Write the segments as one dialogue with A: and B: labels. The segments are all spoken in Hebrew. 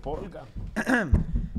A: פולגה.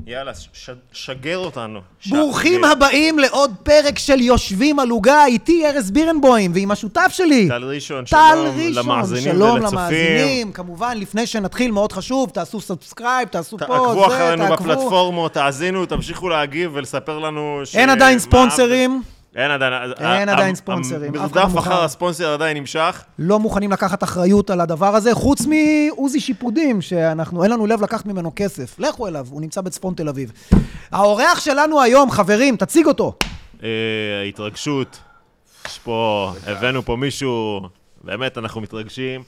A: יאללה, ש- שגר אותנו. ש-
B: ברוכים
A: אה,
B: הבאים לעוד פרק של יושבים על עוגה, איתי ארז בירנבוים ועם השותף שלי.
A: טל ראשון,
B: טל
A: שלום
B: ראשון,
A: למאזינים
B: שלום
A: ולצופים.
B: למאזינים. כמובן, לפני שנתחיל, מאוד חשוב, תעשו סאבסקרייב, תעשו פה,
A: תעקבו
B: זה,
A: אחרינו
B: תעקבו.
A: בפלטפורמות, תאזינו, תמשיכו להגיב ולספר לנו ש...
B: אין עדיין
A: מה-
B: ספונסרים,
A: אין עדיין...
B: אין
A: ה-
B: עדיין
A: ה-
B: ספונסרים, אף אחד לא
A: המרדף
B: מוכן.
A: אחר הספונסר עדיין נמשך.
B: לא מוכנים לקחת אחריות על הדבר הזה, חוץ מעוזי שיפודים, שאנחנו, אין לנו לב לקחת ממנו כסף. לכו אליו, הוא נמצא בצפון תל אביב. האורח שלנו היום, חברים, תציג אותו.
A: אה, ההתרגשות, יש פה, הבאנו פה מישהו, באמת, אנחנו מתרגשים.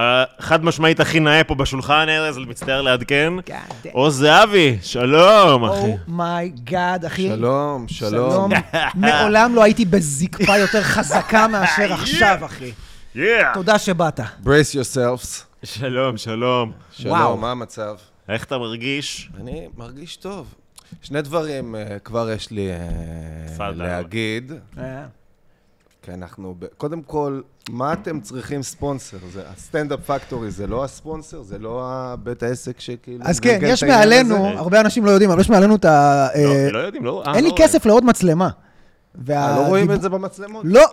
A: החד משמעית הכי נאה פה בשולחן, ארז, מצטער לעדכן.
B: כן. God damn.
A: עוז זהבי, שלום, אחי.
B: אומייגאד, Oh אחי.
C: שלום, שלום.
B: מעולם לא הייתי בזקפה יותר חזקה מאשר עכשיו, אחי.
A: יאה!
B: תודה שבאת.
C: brace yourselves.
A: שלום, שלום.
B: וואו.
C: שלום, מה המצב?
A: איך אתה מרגיש?
C: אני מרגיש טוב. שני דברים אה, כבר יש לי אה,
A: תפאדל.
C: להגיד. כי אנחנו, ב- קודם כל, מה אתם צריכים ספונסר? זה הסטנדאפ פקטורי, זה לא הספונסר? זה לא הבית העסק שכאילו...
B: אז כן,
C: מגלגל
B: יש
C: את העניין
B: מעלינו,
C: הזה?
B: הרבה אנשים לא יודעים, אבל יש מעלינו את ה...
A: לא,
B: אה,
A: לא יודעים, לא... אה,
B: אין לי
A: לא
B: כסף לעוד מצלמה.
C: אה,
B: וה-
C: לא רואים
B: דיב-
C: את זה אה, במצלמות?
B: לא,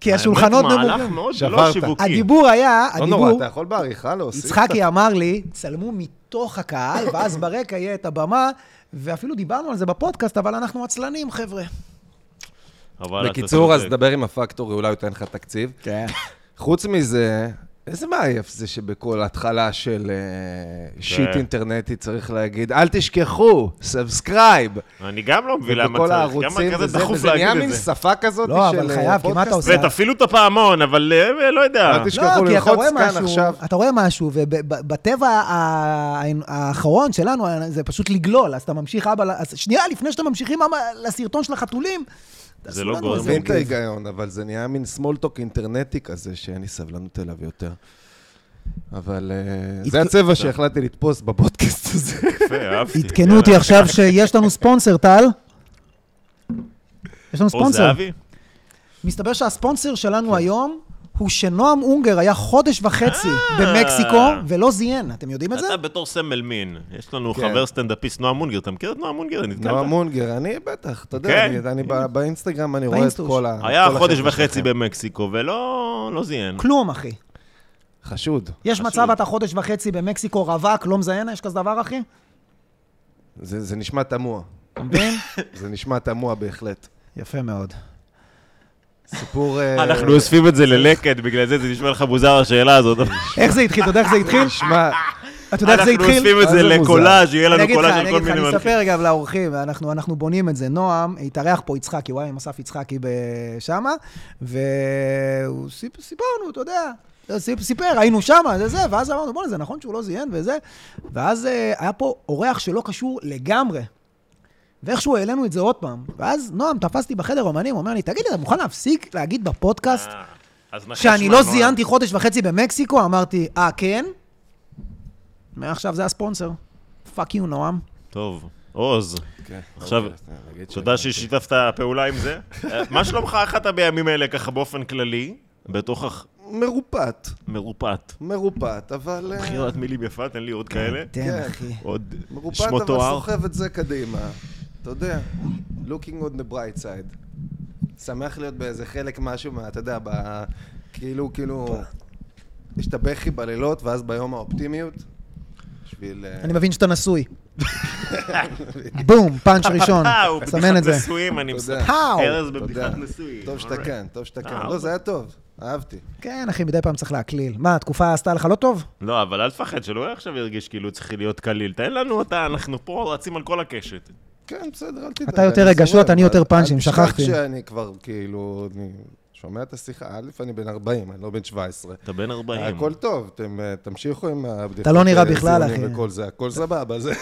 B: כי
A: האמת,
B: השולחנות
A: מהלך
B: ממוכים.
A: מאוד לא
C: שברת.
A: שיווקי.
B: הדיבור היה,
C: לא נורא,
B: הדיבור,
C: אתה יכול בעריכה להוסיף?
B: יצחקי אמר לי, צלמו מתוך הקהל, ואז ברקע יהיה את הבמה, ואפילו דיברנו על זה בפודקאסט, אבל אנחנו עצלנים, חבר'ה.
A: אבל אתה
C: בקיצור, אז
A: צודק.
C: דבר עם הפקטורי, אולי הוא ייתן לך תקציב.
B: כן.
C: חוץ מזה, איזה מעייף זה שבכל התחלה של אה, שיט אינטרנטי צריך להגיד, אל תשכחו, סאבסקרייב.
A: אני גם לא מבין למה
C: בכל
A: צריך. גם
C: הערוצים
A: כזה
C: וזה,
A: דחוף
C: וזה נהיה
A: להגיד
C: מין
A: את זה.
C: שפה כזאת
B: לא,
C: של...
B: אבל
C: אה,
B: חייב, כי מה אתה
C: פודקאסט.
B: עושה?
A: ותפעילו את הפעמון, אבל אה, לא יודע.
C: אל תשכח.
B: לא,
C: תשכחו
B: כי אתה
C: ללחוץ
B: רואה
C: כאן
B: משהו,
C: עכשיו.
B: אתה רואה משהו, ובטבע ה- האחרון שלנו זה פשוט לגלול, אז אתה ממשיך אבא, ל- אז שנייה לפני שאתם ממשיכים אבא לסרטון של החתולים,
A: זה
B: תעשו
A: לא
B: לנו
A: גורם.
B: איזה
C: מבין את
B: מגניב.
C: ההיגיון, אבל זה נהיה מין סמולטוק אינטרנטי כזה, שאין לי סבלנות אליו יותר. אבל אה, זה
B: התק-
C: הצבע שהחלטתי לתפוס בפודקאסט הזה.
A: יפה, אהבתי.
B: עדכנו אותי עכשיו שיש לנו ספונסר, טל. יש לנו
A: עוז
B: ספונסר.
A: זהבי? כן.
B: מסתבר שהספונסר שלנו היום הוא שנועם אונגר היה חודש וחצי במקסיקו ולא זיין, אתם יודעים את זה?
A: אה. אתה בתור סמל מין. יש לנו
C: כן.
A: חבר סטנדאפיסט, נועם מונגר. אתה מכיר את נועם מונגר? נתקלת?
C: נועם מונגר, אני בטח, אתה יודע,
A: כן.
C: אני- אני בא- באינסטגרם, אני רואה את
B: באינסטוש.
C: כל ה...
A: היה
C: כל
A: חודש
C: החבר'ה
A: וחצי
C: שלכם.
A: במקסיקו, ולא לא זיין.
B: כלום, אחי.
C: חשוד.
B: יש
A: חשוב.
B: מצב אתה חודש וחצי במקסיקו רווק, לא מזיין? יש כזה דבר, אחי?
C: זה זה נשמע תמוה.
B: אתה מבין?
C: זה נשמע תמוה בהחלט.
B: יפה מאוד.
C: סיפור... אה,
A: אנחנו אוספים את זה ללקט, בגלל זה זה נשמע לך מוזר השאלה הזאת.
B: איך זה התחיל? אתה יודע איך זה התחיל?
C: נשמע...
B: אתה יודע איך זה
A: אנחנו
B: התחיל?
A: אוספים את
C: מה
A: זה
C: זה מוזר?
A: לקולאז', יהיה
B: אני
A: לנו
B: אגיד לך,
A: קולאז'
B: אני
A: של כל
B: אגיד לך,
A: מיני
B: אני
A: מנחים.
B: אספר גם לאורחים, אנחנו אנחנו בונים את זה. נועם, התארח פה יצחקי, הוא היה עם אסף יצחקי ב- שמה, והוא סיפ- סיפרנו, אתה יודע. לא, סיפ- סיפר, היינו שמה, זה זה, ואז אמרנו, בוא'נה, זה נכון שהוא לא זיין וזה. ואז אה, היה פה אורח שלא קשור לגמרי. ואיכשהו העלינו את זה עוד פעם. ואז נועם, תפסתי בחדר אומנים, הוא אומר לי, תגיד לי, אתה מוכן להפסיק להגיד בפודקאסט
A: אה, אז נחש
B: שאני
A: מה,
B: לא
A: נועם.
B: זיינתי חודש וחצי במקסיקו, אמרתי, אה, כן? מעכשיו זה הספונסר. פאק יו, נועם.
A: טוב, עוז,
C: כן,
A: עכשיו,
C: אוקיי, אז נגיד
A: תודה
C: שאני-
A: ששיתפת פעולה עם זה. אה, מה שלומך אחת בימים האלה, ככה באופן כללי, בתוך הח-
C: מרופט,
A: מרופט.
C: מרופט, אבל... אה,
A: בחירת מילים יפה, תן לי עוד כאלה.
B: תן,
C: כן.
B: אחי.
A: עוד
C: מרופט,
A: שמות
C: אבל
A: תואר.
C: סוחב את זה קדימה. אתה יודע, looking on the bright side. שמח להיות באיזה חלק משהו מה... אתה יודע, ב... כאילו, כאילו... יש את הבכי בלילות, ואז ביום האופטימיות. בשביל... אה,
B: אני מבין שאתה נשוי. בום, פאנץ' ראשון.
A: אה, הוא
B: סמן את
A: בדיחת
B: זה.
A: נשואים, אני מסמן.
B: האו.
A: ארז
C: תודה.
A: בבדיחת נשואים.
C: טוב שאתה
A: alright.
C: כאן, טוב שאתה
A: אה,
C: כאן. לא, זה היה טוב, אהבתי.
B: כן, אחי, מדי פעם צריך להקליל. מה, התקופה עשתה לך לא טוב?
A: לא, אבל אל תפחד, שלא עכשיו ירגיש כאילו צריך להיות קליל. תן לנו אותה, אנחנו פה רצים על כל הקשת.
C: כן, בסדר, אל תדאג.
B: אתה יותר
C: אני
B: רגשות,
C: סובב,
B: אני יותר
C: אל-
B: פאנצ'ים,
C: אל
B: שכחתי.
C: תשכח שאני כבר, כאילו, אני שומע את השיחה, א', אני בן 40, אני לא בן 17.
A: אתה בן 40.
C: הכל טוב, אתם אה, תמשיכו עם הבדיחות.
B: אתה לא נראה
C: אה,
B: בכלל,
C: ציונים
B: אחי.
C: וכל זה, הכל סבבה, זה,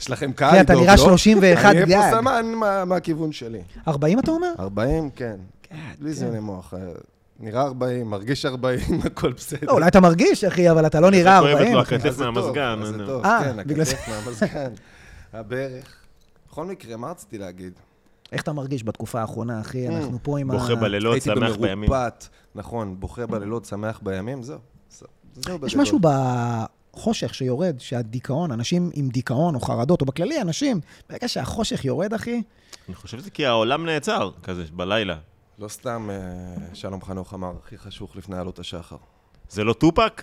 C: יש לכם
B: אחי,
C: קהל
B: אתה
C: לדאוג
B: נראה
C: לו.
B: 31
C: אה, לא. אני
B: גג.
C: אהיה פה סמן מה- מהכיוון שלי.
B: 40 אתה אומר?
C: 40, כן. בלי זיוני מוח. אה, נראה 40, מרגיש 40, הכל בסדר.
B: לא, אולי אתה מרגיש, אחי, אבל אתה לא נראה
A: כואבת לו
B: 40. אחי.
A: הכתף
C: אז זה טוב,
A: מהמזגן,
C: אז
A: אני-
C: זה טוב,
B: אה,
C: כן,
B: בגלל זה.
C: הכתף מהמזגן, הברך. בכל מקרה, מה רציתי להגיד?
B: איך אתה מרגיש בתקופה האחרונה, אחי? אנחנו פה עם ה...
A: אה, בוכה בלילות,
C: הייתי
A: שמח בימים.
C: במרופט, נכון, בוכה בלילות, שמח בימים, זהו. זהו
B: יש
C: בגדול.
B: משהו בחודש החושך שיורד, שהדיכאון, אנשים עם דיכאון או חרדות, או בכללי אנשים, ברגע שהחושך יורד, אחי,
A: אני חושב שזה כי העולם נעצר, כזה, בלילה.
C: לא סתם אה, שלום חנוך אמר, הכי חשוך לפני עלות השחר.
A: זה לא טופק?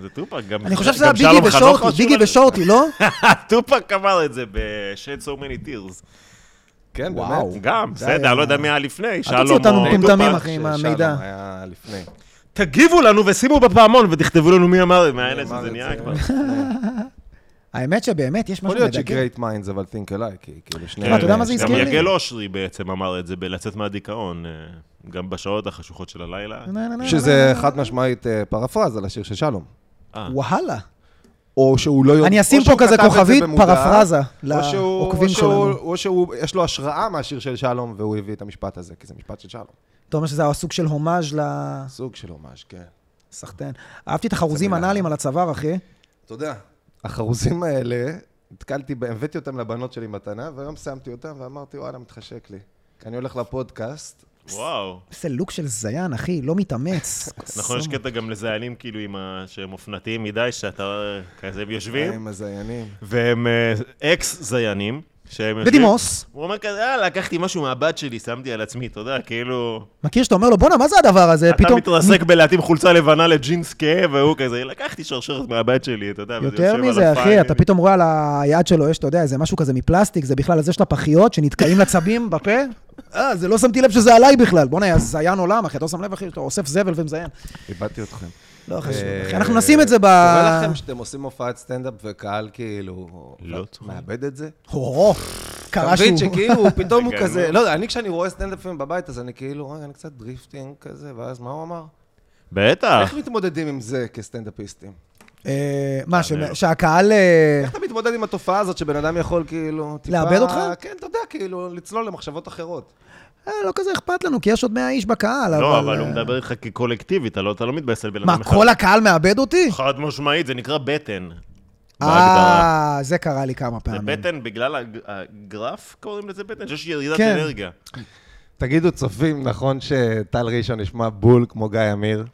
A: זה טופק, גם
B: אני חושב
A: גם
B: שזה היה
A: שלום
B: ביגי
A: חנוך
B: ושורטי,
A: חשוב
B: ביגי
A: על זה.
B: ושורטי, לא?
A: טופק אמר את זה ב-Shed So Many Tears.
C: כן,
B: וואו.
C: באמת.
A: גם,
B: זה
A: בסדר,
B: היה-
A: אני לא יודע מי היה לפני,
B: תוציא
A: שלום או
B: אותנו
A: טופק.
B: מטומטמים, אחי. עם
C: ששלום
B: המידע.
C: היה לפני.
A: תגיבו לנו ושימו בפעמון ותכתבו לנו מי אמר את זה, מהאלה
C: אמר
A: שזה
C: את
A: נהיה כבר.
B: האמת שבאמת, יש
C: יכול
B: משהו
C: להיות
B: מדכא.
C: ש-Great Minds אבל think alike, כי כאילו שני...
B: אבל אתה יודע מה זה
A: כן,
B: הזכיר לי?
A: גם יגל אושרי בעצם אמר את זה בלצאת מהדיכאון, אה, גם בשעות החשוכות של הלילה.
B: נה, נה, נה,
C: שזה חד משמעית אה, פרפרז על השיר של שלום.
A: אה,
B: וואלה.
C: או שהוא לא... יודע-
B: אני אשים
C: או
B: פה
C: שהוא
B: כזה
C: כתב את זה
B: כוכבית,
C: במודע,
B: פרפרזה,
C: או שהוא-
B: לעוקבים
C: או שהוא-
B: שלנו.
C: או שהוא, יש לו השראה מהשיר של שלום, והוא הביא את המשפט הזה, כי זה משפט של שלום.
B: אתה אומר שזה היה סוג של הומאז'
C: סוג של הומאז', כן.
B: לסחטיין. אהבתי את החרוזים
C: זה מילה.
B: הנאליים על הצוואר, אחי.
C: אתה יודע, החרוזים האלה, נתקלתי, בהם, הבאתי אותם לבנות שלי מתנה, והיום שמתי אותם ואמרתי, וואלה, מתחשק לי. כי אני הולך לפודקאסט,
A: וואו.
B: איזה לוק של זיין, אחי, לא מתאמץ.
A: נכון, יש קטע גם לזיינים כאילו עם ה... שהם אופנתיים מדי, שאתה אה, כזה, הם יושבים,
C: עם הזיינים.
A: והם אה, אקס זיינים, שהם יושבים...
B: בדימוס,
A: הוא אומר כזה, אה, לקחתי משהו מהבת שלי, שמתי על עצמי, אתה יודע, כאילו...
B: מכיר שאתה אומר לו, בואנה, מה זה הדבר הזה?
A: אתה
B: פתאום...
A: מתרסק בלהתאים חולצה לבנה לג'ינס כהה, והוא כזה, לקחתי שרשרת מהבת שלי, אתה יודע, וזה
B: יותר
A: יושב על
B: מזה,
A: הפיים.
B: אחי, אתה פתאום רואה על היד שלו, יש, אתה יודע, איזה משהו כזה מפלסטיק, זה בכלל הזה של הפחיות שנתקעים לצבים בפה. אה, זה לא שמתי לב שזה עליי בכלל. בואנה, יא זיין עולם, אחי, אתה לא שם לב, אחי, שאתה אוסף זבל ומזיין.
C: איבדתי אתכם.
B: לא חשוב,
C: אה,
B: אחי. אנחנו נשים את זה ב...
C: קורה אה, לכם שאתם עושים הופעת סטנדאפ וקהל כאילו...
A: לא צוחק.
C: מאבד את זה?
B: הו,
C: אתה
B: קרה
C: מבין
B: שהוא...
C: שכאילו, פתאום הוא
A: רגע,
C: כזה,
A: נו.
C: לא יודע, אני כשאני רואה סטנדאפים בבית, אז אני כאילו, רגע, אני קצת דריפטינג כזה, ואז מה הוא אמר?
A: בטח.
C: איך מתמודדים עם זה כסטנדאפיסטים?
B: אה, מה, ש-
A: מעניין.
B: שהקהל... אה,
C: איך אתה מתמודד עם התופעה הזאת שבן אדם יכול כאילו... טיפה-
B: לאבד אותך?
C: כן, אתה יודע, כאילו, לצלול למחשבות אחרות.
B: אה, לא כזה אכפת לנו, כי יש עוד 100 איש בקהל, אבל...
A: לא, אבל הוא
B: אה,
A: מדבר איתך כקולקטיבי, אתה לא אתה לא מתבאס על בן אדם
B: מה, כל הקהל מאבד אותי?
A: חד משמעית, זה נקרא בטן. בהגדרה.
B: אה, זה קרה לי כמה
A: זה
B: פעמים.
A: בטן בגלל הג- הגרף, קוראים לזה בטן? שיש ירידת
B: כן.
A: אנרגיה.
C: תגידו, צופים, נכון שטל ראשון נשמע בול כמו גיא עמיר?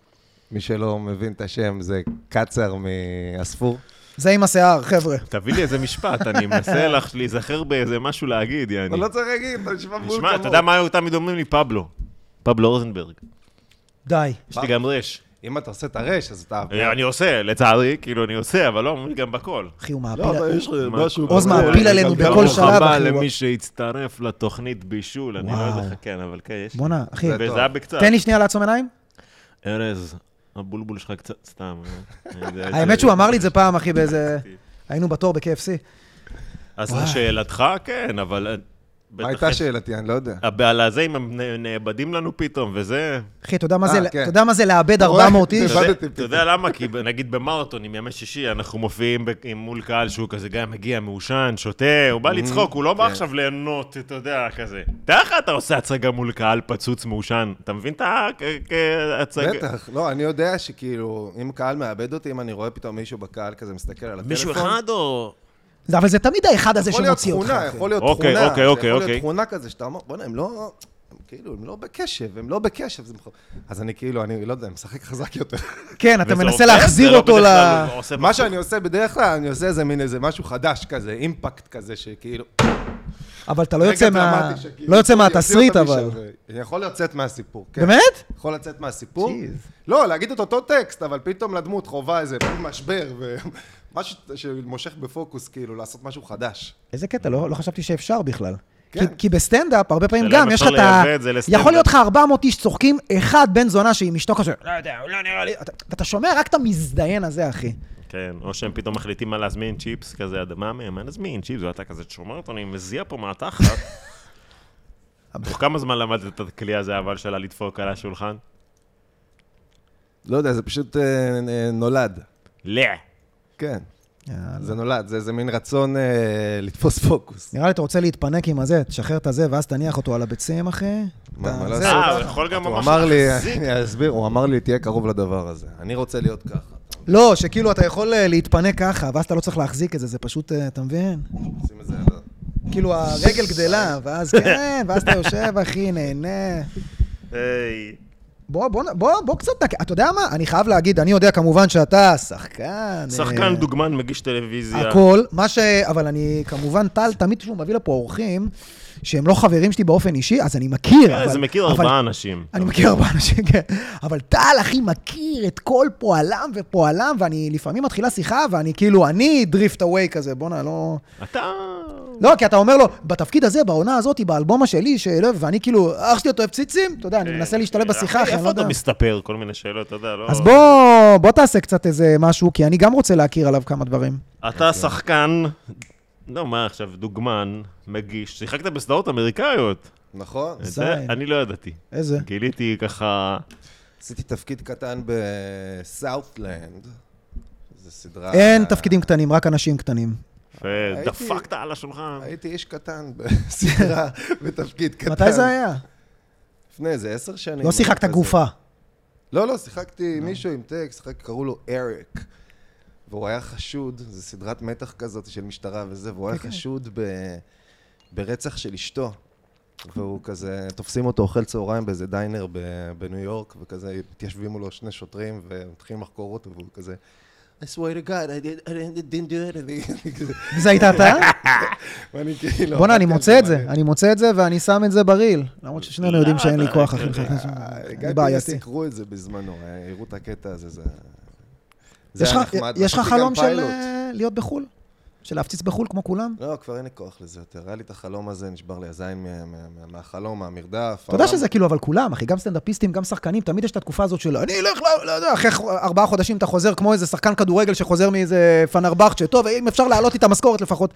C: מי שלא מבין את השם זה קצר מהספור.
B: זה עם השיער, חבר'ה.
A: תביא לי איזה משפט, אני מנסה לך להיזכר באיזה משהו להגיד, יעני.
C: אבל לא צריך להגיד, אתה נשמע בול כמוהו.
A: נשמע, אתה יודע מה היו תמיד אומרים לי? פבלו. פבלו אוזנברג.
B: די.
A: יש לי גם רש.
C: אם אתה עושה את הרש, אז אתה...
A: אה, אני עושה, לצערי, כאילו, אני עושה, אבל לא, אומרים לי גם בקול.
B: אחי, הוא מעפיל...
C: לא, אבל יש
A: מה-
C: משהו...
B: עוז
C: כזה,
B: מעפיל
C: אני
B: עלינו
C: מגלגל
B: בכל
C: אותך.
B: שלב,
A: ברוך הבא
B: אחי, הוא-
A: למי שהצטרף לתוכנית בישול, אני לא
B: וואו.
A: יודע לך, כן, אבל כן, יש.
B: בואנה, אחי,
C: זה-
A: וזה היה בקצת.
B: תן לי שנייה לעצום עיניים.
A: ארז, הבולבול שלך קצת סתם. אה, זה-
B: האמת שהוא אמר לי את זה פעם, אחי, באיזה... היינו בתור ב-KFC.
A: אז
B: וואי.
A: שאלתך, כן, אבל... אה, בטח
C: מה הייתה
A: יש-
C: שאלתי? אני לא יודע.
A: הבעל הזה, אם הם נ- נאבדים לנו פתאום, וזה...
B: אחי, אתה יודע מה
C: אה,
B: זה-
C: כן.
B: אתה יודע מה זה לאבד
C: אתה רואה?
B: 400
A: אתה
B: איש?
A: יודע-
C: איבדתי
A: אתה יודע למה? כי ב- נגיד במרתונים, ימי שישי, אנחנו מופיעים ב- עם- מול קהל שהוא כזה גם מגיע מעושן, שותה, הוא בא לצחוק, הוא לא בא
C: כן.
A: עכשיו ליהנות, אתה יודע, כזה. תאר לך אתה עושה הצגה מול קהל פצוץ מעושן, אתה מבין את ההצגה?
C: בטח, לא, אני יודע שכאילו, אם קהל מאבד אותי, אם אני רואה פתאום מישהו בקהל כזה מסתכל על הטלפון...
A: מישהו אחד או...
B: זה- אבל זה תמיד האחד הזה
C: יכול להיות
B: שמוציא אותך, כן.
C: תכונה,
B: אחי.
C: יכול להיות
A: אוקיי,
C: תכונה.
A: אוקיי,
C: זה
A: אוקיי,
C: יכול
A: אוקיי.
C: להיות תכונה כזה שאתה אומר, בוא'נה, הם לא... הם כאילו, הם לא בקשב, הם לא בקשב. זה מח- אז אני כאילו, אני לא יודע, משחק חזק יותר.
B: כן, אתה
A: וזה
B: מנסה
A: עובד,
B: להחזיר
A: זה לא
B: אותו ל...
A: בדרך כלל הוא עושה
C: מה
A: משהו.
C: שאני עושה בדרך כלל, אני עושה איזה מין איזה משהו חדש כזה, אימפקט כזה, שכאילו...
B: אבל אתה לא
C: רגע
B: יוצא מה...
C: דרמטי שכאילו,
B: לא יוצא
C: יוציא אותה
B: מהתסריט,
C: משם,
B: אבל...
C: ו- אני יכול לצאת מהסיפור, כן.
B: באמת?
C: יכול לצאת מהסיפור.
B: Jeez.
C: לא, להגיד את אותו טקסט, אבל פתאום לדמות חווה איזה משבר, ומשהו שמושך בפוקוס, כאילו, לעשות משהו חדש.
B: איזה קטע, לא, לא חשבתי שאפשר בכלל. כי,
C: כן.
B: כי בסטנדאפ, הרבה פעמים
A: השאלה אם
B: גם, יש לך
A: אפשר
B: את
A: לא
B: ה...
A: לייבא את זה לסטנדאפ.
B: יכול להיות לך 400 איש צוחקים, אחד בן זונה שעם אשתו כזה, לא יודע, הוא לא נראה לי... אתה- ואתה שומע רק את המזדיין הזה, אחי.
A: כן, או שהם פתאום מחליטים מה להזמין צ'יפס כזה, עד- מה מהם? מה נזמין צ'יפס? ואתה כזה שומר אותו, אני מזיע פה מהתחת. תוך כמה זמן למדת את הכלי הזה, אבל שלה לדפוק על השולחן?
C: לא יודע, זה פשוט אה, אה, נולד.
A: לא.
C: כן,
B: יאללה.
C: זה נולד, זה איזה מין רצון אה, לתפוס פוקוס.
B: נראה לי אתה רוצה להתפנק עם הזה, תשחרר את הזה, ואז תניח אותו על הביצים, אחי.
C: מה,
B: אתה-
C: מה
B: זה-
C: לעשות?
A: אה, הוא יכול גם
C: לא נכון. הוא
A: ממש
C: אמר לי,
A: להחזיק.
C: אני אסביר, הוא אמר לי, תהיה קרוב לדבר הזה. אני רוצה להיות ככה.
B: לא, שכאילו אתה יכול אה, להתפנק ככה, ואז אתה לא צריך להחזיק את זה, זה פשוט, אה, אתה מבין?
C: שים את זה על ה...
B: כאילו הרגל גדלה, ואז כן, ואז אתה יושב, אחי, נהנה.
A: היי.
B: בוא, בוא, בוא, בוא קצת נק... אתה יודע מה? אני חייב להגיד, אני יודע כמובן שאתה שחקן...
A: שחקן
B: אה,
A: דוגמן, מגיש טלוויזיה.
B: הכל, מה ש... אבל אני, כמובן, טל, תמיד כשהוא מביא לפה אורחים, שהם לא חברים שלי באופן אישי, אז אני מכיר.
A: אה,
B: אבל-
A: זה מכיר
B: אבל-
A: ארבעה אנשים.
B: אני מכיר הרבה אנשים, כן. אבל טל, אחי, מכיר את כל פועלם ופועלם, ואני לפעמים מתחילה שיחה, ואני כאילו, אני דריפט אווי כזה, בואנה, לא...
A: אתה...
B: לא, כי אתה אומר לו, בתפקיד הזה, בעונה הזאת, באלבום השלי, שלא... ואני כאילו, אח שלי, אתה אוהב ציצים? אתה יודע, אני מנסה להשתלב בשיחה, אחי, אני לא
A: כן. איפה
B: יודע.
A: אה, אתה מסתפר? כל מיני שאלות, אתה יודע, לא...
B: אז בוא, בוא תעשה קצת איזה משהו, כי אני גם רוצה להכיר עליו כמה דברים.
A: אתה שחקן, לא, מה עכשיו, דוגמן, מגיש, שיחקת בסדרות אמריקאיות.
C: נכון?
B: אה,
A: את זה
B: זין.
A: אני לא ידעתי.
B: איזה?
A: גיליתי ככה...
C: עשיתי תפקיד קטן בסאוטלנד. זו סדרה...
B: אין תפקידים קטנים, רק אנשים קטנים.
A: יפה, דפקת על השולחן.
C: הייתי איש קטן בסדרה, בתפקיד קטן.
B: מתי זה היה?
C: לפני איזה עשר שנים.
B: לא שיחקת
C: כזה.
B: גופה.
C: לא, לא, שיחקתי עם מישהו עם טקסט, שיחק- קראו לו אריק. והוא היה חשוד, זו סדרת מתח כזאת של משטרה וזה, והוא היה
B: כן.
C: חשוד ב... ברצח של אשתו. והוא כזה, תופסים אותו אוכל צהריים באיזה דיינר ב- בניו יורק, וכזה מתיישבים מולו שני שוטרים, ומתחילים לחקור אותו, והוא כזה... I swear to God, I, did, I didn't- didn't do it. אני כזה-
B: זה היית אתה?
C: ואני כאילו...
B: בואנה, אני
C: עבדתי על
B: מוצא את זה,
C: מלא.
B: אני מוצא את זה ואני שם את זה בריל. למרות ששנינו יודעים
A: לא,
B: שאין לי
A: אתה
B: כוח,
A: לא
B: אחי.
A: יודע.
B: אני
C: אה, הגעתי
B: בעייתי.
C: סיקרו את זה בזמנו, אה, הראו את הקטע הזה, זה... זה
B: יש
C: היה
B: לך-
C: נחמד.
B: יש לך
C: עשיתי גם
B: חלום של
C: פיילוט.
B: אה, להיות בחו"ל? של להפציץ בחו"ל כמו כולם?
C: לא, כבר אין לי כוח לזה יותר. היה לי את החלום הזה, נשבר לי הזין מה- מה- מה- מהחלום, מהמרדף.
B: אתה יודע
C: העולם-
B: שזה כאילו, אבל כולם, אחי, גם סטנדאפיסטים, גם שחקנים, תמיד יש את התקופה הזאת של אני אלך, ל- לא יודע, אחרי ח- ארבעה חודשים אתה חוזר כמו איזה שחקן כדורגל שחוזר מאיזה פנרבכצ'ה, טוב, אם אפשר להעלות לי את המשכורת לפחות.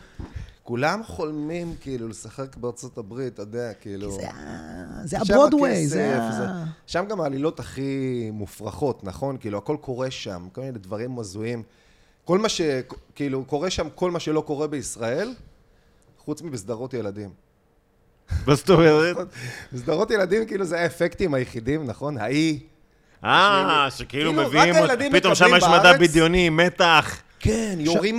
C: כולם חולמים כאילו לשחק בארצות הברית, אתה יודע, כאילו...
B: זה ה- זה
C: שם
B: הברודוויי,
C: הכסף, אה,
B: זה ה...
C: שם גם העלילות הכי מופרכות, נכון? כאילו, הכל קורה שם, כל מיני דברים הזויים. כל מה ש... כאילו, קורה שם כל מה שלא קורה בישראל, חוץ מבסדרות ילדים.
A: מה זאת אומרת?
C: סדרות ילדים, כאילו, זה האפקטים היחידים, נכון? האי.
A: אה, שכאילו
C: כאילו, רק
A: מביאים...
C: הילדים
A: פתאום שם
C: מקבלים
A: יש מדע
C: בארץ.
A: בדיוני, מתח.
C: כן, יורים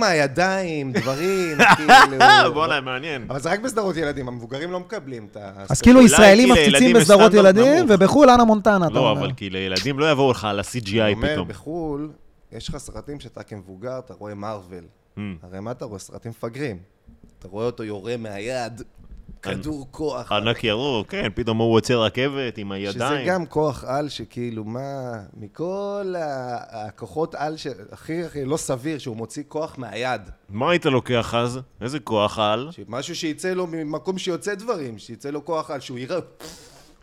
C: מהידיים, דברים, כאילו...
A: אה, בואנה, מעניין.
C: אבל זה רק בסדרות ילדים, המבוגרים לא מקבלים את ה...
B: אז כאילו
A: אולי
B: ישראלים
A: כי
B: מפציצים
A: לילדים יש
B: בסדרות
A: סטנדרט
B: ילדים,
A: נמוך.
B: ובחו"ל אנה מונטנה, אתה
A: לא,
B: אומר.
A: אבל כי לילדים לא יבואו לך על ה-CGI
C: אומר,
A: פתאום.
C: בחו"ל, יש לך סרטים שאתה כמבוגר, אתה רואה מארוול.
A: Mm.
C: הרי מה אתה רואה? סרטים מפגרים. אתה רואה אותו יורה מהיד, כדור כוח.
A: ענק ירוק, כן, פתאום הוא עוצר רכבת עם
C: שזה
A: הידיים.
C: גם כוח על שכאילו, מה, מכל ה- הכוחות על, ש- הכי הכי לא סביר, שהוא מוציא כוח מהיד.
A: מה היית לוקח אז? איזה כוח על?
C: משהו שיצא לו ממקום שיוצא דברים, שיצא לו כוח על, שהוא יראה...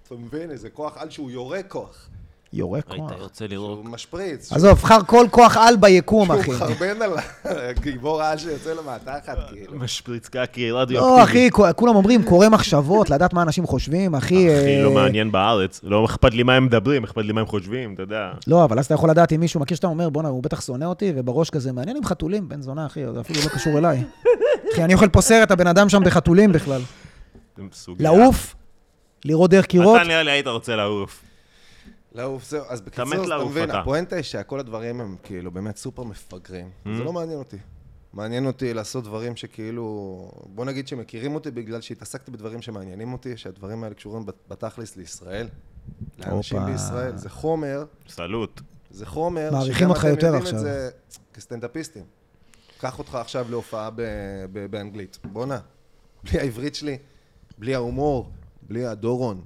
C: אתה מבין? איזה כוח על שהוא יורה כוח.
A: אוקיי.
B: יורה כוח.
A: היית יוצא
C: הוא
A: לירוק.
C: משפריץ.
B: עזוב, חר כל כוח על ביקום,
C: שהוא
B: אחי.
C: מחרבן על הגיבור העל שיוצא לו מהתחת, כאילו.
A: משפריץ קקי רדיו
B: לא, אחי, כו- כולם אומרים, קורא מחשבות, לדעת מה אנשים חושבים, אחי...
A: הכי
B: אה,
A: לא מעניין בארץ. לא אכפת לי מה הם מדברים, אכפת לי מה הם חושבים, אתה יודע.
B: לא, אבל אז אתה יכול לדעת אם מישהו מכיר שאתה אומר, בואנה, הוא בטח שונא אותי, ובראש כזה, מעניין עם חתולים, בן זונה, אחי, זה אפילו לא קשור אליי. אחי, אני אוכל פה סרט, הבן אדם שם בחתולים בכלל.
A: אתם סוגיה.
B: לעוף, לראות דרך קירות,
A: אתה נראה לי היית רוצה לעוף.
C: לעוף, זהו. לא, אז בקיצור,
A: מת
C: אתה
A: לעוף,
C: מבין,
A: אתה.
C: הפואנטה היא שכל הדברים הם כאילו באמת סופר מפגרים.
A: Mm-hmm.
C: זה לא מעניין אותי. מעניין אותי לעשות דברים שכאילו... בוא נגיד שמכירים אותי בגלל שהתעסקתי בדברים שמעניינים אותי, שהדברים האלה קשורים בת- בתכלס לישראל. לאנשים
B: הופה.
C: בישראל. זה חומר,
A: סלוט.
C: זה חומר...
B: מעריכים
C: שגם
B: אותך
C: אתם
B: יותר
C: יודעים את
B: עכשיו.
C: זה כסטנדאפיסטים. קח אותך עכשיו להופעה ב- ב- באנגלית. בואנה, בלי העברית שלי, בלי ההומור, בלי הדורון,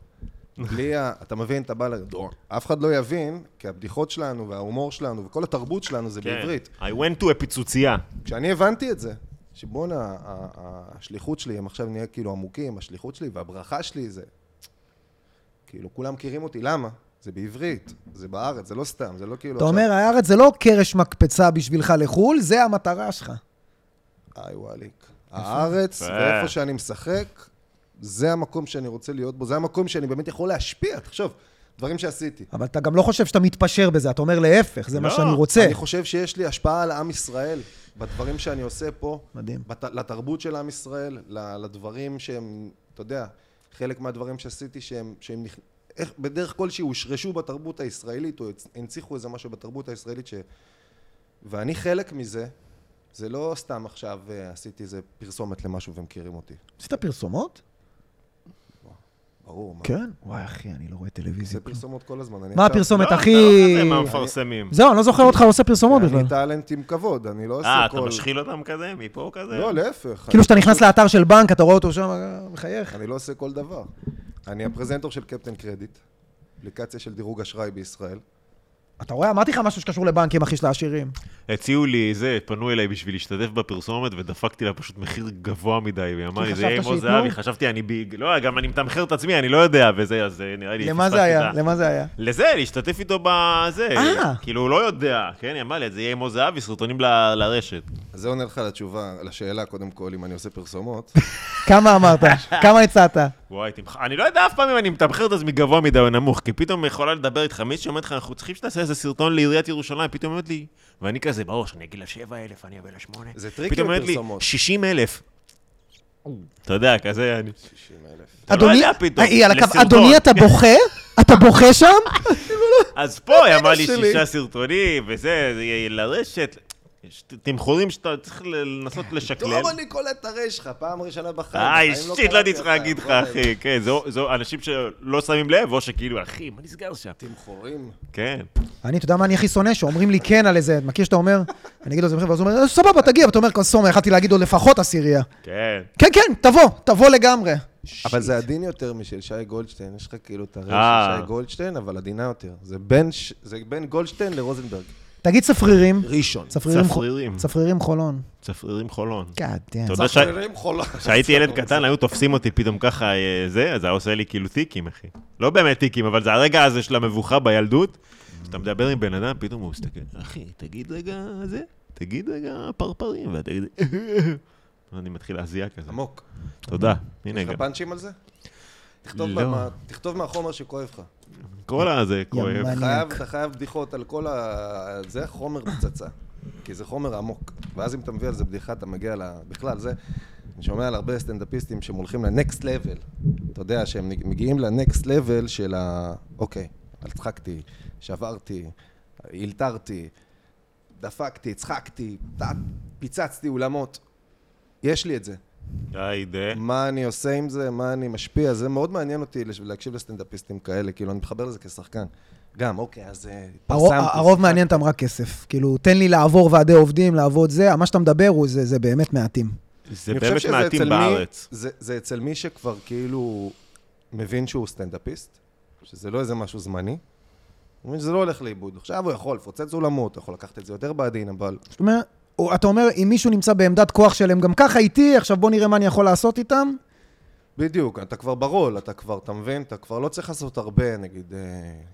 C: בלי ה... אתה מבין? אתה בא ל... דורון. אף אחד לא יבין, כי הבדיחות שלנו וההומור שלנו וכל התרבות שלנו זה
A: כן.
C: בעברית.
A: I went to a פיצוצייה.
C: כשאני הבנתי את זה, שבואנה, ה- ה- השליחות שלי, אם עכשיו נהיה כאילו עמוקים, השליחות שלי והברכה שלי זה... כאילו, כולם מכירים אותי, למה? זה בעברית, זה בארץ, זה לא סתם, זה לא כאילו...
B: אתה
C: עכשיו-
B: אומר, הארץ זה לא קרש מקפצה בשבילך לחו"ל, זה המטרה שלך.
C: איי וואליק. הארץ,
A: יפה.
C: ואיפה שאני משחק, זה המקום שאני רוצה להיות בו, זה המקום שאני באמת יכול להשפיע, תחשוב, דברים שעשיתי.
B: אבל אתה גם לא חושב שאתה מתפשר בזה, אתה אומר להפך, זה מה
A: לא,
B: שאני רוצה.
C: אני חושב שיש לי השפעה על עם ישראל, בדברים שאני עושה פה.
B: מדהים.
C: בת, לתרבות של עם ישראל, ל- לדברים שהם, אתה יודע, חלק מהדברים שעשיתי שהם, שהם נכ... איך, בדרך כלשהי הושרשו בתרבות הישראלית, או הצ- הנציחו איזה משהו בתרבות הישראלית ש... ואני חלק מזה, זה לא סתם עכשיו אה, עשיתי איזה פרסומת למשהו ומכירים אותי.
B: עשית פרסומות?
C: ברור. מה.
B: כן? וואי, אחי, אני לא רואה
C: זה
B: טלוויזיה. כלום.
C: פרסומות כל הזמן. אני
B: מה
C: עכשיו-
B: הפרסומת
A: לא,
B: הכי...
A: אתה לא כזה מהמפרסמים.
B: זהו, אני לא זוכר אותך עושה פרסומות בכלל.
C: אני טאלנט עם כבוד, אני לא עושה כל...
A: אה, אתה משחיל אותם כזה? מפה כזה?
C: לא, להפך.
B: כאילו
C: אני-
B: כשאתה נכנס לאתר של בנק, אתה רואה אותו שם, אה, מחייך.
C: אני לא עושה כל דבר. אני הפרזנטור של קפטן קרדיט, אפליקציה של דירוג אשראי בישראל.
B: אתה רואה? אמרתי לך משהו שקשור לבנקים, אחי, של העשירים.
A: הציעו לי זה, פנו אליי בשביל להשתתף בפרסומת, ודפקתי לה פשוט מחיר גבוה מדי, והיא אמרה לי, זה יהיה
B: שחשבת
A: עם עוז
B: שייתנו?"
A: זהבי, חשבתי, אני ביג, לא, גם אני מתמחר את עצמי, אני לא יודע, וזה, אז אה, נראה לי,
B: למה זה
A: פספסתי
B: היה?
A: את ה-
B: למה זה היה?
A: לזה, להשתתף איתו בזה.
B: אה.
A: כאילו, הוא לא יודע, כן, היא אמרה לי, זה יהיה עם עוז זהבי, סרטונים ל- לרשת.
C: אז זה עונה לך לתשובה, לשאלה, קודם כל, אם אני עושה פרסומות.
B: כמה אמרת? כמה הצעת?
A: וואי, תמח... אני לא יודע אף פעם אם אני מתמחר את עצמי גבוה מדי או נמוך, כי פתאום יכולה לדבר איתך מישהי אומרת לך, אנחנו צריכים שתעשה איזה סרטון לעיריית ירושלים, פתאום אומרת לי, ואני כזה, בראש, אני אגיד לה 7,000, אני אביא לה 8.
C: זה טריקי
A: פתאום אומרת לי,
C: בפרסומות.
A: 60,000. אתה יודע, כזה אני...
C: 60,000.
A: אתה לא
B: אדוני-
A: יודע פתאום,
B: היא על הקו,
A: לסרטון.
B: אדוני, אתה בוכה? אתה בוכה שם?
A: אז פה היא אמרה לי
C: שלי.
A: שישה סרטונים, וזה, זה יהיה לרשת. יש ת- תמחורים שאתה צריך ל- לנסות לשקלל.
C: טוב, אני קולט את הרי שלך, פעם ראשונה בחיים.
A: איי,
C: בחיים
A: שיט, כן. לא
C: קלטתי
A: הייתי צריך
C: אותה,
A: להגיד לך,
C: וואי,
A: אחי. כן, זו- זו אנשים שלא שמים לב, או שכאילו, אחי, מה נסגר שם?
C: תמחורים.
A: כן.
B: אני, אתה יודע מה אני הכי שונא? שאומרים לי כן על איזה, מכיר שאתה אומר? אני אגיד לו זה מחיר, ואז הוא אומר, "אה, סבבה, תגיע, ואתה אומר, קונסומר, יכלתי להגיד עוד לפחות עשירייה.
A: כן.
B: כן, כן, תבוא, תבוא לגמרי.
C: אבל זה עדין יותר משל שי גולדשטיין, יש לך כאילו את הרי
A: אה.
C: של שי גולדשטיין, אבל עדינה יותר. זה בין ש- זה בין גולדשטיין לרוזנברג.
B: תגיד צפרירים.
C: ראשון.
B: צפרירים כן. חו-
A: צפרירים.
B: צפרירים חולון.
A: צפרירים חולון.
B: God damn.
A: אתה יודע ש-
C: צפרירים חולה.
A: כשהייתי ילד קטן, היו תופסים אותי פתאום ככה, אה, זה, אז היה עושה לי כאילו טיקים, אחי. לא באמת טיקים, אבל זה הרגע הזה של המבוכה בילדות. כשאתה מדבר עם בן אדם, פתאום הוא מסתכל, אחי, תגיד רגע זה, תגיד רגע פרפרים, ואתה תגיד... אני מתחיל להזיע כזה.
C: עמוק.
A: תודה. הנה
C: יש
A: גם.
C: לך פאנצ'ים על זה? תכתוב
A: לא.
C: במה- תכתוב מהחומר שכואב לך.
A: כל הזה כואב.
B: ימני. מעניין.
C: חייב, אתה חייב בדיחות על כל ה... זה חומר פצצה. כי זה חומר עמוק. ואז אם אתה מביא על זה בדיחה, אתה מגיע ל... בכלל, זה... אני שומע על הרבה סטנדאפיסטים שהם הולכים לנקסט לבל. אתה יודע, שהם מגיעים לנקסט לבל של ה... אוקיי, הצחקתי, שברתי, הילתרתי, דפקתי, הצחקתי, טה- פיצצתי אולמות. יש לי את זה.
A: די, די.
C: מה אני עושה עם זה, מה אני משפיע, זה מאוד מעניין אותי לש- להקשיב לסטנדאפיסטים כאלה, כאילו, אני מתחבר לזה כשחקן. גם, אוקיי, אז אה,
B: הרוב-
C: פרסמתי,
B: הרוב מעניין אותם רק כסף. כאילו, תן לי לעבור ועדי עובדים, לעבוד זה, מה שאתה מדבר הוא זה, זה באמת מעטים.
A: זה
C: אני חושב
A: באמת
C: שזה
A: מעטים
C: אצל מי-
A: בארץ.
C: זה, זה אצל מי שכבר כאילו מבין שהוא סטנדאפיסט, שזה לא איזה משהו זמני. הוא מבין שזה לא הולך לאיבוד. עכשיו הוא יכול לפוצץ אולמות, הוא יכול לקחת את זה יותר בעדין, אבל...
B: זאת אומרת, או- אתה אומר, אם מישהו נמצא בעמדת כוח שלהם גם ככה איתי, עכשיו בוא נראה מה אני יכול לעשות איתם.
C: בדיוק, אתה כבר ברול, אתה כבר, אתה מבין? אתה כבר לא צריך לעשות הרבה, נגיד, אה,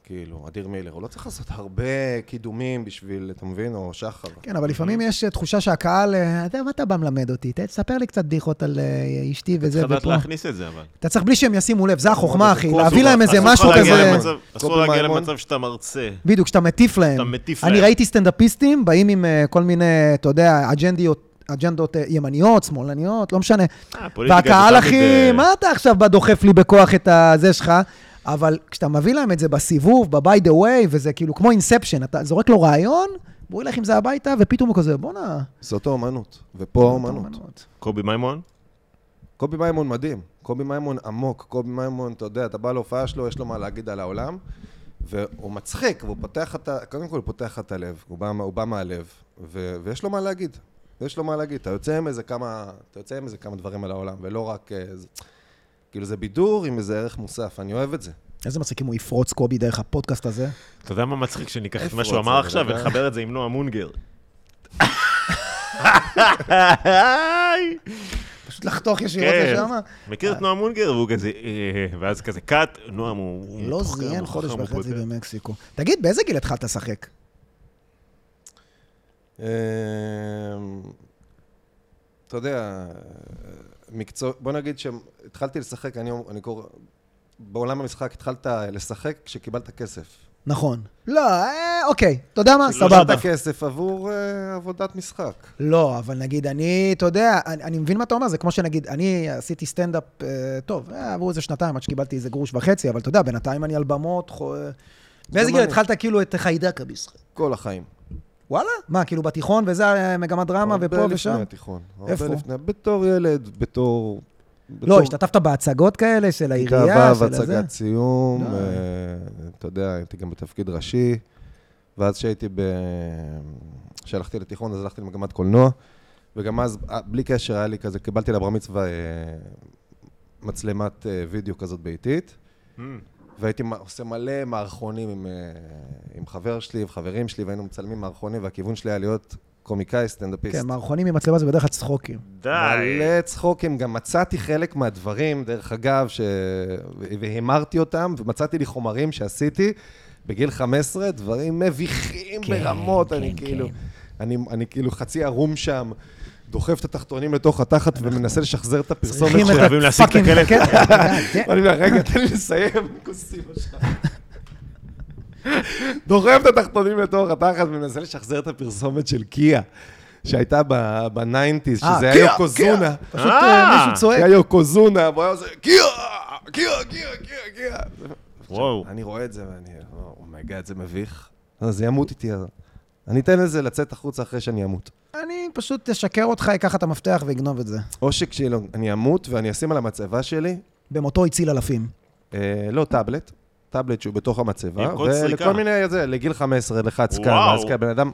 C: כאילו, אדיר מילר, הוא לא צריך לעשות הרבה קידומים בשביל, אתה מבין? או שחר.
B: כן, אבל לפעמים יש אה, תחושה שהקהל, אה, אתה מה אתה בא מלמד אותי? ת- תספר לי קצת בדיחות על אה, אשתי וזה
A: צריך לדעת
B: ופה.
A: להכניס את זה, אבל.
B: אתה צריך בלי שהם ישימו לב, זה החוכמה, אחי,
C: אסור-
B: להביא להם איזה
A: אסור
B: משהו
A: להגיע
B: כזה.
A: למצב- אסור
C: קובי
A: להגיע
C: מימון.
A: למצב שאתה מרצה.
B: בדיוק, כשאתה מטיף להם.
A: אתה מטיף
B: כן. אני
A: להם.
B: ראיתי סטנדאפיסטים באים עם אה, כל מיני, אתה יודע, אג'נדיות, אג'נדות אה, ימניות, שמאלניות, לא משנה.
A: אה, פוליטיקה זה
B: והקהל,
A: תמיד,
B: אחי,
A: אה,
B: מה אתה עכשיו בא דוחף לי בכוח את הזה שלך? אבל כשאתה מביא להם את זה בסיבוב, ב-by the way, וזה כאילו כמו אינספשן, אתה זורק לו רעיון, והוא ילך עם זה הביתה, ופתאום הוא כזה, בואנה.
C: זה אותו אומנות, ופה האומנות.
B: אומנות.
A: קובי מימון?
C: קובי מימון מדהים, קובי מימון עמוק, קובי מימון, אתה יודע, אתה בא להופעה שלו, יש לו מה להגיד על העולם, והוא מצחיק, והוא פותח את ה... קודם כל הוא פותח את הלב, הוא בא, הוא בא מהלב, ו... ויש לו מה להגיד, יש לו מה להגיד. אתה יוצא עם איזה כמה, אתה יוצא עם איזה כמה דברים על העולם, ולא רק... אה, זה... כאילו זה בידור עם איזה ערך מוסף, אני אוהב את זה.
B: איזה מצחיק אם הוא יפרוץ קובי דרך הפודקאסט הזה.
A: אתה יודע מה מצחיק? שניקח את
C: איפה
A: מה שהוא
C: זה?
A: אמר
C: זה
A: עכשיו
C: דבר-
A: ונחבר את זה עם נועה מונגר.
B: פשוט לחתוך ישירות
A: כן.
B: לשם.
A: מכיר את נועה מונגר? והוא כזה, אה, ואז כזה קאט, נועה הוא... הוא
B: לא
A: מתוחכם,
B: זיין
A: הוא
B: חודש
A: חכם, הוא
B: וחצי
A: פותר.
B: במקסיקו. תגיד, באיזה גיל התחלת לשחק?
C: אמ, אתה יודע, מקצוע, בוא נגיד שהתחלתי לשחק, אני, אני קורא, בעולם המשחק התחלת לשחק כשקיבלת כסף.
B: נכון. לא, אה, אוקיי, אתה יודע מה?
A: לא
B: סבבה.
C: את הכסף עבור אה, עבודת משחק.
B: לא, אבל נגיד, אני, אתה יודע, אני, אני מבין מה אתה אומר, זה כמו שנגיד, אני עשיתי סטנדאפ, אה, טוב, אה, עברו איזה שנתיים עד שקיבלתי איזה גרוש וחצי, אבל אתה יודע, בינתיים אני על במות, חו... באיזה גיל
C: אני.
B: התחלת כאילו את חיידקה בישראל?
C: כל החיים.
B: וואלה? מה, כאילו בתיכון וזה אה, מגמת דרמה
C: הרבה
B: ופה
C: לפני
B: ושם?
C: התיכון.
B: איפה?
C: הרבה לפני, בתור ילד, בתור
B: לא, השתתפת בהצגות כאלה של העירייה, של
C: גאווה
B: הזה?
C: והצגת סיום,
B: די.
C: אה, אתה יודע, הייתי גם בתפקיד ראשי, ואז כשהייתי ב... כשהלכתי לתיכון, אז הלכתי למגמת קולנוע, וגם אז, אה, בלי קשר, היה לי כזה, קיבלתי לבר מצווה אה, מצלמת אה, וידאו כזאת ביתית,
A: Hmm,
C: והייתי מ- עושה מלא מערכונים עם, אה, עם חבר שלי, עם חברים שלי, והיינו מצלמים מערכונים, והכיוון שלי היה להיות קומיקאי, סטנדאפיסט.
B: כן, מערכונים עם מצלמה זה בדרך כלל צחוקים.
A: די.
C: מלא צחוקים, גם מצאתי חלק מהדברים, דרך אגב, ש... והמרתי אותם, ומצאתי לי חומרים שעשיתי בגיל 15, דברים מביכים
D: כן,
C: ברמות,
D: כן,
C: אני
D: כן.
C: כאילו, אני, אני כאילו חצי ערום שם, דוחף את התחתונים לתוך התחת ומנסה לשחזר את הפרסומת
B: צריכים
C: של...
B: את
A: חייבים להשיג את
B: הפאקינג
A: הכלב.
B: הקטע. כן.
C: אני אומר, רגע, תן לי לסיים, כוסים עכשיו. דוחף את התחתונים לתוך התחת ומנסה לשחזר את הפרסומת של קיה, שהייתה בניינטיז,
B: אה,
C: שזה
B: קיה,
C: היה יוקוזונה.
B: פשוט אה,
A: אה.
B: מישהו צועק.
C: היה יוקוזונה, והוא היה עושה, קיה, קיה, קיה, קיה, קיה.
A: וואו.
C: אני רואה את זה ואני, אומייגאד, זה מביך. אז ימות איתי, אז אני אתן לזה לצאת החוצה אחרי שאני אמות.
B: אני פשוט אשקר אותך, אקח את המפתח ואגנוב את זה.
C: עושק שלי, לא, אני אמות ואני אשים על המצבה שלי,
B: במותו הציל אלפים.
C: אה, לא טאבלט, טאבלט שהוא בתוך המצבה,
A: עם קוד סריקה.
C: ולכל מיני, זה, לגיל 15, לחץ כאן,
A: וואו.
C: אז כן, בן אדם,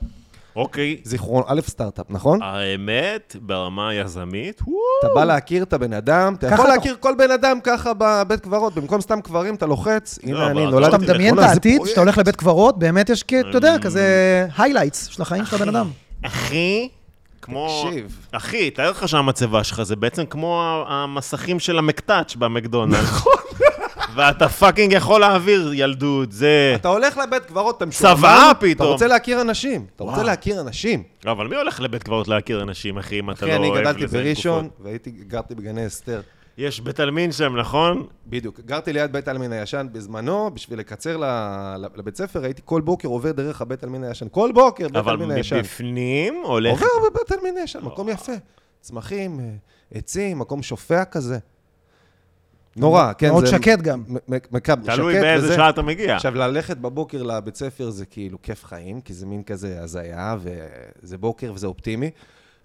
A: אוקיי.
C: זיכרון, א', סטארט-אפ, נכון?
A: האמת, ברמה היזמית, וואו.
C: אתה בא להכיר את הבן אדם, אתה
B: ככה
C: יכול
B: אתה-
C: להכיר כל בן אדם ככה בבית קברות, במקום סתם קברים, אתה לוחץ,
A: לא,
C: הנה אני
A: אבל
C: נולדתי.
B: אתה
A: אמרתי לך,
B: מדמיין את
C: בואנה, זה
B: העתיד,
C: פרויקט.
B: שאתה הולך לבית קברות, באמת יש, כ- אתה יודע,
A: אמ,
B: כזה highlights של החיים של הבן אדם.
A: אחי, כמו...
C: תקשיב.
A: אחי, תאר לך שהמצבה שלך זה בעצם כמו ה- המסכים של המקטאץ' במקדונלד. נכון. ואתה פאקינג יכול להעביר ילדות, זה...
C: אתה הולך לבית קברות, אתה משועמם,
A: צוואה
C: אתה
A: פתאום.
C: רוצה להכיר אנשים, אתה רוצה
A: וואו.
C: להכיר אנשים.
A: לא, אבל מי הולך לבית קברות להכיר אנשים, אחי, אם אתה לא
C: אחי, אני
A: אוהב לזה
C: גדלתי
A: עם
C: בראשון,
A: תקופות?
C: והייתי, גרתי בגני אסתר.
A: יש בית עלמין שם, נכון?
C: בדיוק. גרתי ליד בית העלמין הישן בזמנו, בשביל לקצר ל- לבית ספר, הייתי כל בוקר עובר דרך הבית העלמין הישן. כל בוקר בית
A: אבל
C: העלמין הישן.
A: מבפנים הולך...
C: עובר בבית העלמין הישן, מקום יפה. צמחים, אה, עצים, מקום שופע כזה. נורא, כן.
B: מאוד
C: זה
B: שקט גם.
C: מ- מ- מקב-
A: תלוי
C: שקט
A: באיזה
C: וזה.
A: שעה אתה
B: כן.
A: מגיע.
C: עכשיו, ללכת בבוקר לבית ספר זה כאילו כיף חיים, כי זה מין כזה הזיה, וזה בוקר וזה אופטימי.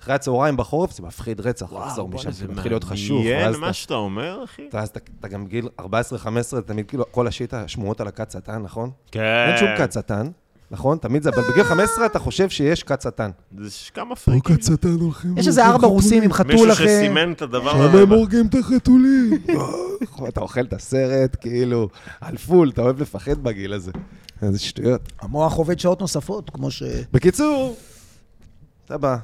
C: אחרי הצהריים בחורף זה מפחיד רצח, לחזור משם, זה מתחיל להיות חשוב. ואז
A: מעניין
C: אתה-
A: מה שאתה אומר, אחי.
C: ואז אתה- אתה גם גיל 14-15, תמיד כאילו כל השיטה, שמועות על הכת שטן, נכון?
A: כן.
B: אה.
C: אין שום כת שטן, נכון? תמיד זה, אבל בגיל 15 אתה חושב שיש כת שטן.
A: זה ש- כמה פריקים.
C: שטן הולכים...
B: יש איזה ארבע רוסים עם חתול
A: מישהו
B: אחר.
A: שסימן את הדבר
C: הורגים את החתולים. אה, נכון, אתה אוכל את הסרט, כאילו, על פול, אתה אוהב לפחד בגיל הזה. איזה שטויות.
B: המוח עובד שעות נוספות, כמו ש...
C: בקיצור, אתה בא,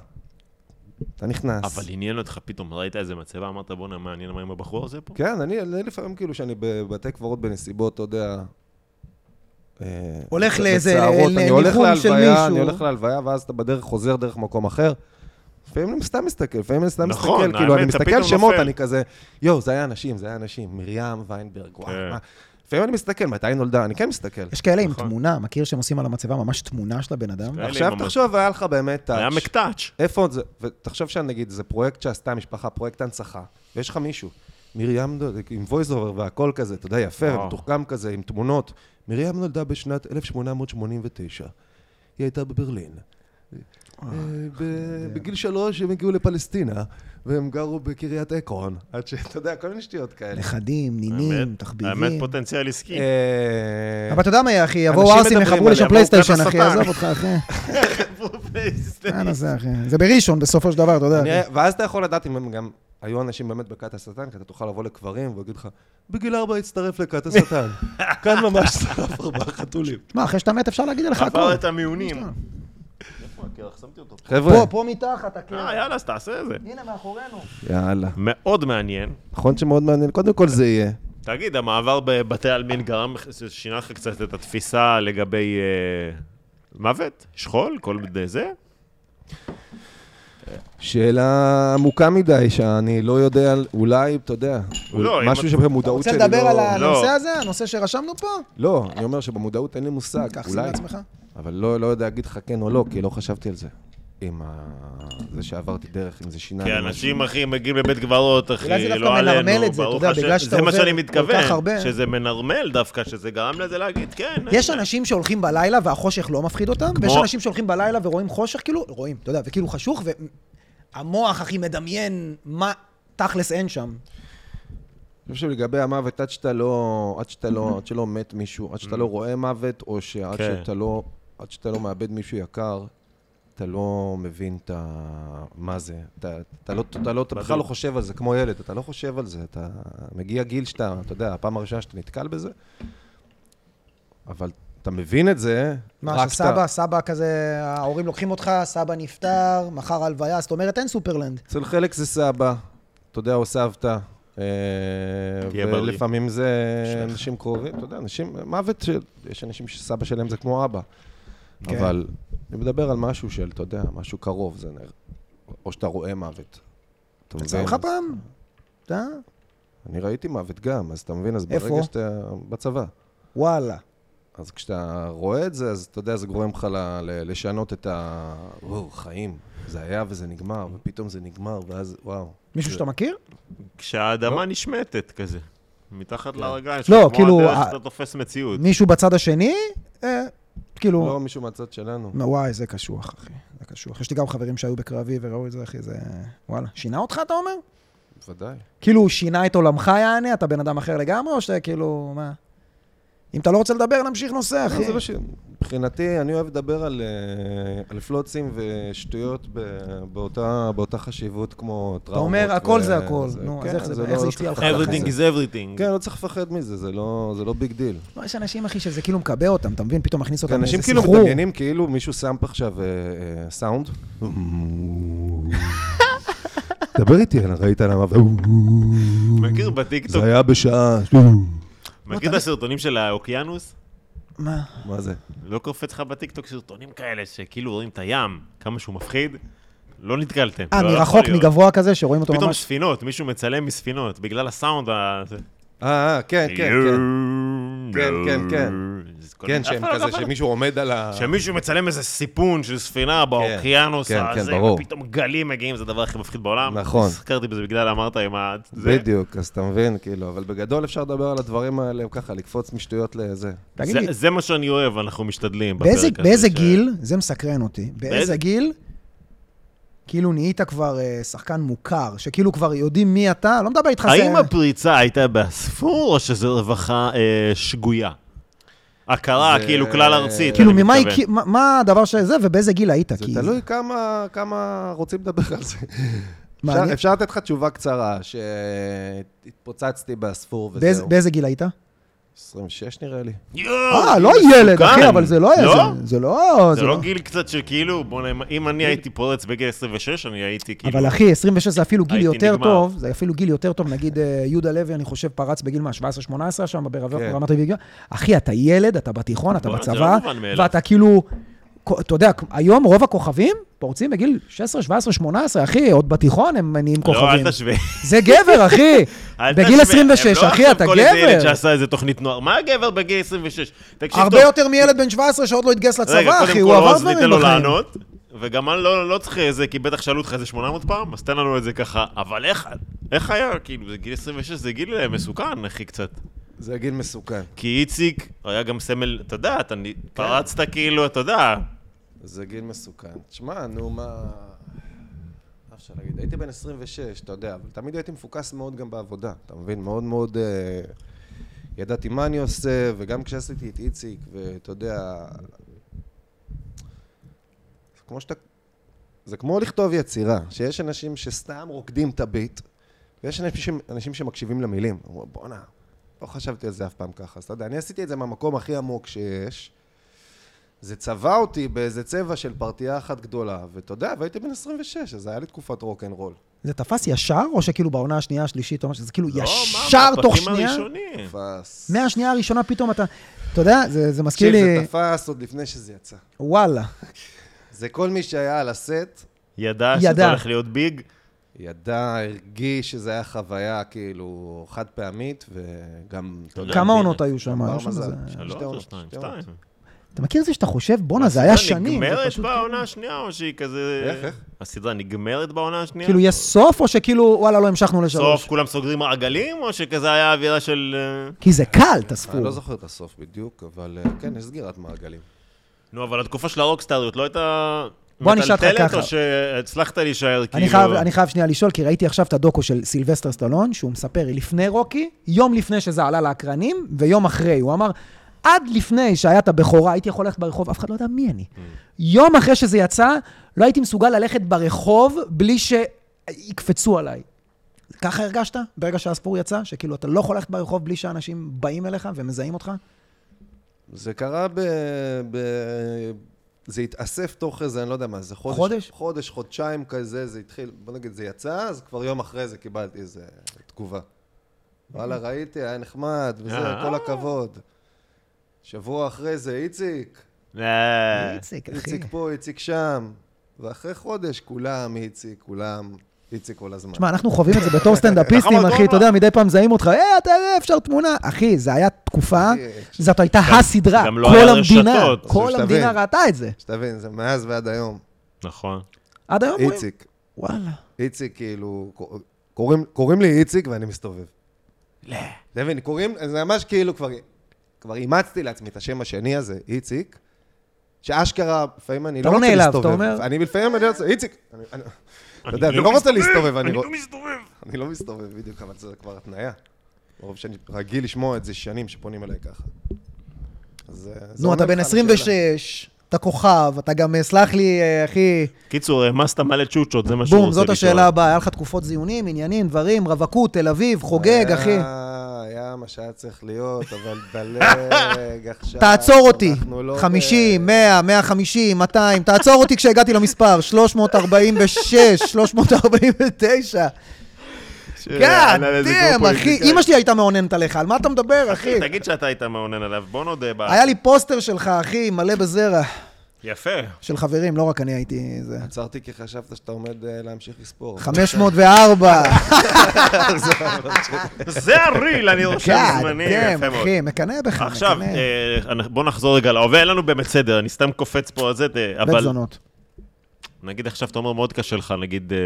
C: אתה נכנס.
A: אבל עניין אותך פתאום, ראית איזה מצבה, אמרת בואנה, מעניין מה עם הבחור הזה פה?
C: כן, אני, אני לפעמים כאילו שאני בבתי קברות בנסיבות, אתה יודע... אה,
B: הולך
C: בצ-
B: לאיזה-
C: בצערות,
B: ל-
C: אני הולך
B: לניחום של
C: להלוויה,
B: מישהו.
C: אני הולך להלוויה, ואז אתה בדרך חוזר דרך מקום אחר. לפעמים אני סתם מסתכל, לפעמים אני סתם
A: נכון,
C: מסתכל, כאילו,
A: האמת,
C: אני
A: אתה
C: מסתכל
A: פתאום
C: שמות,
A: נופל.
C: אני כזה, יואו, זה היה אנשים, זה היה אנשים, מרים ויינברג, וואי,
A: כן.
C: מה. לפעמים אני מסתכל, מתי היא נולדה, אני כן מסתכל.
B: יש כאלה עם
A: נכון. כן.
B: תמונה, מכיר שהם עושים על המצבה ממש תמונה של הבן אדם?
A: כאלה
C: עכשיו
A: עם המ-
C: תחשוב, היה לך באמת
A: היה
C: טאץ'.
A: מקטאץ'.
C: איפה זה, ותחשוב שנגיד, זה פרויקט שעשתה המשפחה, פרויקט הנצחה, ויש לך מישהו, מרים נולדה, עם voice over והכל כזה, אתה יודע, יפה,
A: וואו.
C: ומתוחכם כזה, עם תמונות. מרים נולדה בשנת 1889, היא הייתה בברלין. אה, ב- בגיל שלוש הם הגיעו לפלסטינה, והם גרו בקריית עקרון, עד שאתה יודע, כל מיני שטויות כאלה.
B: נכדים, נינים,
A: האמת- האמת
B: תחביבים.
A: פוטנציאל עסקי.
C: אה,
B: אבל אתה יודע מה, אחי, יבואו
C: אנשים
B: ערסים,
C: מדברים
B: יחברו
C: עליה,
B: לשם
A: אבל
B: פלייסטיישן,
A: הוא
B: אחי,
A: כת
B: עזוב
A: השטן.
B: אותך, אחי. אנא זה, אחי. זה בראשון, בסופו של דבר, אתה יודע.
C: אני- ואז אתה יכול לדעת אם הם גם היו אנשים באמת בכת השטן, כי אתה תוכל לבוא לקברים ויגיד לך, בגיל ארבע הצטרף לכת השטן. כאן ממש שרף ארבעה חתולים.
B: מה, אחרי שאתה מת אפשר להגיד עליך הכל.
A: עבר את המיונים. איפה הקרח? שמתי אותו פה.
C: חבר'ה,
B: פה, פה מתחת,
A: אה,
B: הקרח.
A: יאללה, אז תעשה את זה.
B: הנה, מאחורינו.
C: יאללה.
A: מאוד מעניין.
C: נכון שמאוד מעניין, קודם כל זה יהיה.
A: תגיד, המעבר בבתי עלמין גרם, שינה לך קצת את התפיסה לגבי אה, מוות? שכול? כל מיני זה?
C: שאלה עמוקה מדי, שאני לא יודע, אולי, אתה יודע,
A: לא, אם
C: משהו
A: את-
B: אתה
C: שבמודעות
B: רוצה
C: שלי
B: לדבר על
C: לא...
B: הנושא הזה, הנושא שרשמנו פה?
C: לא, אני אומר שבמודעות אין לי מושג,
B: אה, קח, שים
C: אולי,
B: לעצמך.
C: אבל לא לא יודע להגיד לך כן או לא, כי לא חשבתי על זה. עם ה... זה שעברתי דרך, אם זה שינה.
A: כי
C: לי משהו.
A: אנשים, אחי, מגיעים לבית קברות,
B: לא אולי
A: אחי,
B: זה דווקא
A: לא עלינו,
B: מנרמל את זה, אתה
A: ברוך
B: יודע,
A: השם.
B: בגלל שאתה
A: זה מה
B: עובר
A: שאני
B: כל
A: מתכוון,
B: כך הרבה.
A: שזה מנרמל דווקא, שזה גרם לזה להגיד, כן.
B: יש
A: אין-
B: אנשים שהולכים בלילה והחושך לא מפחיד אותם, ויש אנשים שהולכים בלילה ורואים חושך, כאילו, רואים, אתה יודע, וכאילו חשוך, והמוח, אחי, מדמיין מה תכלס אין שם.
C: אני חושב שלגבי המוות, עד שאתה לא... עד שאתה לא... עד שלא מת מישהו, עד שאתה לא רואה מוות, או שעד
A: כן.
C: שאתה לא... עד שאתה לא מאבד מישהו יקר, אתה לא מבין את ה... מה זה. אתה, אתה, לא, אתה, לא, אתה בכלל
A: בדיוק.
C: לא חושב על זה, כמו ילד, אתה לא חושב על זה. אתה מגיע גיל שאתה, אתה יודע, הפעם הראשונה שאתה נתקל בזה, אבל אתה מבין את זה,
B: מה,
C: רק
B: שסבא,
C: אתה...
B: סבא כזה, ההורים לוקחים אותך, סבא נפטר, מחר הלוויה, זאת אומרת, אין סופרלנד.
C: אצל חלק זה סבא, אתה יודע, או סבתא. אה,
A: תהיה בריא.
C: ולפעמים זה
A: אשריך.
C: אנשים קרובים, אתה יודע, אנשים, מוות, של- יש אנשים שסבא שלהם זה כמו אבא.
B: כן.
C: אבל אני מדבר על משהו של, אתה יודע, משהו קרוב, זה נראה. או שאתה רואה מוות. אתה
B: יצא
C: מבין?
B: לך פעם? אתה?
C: אני ראיתי מוות גם, אז אתה מבין? אז
B: איפה?
C: ברגע שאתה... בצבא.
B: וואלה.
C: אז כשאתה רואה את זה, אז אתה יודע, זה גורם לך ל- ל- לשנות את ה... וואו, חיים. זה היה וזה נגמר, ופתאום זה נגמר, ואז, וואו.
B: מישהו שאתה מכיר?
A: כשהאדמה נשמטת כזה, מתחת לרגליים שלך,
B: לא,
A: כמו
B: כאילו,
A: הדרך
B: ה-
A: שאתה תופס מציאות.
B: מישהו בצד השני? אה, כאילו...
C: לא מישהו מהצד שלנו.
B: נו, וואי, זה קשוח, אחי. זה קשוח. יש לי גם חברים שהיו בקרבי וראו את זה, אחי, זה... וואלה. שינה אותך, אתה אומר?
C: בוודאי.
B: כאילו, הוא שינה את עולמך, יעני? אתה בן אדם אחר לגמרי, או שאתה כאילו... מה? אם אתה לא רוצה לדבר, נמשיך נושא,
C: לא,
B: אחי.
C: זה לא ש... מבחינתי, אני אוהב לדבר על, אה, על פלוצים ושטויות ב... באותה, באותה חשיבות כמו
B: אתה
C: טראומות.
B: אומר, הכל זה
C: ו-
B: הכל. נו, אז
C: כן,
B: איך זה- איך זה
C: לא
B: השפיע
C: צריך
B: עליך?
C: לפחד
A: Everything
C: מזה.
A: is everything.
C: כן, לא צריך לפחד מזה, זה לא, זה לא ביג דיל.
B: לא, יש אנשים, אחי, שזה כאילו מקבע אותם, אתה מבין? פתאום מכניס אותם
C: אנשים
B: לאיזה
C: כאילו
B: סחרור.
C: מדמיינים כאילו מישהו שם פה עכשיו אה, אה, סאונד. דבר איתי, ראית למה?
A: מכיר בטיקטוק,
C: זה היה בשעה...
A: מכיר את הסרטונים של האוקיינוס?
B: מה?
C: מה זה?
A: לא קופץ לך בטיקטוק סרטונים כאלה שכאילו רואים את הים, כמה שהוא מפחיד? לא נתקלתם.
B: אה,
A: לא יכול
B: מרחוק,
A: להיות.
B: מגבוה כזה, שרואים אותו
A: פתאום
B: ממש...
A: ספינות, מישהו מצלם מספינות, בגלל הסאונד ה... זה-
C: אה, אה, כן, כן, כן. כן, כן, כן.
A: זה כל-
C: כן,
A: אף
C: שהם
A: אחד לא
C: כזה,
A: קפץ.
C: שמישהו עומד על ה...
A: שמישהו מצלם איזה סיפון של ספינה באוקיינוס
C: כן, כן,
A: הזה,
C: ברור.
A: ופתאום גלים מגיעים, זה הדבר הכי מפחיד בעולם.
C: נכון.
A: הזכרתי בזה בגלל אמרת עם ה... זה-
C: בדיוק, אז אתה מבין, כאילו, אבל בגדול אפשר לדבר על הדברים האלה, ככה, לקפוץ משטויות לזה.
B: תגיד
A: זה-
B: לי,
A: זה מה שאני אוהב, אנחנו משתדלים בפרק
B: באיזה-
A: הזה.
B: באיזה
A: ש-
B: גיל, זה מסקרן אותי, באיזה
A: באיזה-
B: גיל, כאילו נהיית כבר אה, שחקן מוכר, שכאילו כבר יודעים מי אתה, לא מדבר איתך...
A: האם
B: זה-
A: הפריצה הייתה באספור, או שזו רווחה אה, שגויה? הכרה,
C: זה-
A: כאילו, כלל ארצית,
B: כאילו,
A: אני
B: ממה
A: מתכוון.
B: הכי- מה- מה הדבר שזה, ובאיזה גיל היית?
C: זה
B: כי-
C: תלוי כמה, כמה רוצים לדבר על זה.
B: מה,
C: אפשר,
B: אני-
C: אפשר לתת לך תשובה קצרה, שהתפוצצתי באספור
B: באיזה-
C: וזהו.
B: באיזה גיל היית?
C: 26 נראה לי.
A: יואו,
B: אה,
A: גיל
B: לא ילד,
A: מסוכן.
B: אחי, אבל זה לא...
A: לא?
B: זה- זה לא...
A: זה לא גיל קצת שכאילו, בוא'נה, אם- אם אני הייתי פורץ בגיל 26, אני הייתי כאילו...
B: אבל אחי, 26 זה אפילו גיל
A: הייתי
B: יותר
A: נגמר.
B: טוב, זה אפילו גיל יותר טוב, נגיד אה, יהודה לוי, אני חושב, פרץ בגיל מה, 17-18 שם, ברב-
C: כן.
B: ברמת אביב. אחי, אתה ילד, אתה בתיכון, אתה
A: בוא'נה, זה
B: בצבא,
A: לא מובן מאליו.
B: ואתה כאילו, כ- אתה יודע, היום רוב הכוכבים פורצים בגיל 16, 17, 18, אחי, עוד בתיכון הם נהיים
A: לא,
B: כוכבים.
A: אל תשווה.
B: זה גבר, אחי.
A: אל
B: בגיל
A: תשווה.
B: 26,
A: הם לא
B: אחי,
A: עכשיו
B: אתה
A: כל איזה ילד
B: גבר.
A: שעשה איזה תוכנית נוער. מה הגבר בגיל 26? תקשיב
B: הרבה
A: טוב.
B: יותר מילד בן 17 שעוד לא התגייס
A: רגע,
B: לצבא, אחי,
A: קודם
B: הוא
A: כל
B: עבר
A: עוז
B: דברים
A: ניתן לו
B: בחיים.
A: לענות, וגם אני לא לא צריך איזה, כי בטח שאלו אותך איזה 800 פעם, אז תן לנו את זה ככה. אבל איך- איך היה, כאילו, זה גיל 26 זה גיל אה, מסוכן, אחי, קצת.
C: זה גיל מסוכן.
A: כי איציק היה גם סמל, אתה יודע, אתה נ-
B: כן.
A: פרצת כאילו, אתה יודע.
C: זה גיל מסוכן. תשמע, נו, מה... מה אפשר להגיד? הייתי בן 26, אתה יודע, אבל תמיד הייתי מפוקס מאוד גם בעבודה. אתה מבין? מאוד מאוד... אה, ידעתי מה אני עושה, וגם כשעשיתי את איציק, ואתה יודע... זה כמו שאתה... זה כמו לכתוב יצירה, שיש אנשים שסתם רוקדים את הביט, ויש אנשים, אנשים שמקשיבים למילים. אמרו, בואנה, לא חשבתי על זה אף פעם ככה. אז אתה יודע, אני עשיתי את זה מהמקום הכי עמוק שיש. זה צבע אותי באיזה צבע של פרטייה אחת גדולה, ואתה יודע, והייתי בן 26, אז היה לי תקופת רוקנרול.
B: זה תפס ישר, או שכאילו בעונה השנייה, השלישית, או משהו, זה כאילו
A: לא, מה,
B: ישר תוך
A: מהפרקים
B: שנייה?
A: הראשונים.
C: תפס.
B: מהשנייה הראשונה פתאום אתה, אתה יודע, זה, זה מזכיר
C: תקשיב,
B: לי,
C: זה תפס עוד לפני שזה יצא.
B: וואלה,
C: זה כל מי שהיה על הסט,
A: ידע
B: ידע.
A: שזה הולך להיות ביג.
C: ידע, הרגיש שזה היה חוויה כאילו חד פעמית, וגם, אתה יודע,
B: כמה
A: הנה.
B: עונות היו שם?
C: בר
B: היו שם
C: מזל.
B: איזה-
A: שלוש
C: שתי
A: או
C: עונות,
A: שתיים,
C: שתי
A: שתיים.
C: עונות.
B: אתה מכיר את זה שאתה חושב, בואנה, נכון, זה היה
A: הסדרה
B: שנים. זה
A: נגמרת
B: פשוט כאילו-
A: בעונה השנייה, או שהיא כזה...
C: איך, איך?
A: הסדרה נגמרת בעונה השנייה?
B: כאילו, יש סוף, או שכאילו, וואלה, לא המשכנו
A: סוף
B: לשלוש?
A: כולם סוגרים מעגלים, או שכזה היה אווירה של... אה,
B: כי זה קל, תספור.
C: אני לא זוכר את הסוף בדיוק, אבל אה, כן, יש סגירת מעגלים.
A: נו, אבל התקופה של הרוקסטריות לא הייתה...
B: בוא אני אשאל אותך
A: מטלטלת
B: ככה.
A: או שהצלחת להישאר כאילו...
B: אני חייב, אני חייב שנייה לשאול, כי ראיתי עכשיו את הדוקו של סילבסטר סטלון, שהוא מספר לפני רוקי, יום לפני שזה עלה לאקרנים, ויום אחרי. הוא אמר, עד לפני שהיה את הבכורה, הייתי יכול ללכת ברחוב, אף אחד לא יודע מי אני.
A: Mm.
B: יום אחרי שזה יצא, לא הייתי מסוגל ללכת ברחוב בלי שיקפצו עליי. ככה הרגשת ברגע שהספור יצא? שכאילו אתה לא יכול ללכת ברחוב בלי שאנשים באים אליך ומזהים אותך?
C: זה קרה ב... ב... זה התאסף תוך איזה, אני לא יודע מה, זה חודש,
B: חודש?
C: חודש, חודשיים כזה, זה התחיל, בוא נגיד, זה יצא, אז כבר יום אחרי זה קיבלתי איזה תגובה.
B: אה.
C: וואלה, ראיתי, היה נחמד, וזה,
A: אה.
C: כל הכבוד. שבוע אחרי זה, איציק,
A: אה,
B: איציק, אחי.
C: איציק פה, איציק שם. ואחרי חודש, כולם איציק, כולם איציק כל הזמן.
B: תשמע, אנחנו חווים את זה בתור סטנדאפיסטים,
A: אנחנו
B: אחי, אתה
A: בגובה.
B: יודע, מדי פעם מזהים אותך, אה, אתה יודע, אפשר תמונה. אחי, זה היה תקופה,
C: אחי.
B: זאת הייתה הסדרה.
A: אה, גם לא
B: כל
A: היה
B: המדינה,
A: רשתות,
B: כל
C: שתבין.
B: המדינה ראתה את זה.
C: שתבין, זה מאז ועד היום.
B: לא
A: נכון.
B: עד היום רואים.
C: איציק,
B: וואלה.
C: איציק כאילו, קור- קוראים- קוראים לי איציק ואני מסתובב.
B: לא.
C: אתה מבין, קוראים, זה ממש כאילו כבר, כבר אימצתי לעצמי את השם השני הזה, איציק, שאשכרה, לפעמים אני
B: אתה
C: לא
B: לא
C: רוצה
B: נעלב, אתה
C: להסתובב.
B: אומר?
C: אני לפעמים, אני לא רוצה, איציק, אני- אני- אתה יודע, אני לא רוצה להסתובב, אני
A: אני
C: רוצ-
A: לא מסתובב.
C: אני לא מסתובב בדיוק, אבל זה כבר התניה. מרוב שאני רגיל לשמוע את זה שנים שפונים אליי ככה. אז, אה, זה
B: נו,
C: עונה
B: אתה
C: לך
B: בן
C: על
B: 26, אתה כוכב, אתה גם, אה, סלח לי, אה, אחי,
A: קיצור, העמסת מלא צ'וצ'ות, זה מה שהוא
B: בום,
A: רוצה
B: זאת
A: לשאול.
B: השאלה הבאה. היה לך תקופות זיונים, עניינים, דברים, רווקות, תל אביב, חוגג,
C: היה-
B: אחי.
C: היה מה שהיה צריך להיות, אבל דלג עכשיו.
B: תעצור אותי,
C: אנחנו לא ב-
B: 50, 100, 150, 200, תעצור אותי כשהגעתי למספר, 346, 349.
A: כן,
B: גאד,
A: יאללה, איזה
B: דאם,
A: גרופו
B: כן, אחי,
A: פוליטיקאי.
B: אימא שלי הייתה מאוננת עליך, על מה אתה מדבר, אחי?
A: כן. תגיד שאתה היית מעונן עליו, בוא נודה ב...
B: היה לי פוסטר שלך, אחי, מלא בזרע.
A: יפה.
B: של חברים, לא רק אני הייתי זה.
C: עצרתי כי חשבת שאתה עומד אה, להמשיך לספור.
B: 504,
A: זה הריל, אני רושם
B: גאד,
A: זמני,
B: דאם,
A: יפה מאוד.
B: כן, אחי, מקנא בך, מקנא.
A: עכשיו, אה, אנ- בוא נחזור רגע להווה, אין לנו באמת סדר, אני סתם קופץ פה על זה, אה,
B: בית
A: אבל
B: זונות.
A: נגיד עכשיו אתה אומר מאוד קשה לך, נגיד אה,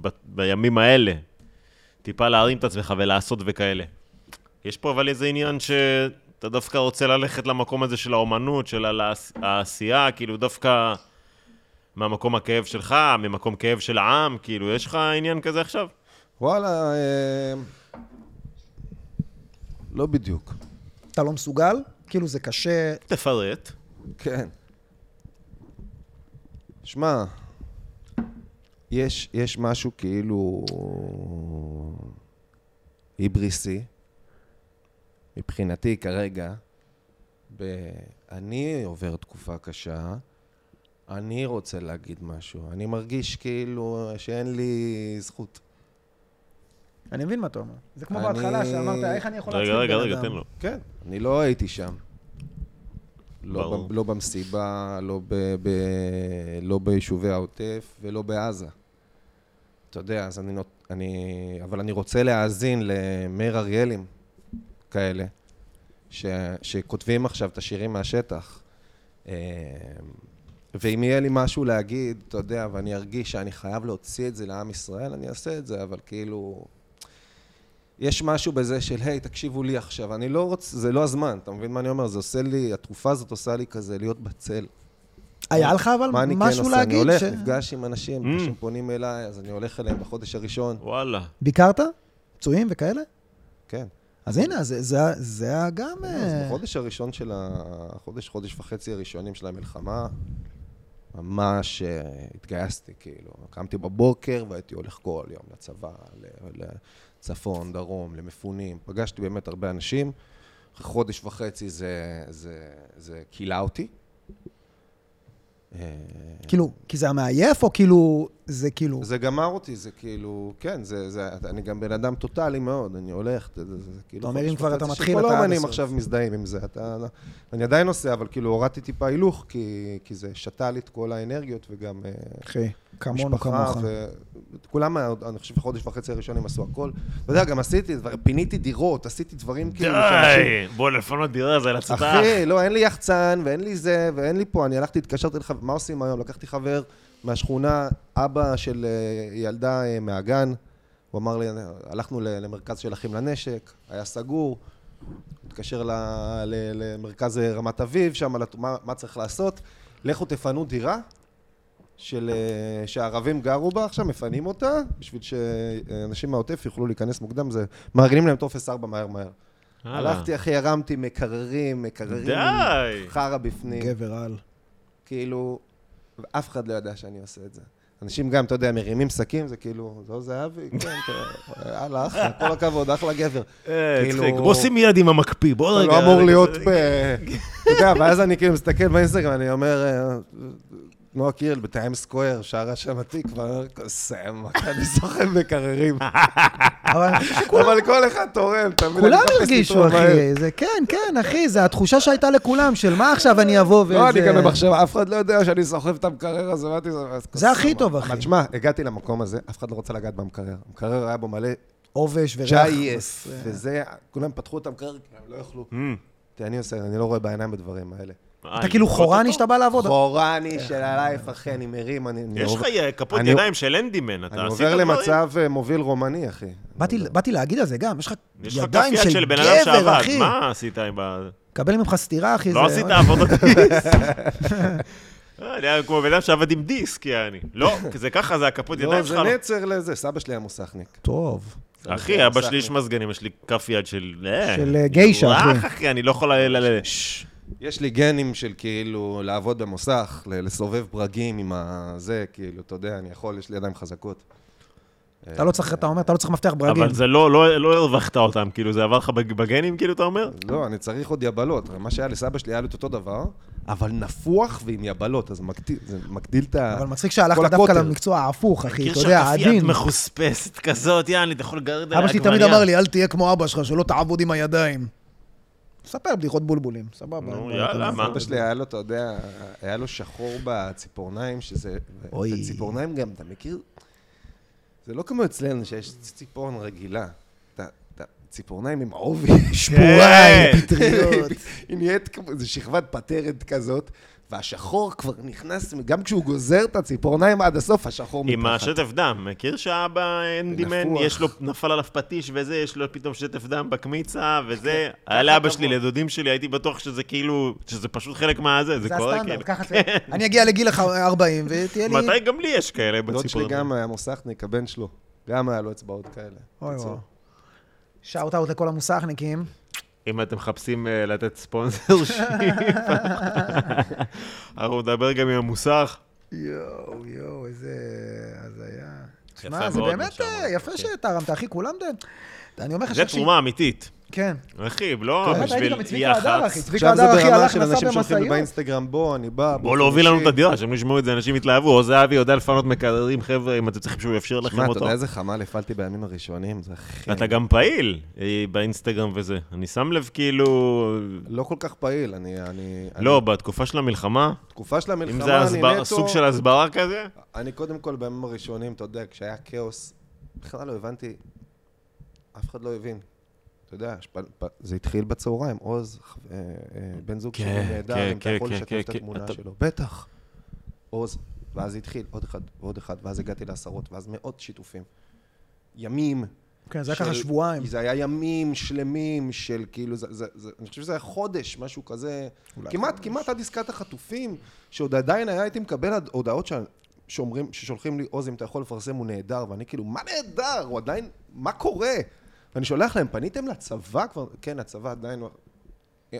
A: ב- בימים האלה, טיפה להרים את עצמך ולעשות וכאלה. יש פה אבל איזה עניין שאתה דווקא רוצה ללכת למקום הזה של האומנות, של ה- לעש- העשייה, כאילו דווקא מהמקום הכאב שלך, ממקום כאב של העם, כאילו, יש לך עניין כזה עכשיו?
C: וואלה, אה, לא בדיוק.
B: אתה לא מסוגל? כאילו זה קשה,
A: תפרט.
C: כן. שמע, יש, יש משהו כאילו היבריסי, מבחינתי כרגע, ב... אני עובר תקופה קשה, אני רוצה להגיד משהו, אני מרגיש כאילו שאין לי זכות.
B: אני מבין מה אתה אומר. זה כמו
C: אני-
B: בהתחלה שאמרת, איך אני יכול
A: רגע, רגע,
B: בן
A: רגע,
B: אדם?"
A: תן לו.
C: כן, אני לא הייתי שם. לא,
A: ברור.
C: ב, לא במסיבה, לא, ב, ב, לא ביישובי העוטף ולא בעזה. אתה יודע, אז אני, נות, אני... אבל אני רוצה להאזין למאיר אריאלים כאלה, ש, שכותבים עכשיו את השירים מהשטח. אה, ואם יהיה לי משהו להגיד, אתה יודע, ואני ארגיש שאני חייב להוציא את זה לעם ישראל, אני אעשה את זה, אבל כאילו... יש משהו בזה של, היי, תקשיבו לי עכשיו, אני לא רוצה, זה לא הזמן, אתה מבין מה אני אומר? זה עושה לי, התרופה הזאת עושה לי כזה להיות בצל.
B: היה לך אבל
C: מה אני כן
B: משהו
C: עושה? אני
B: להגיד?
C: הולך,
B: ש-
C: נפגש עם
A: Mm. אוקיי.
C: אנשים, אנשים פונים אליי, אז אני הולך אליהם בחודש הראשון,
A: וואלה.
B: ביקרת? פצועים וכאלה?
C: כן.
B: אז הנה, זה- זה- זה היה גם...
C: אז
B: אה,
C: בחודש הראשון של החודש, חודש וחצי הראשונים של המלחמה, ממש אה, התגייסתי, כאילו. קמתי בבוקר והייתי הולך כל יום לצבא, ל- לצפון, דרום, למפונים. פגשתי באמת הרבה אנשים. אחרי חודש וחצי זה, זה, זה כילה אותי. אה,
B: כאילו, כי זה היה מעייף, או כאילו, זה כאילו...
C: זה גמר אותי, זה כאילו, כן, זה, זה, אני גם בן אדם טוטאלי מאוד, אני הולך, זה, זה, זה כאילו...
B: אתה אומר, אם
C: חודש
B: כבר אתה
C: וחצי
B: מתחיל,
C: שכל
B: אתה עד
C: האומנים
B: הסוף.
C: עכשיו מזדהים עם זה, אתה... אני עדיין עושה, אבל כאילו הורדתי טיפה הילוך, כי, כי זה שתה לי את כל האנרגיות, וגם... אה,
B: אחי, כמונו
C: משפחה,
B: כמוך.
C: ו- כולם, אה, אני חושב, חודש וחצי הראשונים עשו הכל. אתה יודע, גם עשיתי, דבר- פיניתי דירות, עשיתי דברים כאילו... שאנשים-
A: די! בוא לפנות דירה, זה לצאת האח.
C: אחי, לא, אין לי יחצן, ואין לי זה, ואין לי פה. אני הלכתי, התקשרתי לחבר, מה עושים היום? לקחתי חבר מהשכונה, אבא של אה, ילדה אה, מהגן. הוא אמר לי, הלכנו ל- למרכז של אחים לנשק, היה סגור. התקשר ל, ל, אה, למרכז רמת אביב, שם, מה, מה צריך לעשות? לכו תפנו דירה, של... אה, שהערבים גרו בה עכשיו, מפנים אותה, בשביל שאנשים מהעוטף יוכלו להיכנס מוקדם, זה... מארגנים להם טופס 4 מהר מהר.
A: הלאה.
C: הלכתי, אחי, הרמתי מקררים, מקררים, אה,
A: די.
C: חרא בפנים.
B: גבר על.
C: כאילו, אף אחד לא ידע שאני עושה את זה. אנשים גם, אתה יודע, מרימים שקים, זה כאילו, זו זהבי, כן, אתה- יאללה, אחלה, כל הכבוד, אחלה גבר.
A: אה,
C: כאילו-
A: צחיק. בוא שים יד עם המקפיא, בוא
C: אתה
A: רגע. אה,
C: לא אמור
A: רגע,
C: להיות
A: רגע.
C: ב... אתה יודע, ואז אני כאילו מסתכל באינסטגרם, אני אומר, אה, נועה קירל בטיים סקוואר, שרה שם התקווה, סם, אני סוחב מקררים.
B: אבל אני חושב
C: אבל כל אחד תורם, אתה מבין? אני
B: שכולם
C: מחפש לתרום
B: הרגישו,
C: מהר.
B: אחי. זה כן, כן, אחי, זה התחושה שהייתה לכולם, של מה עכשיו אני אבוא ואיזה...
C: לא, אני גם במחשב, אף אחד לא יודע שאני סוחב את המקרר הזה, ואמרתי,
B: זה הכי טוב, אחי.
C: אבל תשמע, הגעתי למקום הזה, אף אחד לא רוצה לגעת במקרר. המקרר היה בו מלא
B: עובש וריח.
C: ג'ייס,
B: אה.
C: וזה, כולם פתחו את המקרר, הם לא יכלו.
A: אמ,
C: תראה, אני עושה, אני לא רואה בעיניים בדברים האלה.
A: אה,
B: אתה כאילו חורני שאתה בא לעבוד.
C: חורני של הלייף, אחי, אני מרים, אני... אני
A: אה, יש לך
C: עובר-
A: י- כפות
C: אני-
A: ידיים של אנדימן, אתה
C: אני
A: עשית
C: עובר
A: דברים.
C: למצב אה, מוביל רומני, אחי.
B: באתי- באתי להגיד על זה גם, יש לך
A: יש לך כף
B: ידיים
A: יד
B: של
A: של בן אדם
B: גבר,
A: שעבד,
B: אחי.
A: מה עשית עם ה...
B: קבל ממך סטירה, אחי.
A: לא
B: זה-
A: עשית עבודות דיסק. אה, אני היה כמו בן אדם שעבד עם דיסק, יעני. לא, כי זה ככה, זה הכפות
C: לא,
A: ידיים
C: זה
A: שלך.
C: נצר לזה, סבא שלי היה מוסכניק.
B: טוב.
A: אחי, אבא שלי יש מזגנים, יש לי כף יד של... אה,
B: של, אה, גיישה,
A: וואח,
B: אחי.
A: אחי, אני לא יכול ל... ל- ל-
C: יש לי גנים של כאילו לעבוד במוסך, ל- לסובב ברגים עם הזה, כאילו, אתה יודע, אני יכול, יש לי ידיים חזקות.
B: אתה לא צריך, אתה אומר, אתה לא צריך מפתח ברגים.
A: אבל זה לא, לא לא הרווחת אותם, כאילו, זה עבר לך בג- בגנים, כאילו, אתה אומר?
C: לא, אני צריך עוד יבלות. מה שהיה לסבא שלי היה לו את אותו דבר, אבל נפוח ועם יבלות, אז מגדיל- זה מגדיל את ה...
B: אבל מצחיק שהלכת
C: כל
B: דווקא
C: הקוטר.
B: למקצוע ההפוך, אחי,
A: מכיר
B: אתה יודע,
A: שהכף יד
B: עדין.
A: מחוספסת כזאת, יעני, אתה יכול לגרד עליה
B: אבא שלי תמיד
A: עגבנייה.
B: אמר לי, אל תהיה כמו אבא שלך, שלא תעבוד עם הידיים. ספר בדיחות בולבולים, סבבה.
A: נו,
B: אבל-
A: יאללה, מה?
C: אבא שלי היה לו, אתה יודע, היה לו שחור בציפורניים, שזה...
B: אוי.
C: ציפורניים גם, אתה מכיר? זה לא כמו אצלנו, שיש ציפורן רגילה. אתה- אתה- ציפורניים עם עובי.
B: שבוראי,
A: כן.
B: פטריות.
C: היא נהיית כמו, זו שכבת פטרת כזאת, והשחור כבר נכנס, גם כשהוא גוזר את הציפורניים עד הסוף, השחור מתחת.
A: אה, עם השטף דם, מכיר שהאבא אנדימן,
C: נפוח.
A: יש לו, נפל עליו פטיש וזה, יש לו פתאום שטף דם בקמיצה וזה.
B: כן,
A: היה לאבא שלי, לדודים שלי, הייתי בטוח שזה כאילו, שזה פשוט חלק מהזה, זה
B: זה
A: קורה
B: הסטנדרט,
A: כאילו.
B: ככה זה. אני אגיע לגיל הח- 40 ותהיה לי...
A: מתי גם לי יש כאלה
C: דוד שלי
A: בציפורניים?
C: גם היה מוסכניק, הבן שלו. גם היה לו אצבעות כאלה.
B: אוי
C: בקיצור.
B: וואו. שאוט אאוט לכל המוסכניקים.
A: אם אתם מחפשים אה, לתת ספונסר שיפ, אנחנו נדבר גם עם המוסך.
B: יואו, יואו, איזה הזיה.
A: יפה
B: שמע, זה
A: מאוד מה
B: באמת אה,
A: שאמרת,
B: יפה
A: כן.
B: שתרמת, אחי, כולם... ד- אני אומר לך
A: זה
B: שאיך שהיא-
A: תרומה אמיתית.
B: כן.
A: אחי, לא
B: באמת, הייתי
A: בשביל
B: גם אצלי בהדר, אחי.
A: יח"צ.
B: צביקה
C: עכשיו זה
B: הדר, אחי,
C: ברמה
B: הלך,
C: של
B: נסע
C: אנשים שולחים לי
B: במשאיות.
C: באינסטגרם, בוא, אני בא.
A: בוא להוביל לנו את הדירה, שהם ישמעו את זה, אנשים יתלהבו, או זהבי יודע לפנות מקררים, חבר'ה, אם אתם צריכים שהוא יאפשר לכם
C: מה, אתה
A: אותו.
C: יודע איזה חמל הפעלתי בימים הראשונים? זה הכי...
B: כן.
A: אתה גם פעיל אה, באינסטגרם וזה. אני שם לב כאילו...
C: לא כל כך פעיל, אני... אני-
A: לא,
C: אני-
A: בתקופה של המלחמה,
C: תקופה של
A: אם
C: המלחמה,
A: זה
C: אני
A: הסבר-
C: נטו-
A: סוג של הסברה כזה,
C: אני קודם כל בימים הראשונים, אתה יודע, כשהיה כאוס, בכלל לא הבנתי, אף אחד לא הבין. אתה יודע, שפ... פ... זה התחיל בצהריים, עוז, ח- אה, אה, בן זוג
A: כן,
C: שלי נהדר,
A: כן,
C: אם אתה
A: כן,
C: יכול
A: כן,
C: לשתף
A: כן,
C: את
A: כן,
C: התמונה
A: אתה-
C: שלו. בטח. עוז, ואז התחיל, עוד אחד ועוד אחד, ואז הגעתי לעשרות, ואז מאות שיתופים. ימים.
B: כן, זה היה
C: של-
B: ככה שבועיים.
C: זה היה ימים שלמים של כאילו, זה, זה, זה, אני חושב שזה היה חודש, משהו כזה. כמעט, כמעט עד עסקת החטופים, שעוד עדיין היה, הייתי מקבל עד- הודעות שה- שאומרים, ששולחים לי, עוז, אם אתה יכול לפרסם, הוא נהדר, ואני כאילו, מה נהדר? הוא עדיין, מה קורה? ואני שולח להם, פניתם לצבא כבר? כן, הצבא עדיין,